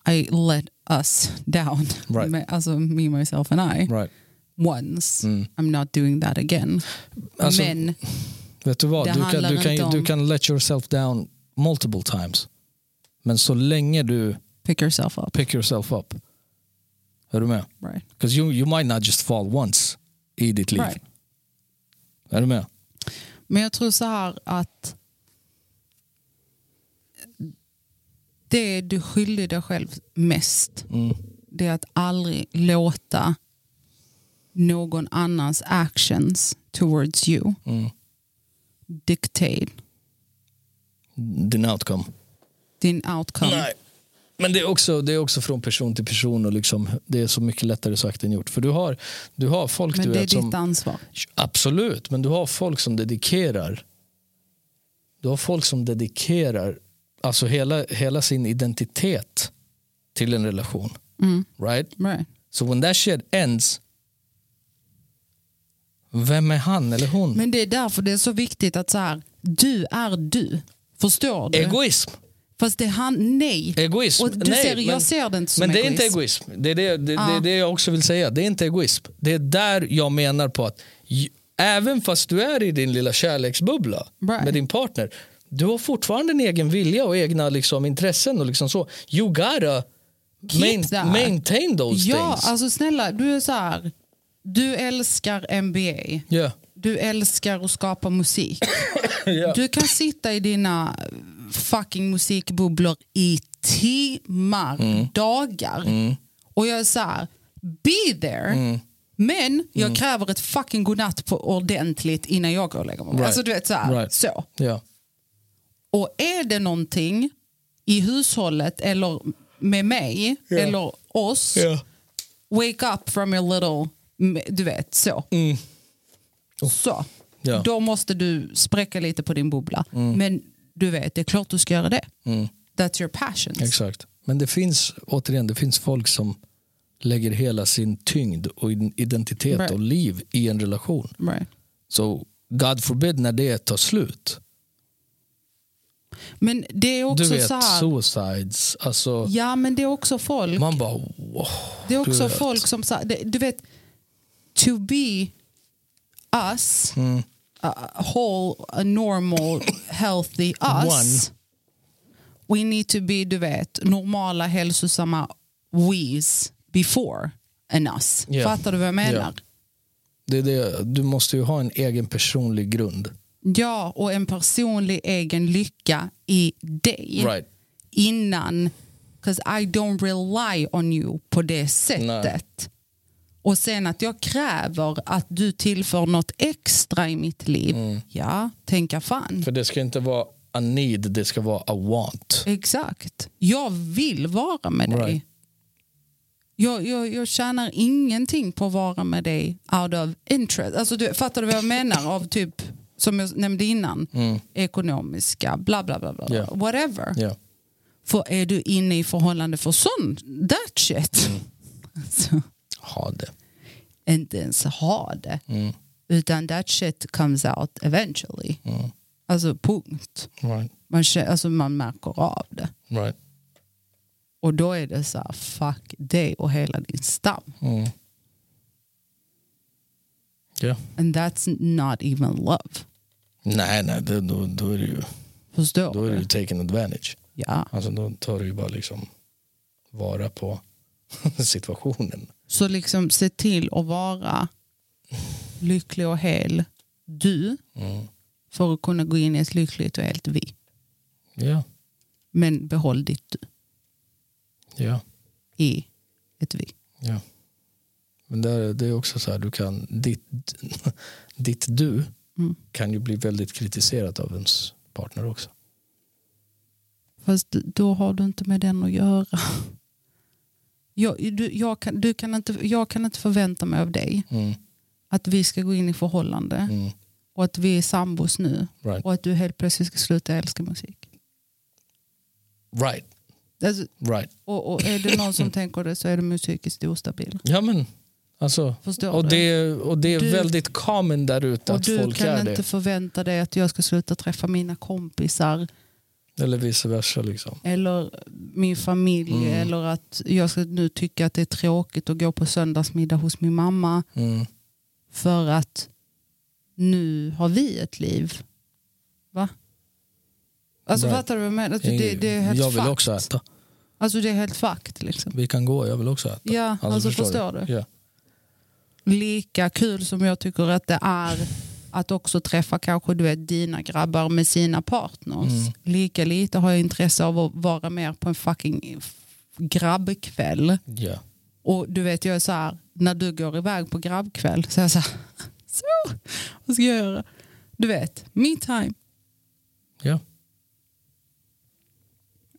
I let us down.
Right.
Me- Alltså me, myself and I.
Right.
Once.
Mm.
I'm not doing that again.
Alltså,
Men
Vet du vad,
Det
du kan,
handlar
du,
inte
kan,
om-
du kan let yourself down multiple times. Men så länge du
pick yourself up.
pick yourself up. Är du med?
Right.
Because you, you might not just fall once i ditt liv.
Right.
Är du med?
Men jag tror så här att det du skyller dig själv mest
Mm.
det är att aldrig låta någon annans actions towards you
Mm.
dictate
Din outcome.
din outcome.
Nej. Men det är, också, det är också från person till person och liksom, det är så mycket lättare sagt än gjort. För du har, du har folk
Men
du
det är
vet
ditt
som...
ansvar.
Absolut, men du har folk som dedikerar. Du har folk som dedikerar alltså hela, hela sin identitet till en relation.
Mm.
Right?
Right.
So when that shit ends Vem är han eller hon?
Men det är därför det är så viktigt att så här, du är du. Förstår du?
Egoism.
Fast det är han, nej.
Egoism.
Och du
Nej,
ser, jag
men-
ser det inte som
Men det är
egoism. Ah.
inte egoism. Det är det, det, det, är det jag också vill säga. Det är inte egoism. Det är där jag menar på att j- även fast du är i din lilla kärleksbubbla
Right.
med din partner, du har fortfarande en egen vilja och egna liksom, intressen och liksom så. You gotta
Keep that.
maintain those
Ja,
things.
alltså snälla, du är så här, du älskar NBA.
Yeah.
Du älskar att skapa musik.
Yeah.
Du kan sitta i dina fucking musikbubblor i timmar,
Mm.
dagar. Och jag är så här, be there.
Mm.
Men jag kräver ett fucking godnatt på ordentligt innan jag går och lägger mig.
Right.
Alltså du vet så här,
Right.
så.
Yeah.
Och är det någonting i hushållet eller med mig
Ja.
eller oss,
Yeah.
wake up from your little, m- du vet så.
Mm.
Så.
Ja. Mm.
Då måste du spräcka lite på din bubbla. Men du vet, det är klart du ska göra det. That's your passion.
Exakt. Men det finns, återigen, det finns folk som lägger hela sin tyngd och in- identitet
Right.
och liv i en relation.
Right.
Så God forbid när det tar slut.
Men det är också
Du vet,
så här.
suicides. Alltså,
Ja, men det är också folk.
Man bara wow.
Det är också
du vet.
folk som sa, det, du vet, to be us,
Mm.
a whole, a normal, healthy us. We need to be, du vet, normala, hälsosamma we's before an us.
Ja.
Fattar du vad jag menar?
Det är det, du måste ju ha en egen personlig grund.
Ja, och en personlig egen lycka i dig
Right.
innan. Because I don't rely on you på det sättet. Och sen att jag kräver att du tillför något extra i mitt liv. Ja, tänka fan.
För det ska inte vara a need, det ska vara a want.
Exakt. Jag vill vara med
Right.
dig. Jag, jag, jag tjänar ingenting på att vara med dig out of interest. Alltså, du, fattar du vad jag menar? Av typ, som jag nämnde innan, ekonomiska, bla bla bla, bla
Ja.
whatever.
Ja.
För är du inne i förhållande för sån, that shit. Alltså,
Ha det.
inte ens ha det. Utan that shit comes out eventually. Alltså punkt.
Right.
Man, kä- alltså, man märker av det.
Right.
Och då är det så här, fuck dig och hela din stam.
Mm. Ja.
And that's not even love.
Nej, nej, det, då, då är det ju,
Förstår
då är det
du?
ju taken advantage.
Ja.
Alltså, då tar du ju bara liksom vara på situationen.
Så liksom se till att vara lycklig och hel du
Mm.
för att kunna gå in i ett lyckligt och helt vi.
Ja,
Men behåll ditt du
ja,
i ett vi.
ja. Men där, det är också så här, du kan, ditt, ditt du
Mm.
kan ju bli väldigt kritiserat av ens partner också.
Fast då har du inte med den att göra. Jag, du, jag, kan, du kan inte, jag kan inte förvänta mig av dig
Mm,
att vi ska gå in i förhållande
mm,
och att vi är sambos nu
right.
och att du helt plötsligt ska sluta älska musik.
right,
Alltså,
right.
och, och är det någon som tänker det så är de ju psykiskt ostabil.
Ja men, alltså,
Förstår
och
du?
det, och det är
Du-
väldigt common där ute
och
att
du
folk
kan
är
inte förvänta dig att jag ska sluta träffa mina kompisar
det. Eller vice versa liksom.
eller min familj
Mm.
eller att jag ska nu tycka att det är tråkigt att gå på söndagsmiddag hos min mamma
Mm,
för att nu har vi ett liv. Va? Alltså
Right.
fattar du vad jag menar? Alltså, det, det är helt
jag vill
fucked.
också äta.
Alltså det är helt fakt liksom.
Vi kan gå, jag vill också äta.
Ja, alltså, förstår, du?
Ja.
lika kul som jag tycker att det är att också träffa kanske du vet, dina grabbar med sina partners.
Mm.
Lika lite har jag intresse av att vara med på en fucking grabbkväll.
Ja.
Och du vet jag är så här, när du går iväg på grabbkväll så är jag så här, så, vad ska jag göra? Du vet, me time.
Ja.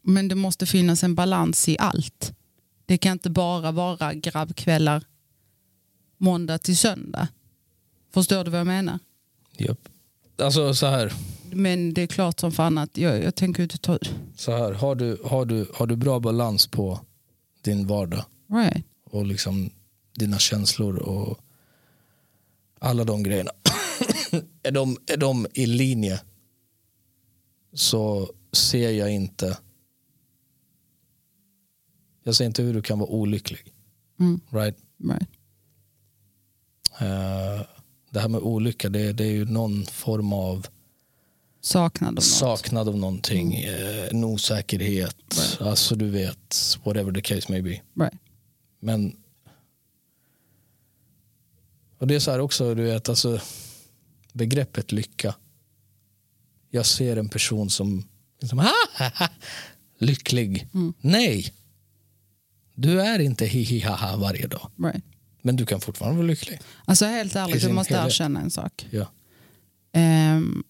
Men det måste finnas en balans i allt. Det kan inte bara vara grabbkvällar måndag till söndag. Förstår du vad jag menar?
Japp. Alltså så här.
Men det är klart som fan att jag, jag tänker inte ta...
så här, har du, har, du, har du bra balans på din vardag
Right.
och liksom dina känslor och alla de grejerna. är, de, är de i linje så ser jag inte jag ser inte hur du kan vara olycklig.
Mm.
Right?
Right.
Eh, det här med olycka det, det är ju någon form av
Saknad av något.
saknad av någonting, eh, en osäkerhet, alltså du vet, whatever the case may be.
Right.
Men och det är så här också, du vet, alltså begreppet lycka. Jag ser en person som liksom, ha, ha, ha, lycklig. Nej, du är inte hi hi ha ha varje dag.
Right.
Men du kan fortfarande vara lycklig.
Alltså helt
I
ärligt, du
sin
måste
helhet.
erkänna en sak.
Ja.
Ehm,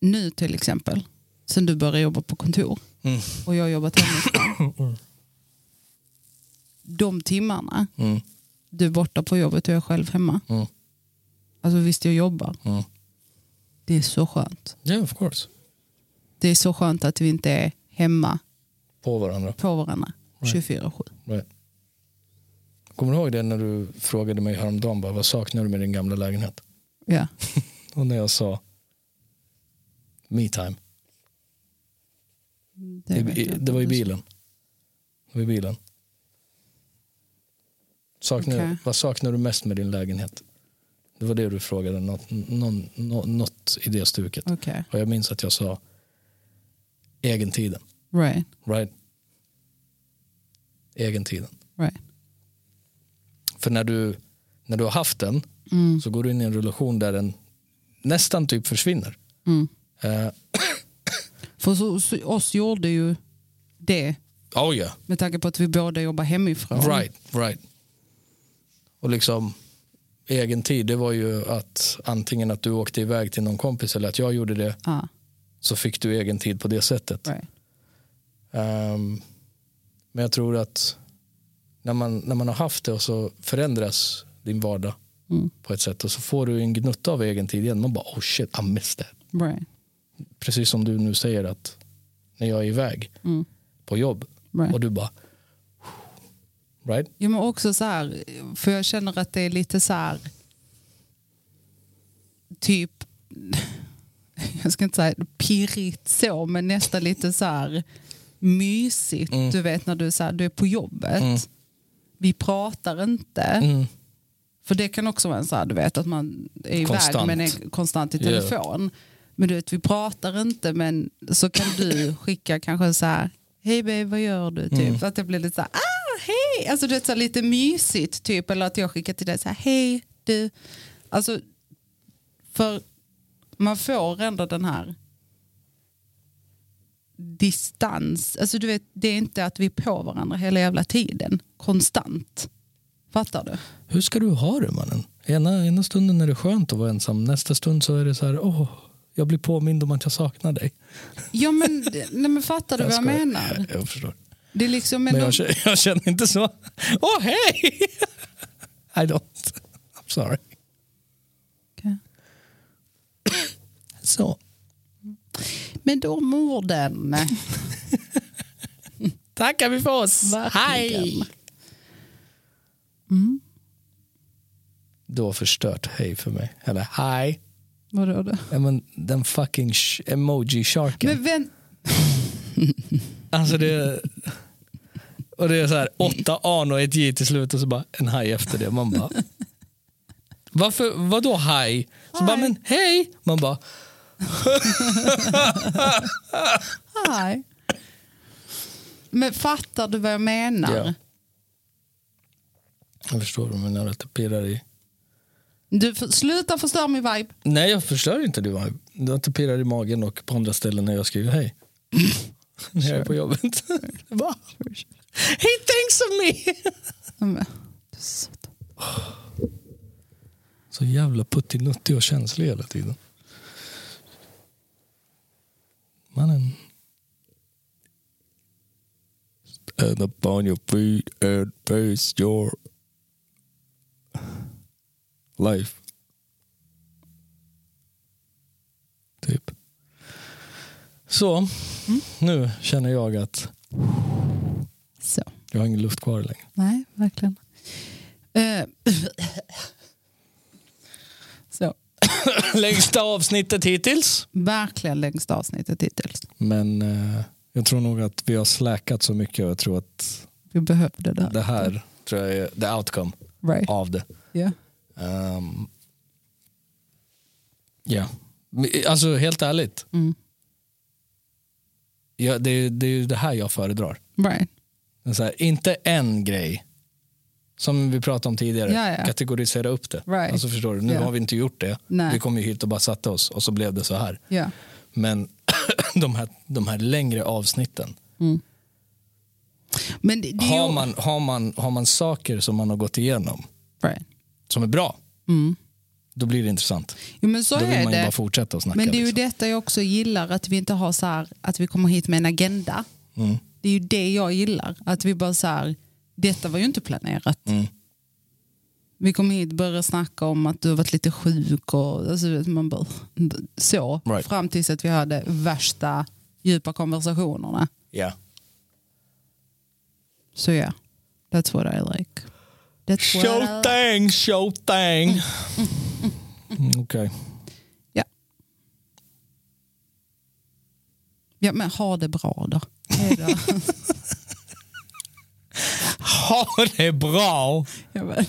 nu till exempel, sen du började jobba på kontor
Mm.
och jag har jobbat hemifrån. De timmarna
Mm.
du är borta på jobbet och jag är själv hemma.
Mm.
Alltså visst jag jobbar,
Mm.
det är så skönt.
Yeah, of course.
Det är så skönt att vi inte är hemma
På varandra.
på varandra 24-7.
Right. Kommer du ihåg det när du frågade mig häromdagen bara, vad saknar du med din gamla lägenhet?
Ja.
Och när jag sa me time.
Det,
I,
vet
i,
jag inte.
det var i bilen. Det var i bilen. Saknar,
Okej.
Vad saknar du mest med din lägenhet? Det var det du frågade, något, någon, nå- något i det stuket.
Okej,
Och jag minns att jag sa egentiden.
right.
Right? Egentiden.
right.
För när du, när du har haft den
Mm,
så går du in i en relation där den nästan typ försvinner.
mm.
Eh,
För så, så, oss gjorde ju det
oh yeah,
med tanke på att vi båda jobbar hemifrån.
right, right. Och liksom egen tid, det var ju att antingen att du åkte iväg till någon kompis eller att jag gjorde det
Ah,
så fick du egen tid på det sättet.
right.
Ehm, men jag tror att när man, när man har haft det och så förändras din vardag
Mm.
på ett sätt och så får du en gnutta av egen tid igen. Man bara oh shit, I missed that.
Right.
Precis som du nu säger att när jag är iväg
Mm.
på jobb
Right.
och du bara right?
Jo, men också så här, för jag känner att det är lite så här, typ, jag ska inte säga pirrigt så, men nästan lite så här mysigt.
Mm.
Du vet när du är, så här, du är på jobbet,
Mm.
vi pratar inte.
Mm.
För det kan också vara en så här, du vet att man är iväg
Konstant.
men är e- konstant i
Ja.
telefon. Men du vet, vi pratar inte men så kan du skicka kanske så här, hej babe vad gör du? Typ.
Mm.
Att det blir lite så här, ah hej! Alltså du vet så här, lite mysigt typ. Eller att jag skickar till dig så här, hej du. Alltså, för man får ändå den här distans. Alltså du vet, det är inte att vi är på varandra hela jävla tiden. Konstant. Fattar du?
Hur ska du ha det mannen? Ena, ena stunden är det skönt att vara ensam, nästa stund så är det så här, åh, jag blir påmind om att jag saknar dig.
Ja men, nej, men fattar du vad jag
skojar.
menar?
Jag, jag förstår.
Det är liksom,
Men,
men
jag,
de,
känner, jag känner inte så. Åh, hej! I don't. I'm sorry.
Okej.
Så,
men de orden.
tackar vi för oss.
Verkligen.
Mm. Du har förstört hej för mig. Eller hej.
Vadå då?
Ja, men den fucking sh- emoji-sharken.
Men vänt,
Alltså det... Och det är så här åtta an och ett j till slut och så bara en haj efter det. Man bara... Varför, vadå haj? Så bara,
Haj.
men hej! Man bara,
nej. Men fattar du vad jag menar?
Ja. jag förstår vad du menar att det pirrar i...
Du, för, sluta förstöra min vibe.
Nej, jag förstör inte det. va? Det att det pirrar i magen och på andra ställen när jag skriver hej. när jag är på jobbet. Va? He thinks of me!
Men, du är så dum.
Så jävla puttinuttig och känslig hela tiden. Mannen. Stand up on your feet and face your life. Typ. Så, nu känner jag att
Så.
jag har ingen luft kvar längre.
Nej, verkligen. Eh,
längsta avsnittet hittills.
Verkligen längsta avsnittet hittills.
Men eh, jag tror nog att vi har släkat så mycket och jag tror att
Vi behövde det.
det här tror jag är the outcome
Right.
av det.
Ja.
Ehm, ja, Men, eh, alltså helt ärligt.
Mm.
Ja, det, är- det är ju det här jag föredrar.
Right.
Det är Så här, inte en grej, som vi pratade om tidigare,
Ja, ja.
kategorisera upp det.
Right.
Alltså förstår du, nu
Ja.
har vi inte gjort det.
Nej.
Vi kom ju hit och bara satte oss och så blev det så här.
Ja.
Men de här, de här längre avsnitten,
Mm. Men det, det är
har
ju-
man, har, man, har man saker som man har gått igenom
Right.
som är bra,
Mm.
då blir det intressant.
Jo, men så
då vill
är
man ju
det.
bara fortsätta att snacka.
Men det är ju
liksom.
detta jag också gillar, att vi inte har så här, att vi kommer hit med en agenda.
Mm.
Det är ju det jag gillar, att vi bara så här, detta var ju inte planerat.
Mm.
Vi kom hit och började snacka om att du har varit lite sjuk och alltså, du vet, man bara, så.
Right.
Fram tills att vi hade värsta djupa konversationerna.
Ja.
Så ja, that's what I like. That's what I like.
Showtang, showtang. Mm, Okej.
Ja. ja, men ha det bra då. Hej då.
Ha det bra!
Ja, men,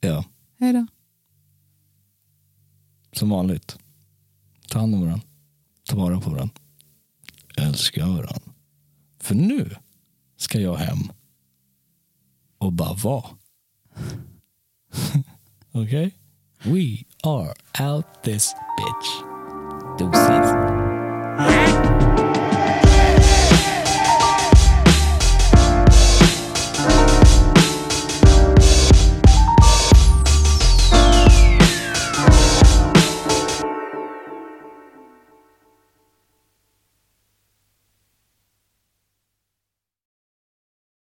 Ja,
Hej då.
som vanligt. Ta hand om varandra. Ta vara på varandra. Älska varandra. För nu ska jag hem och bara vara. Okej? We are out this bitch. Doses.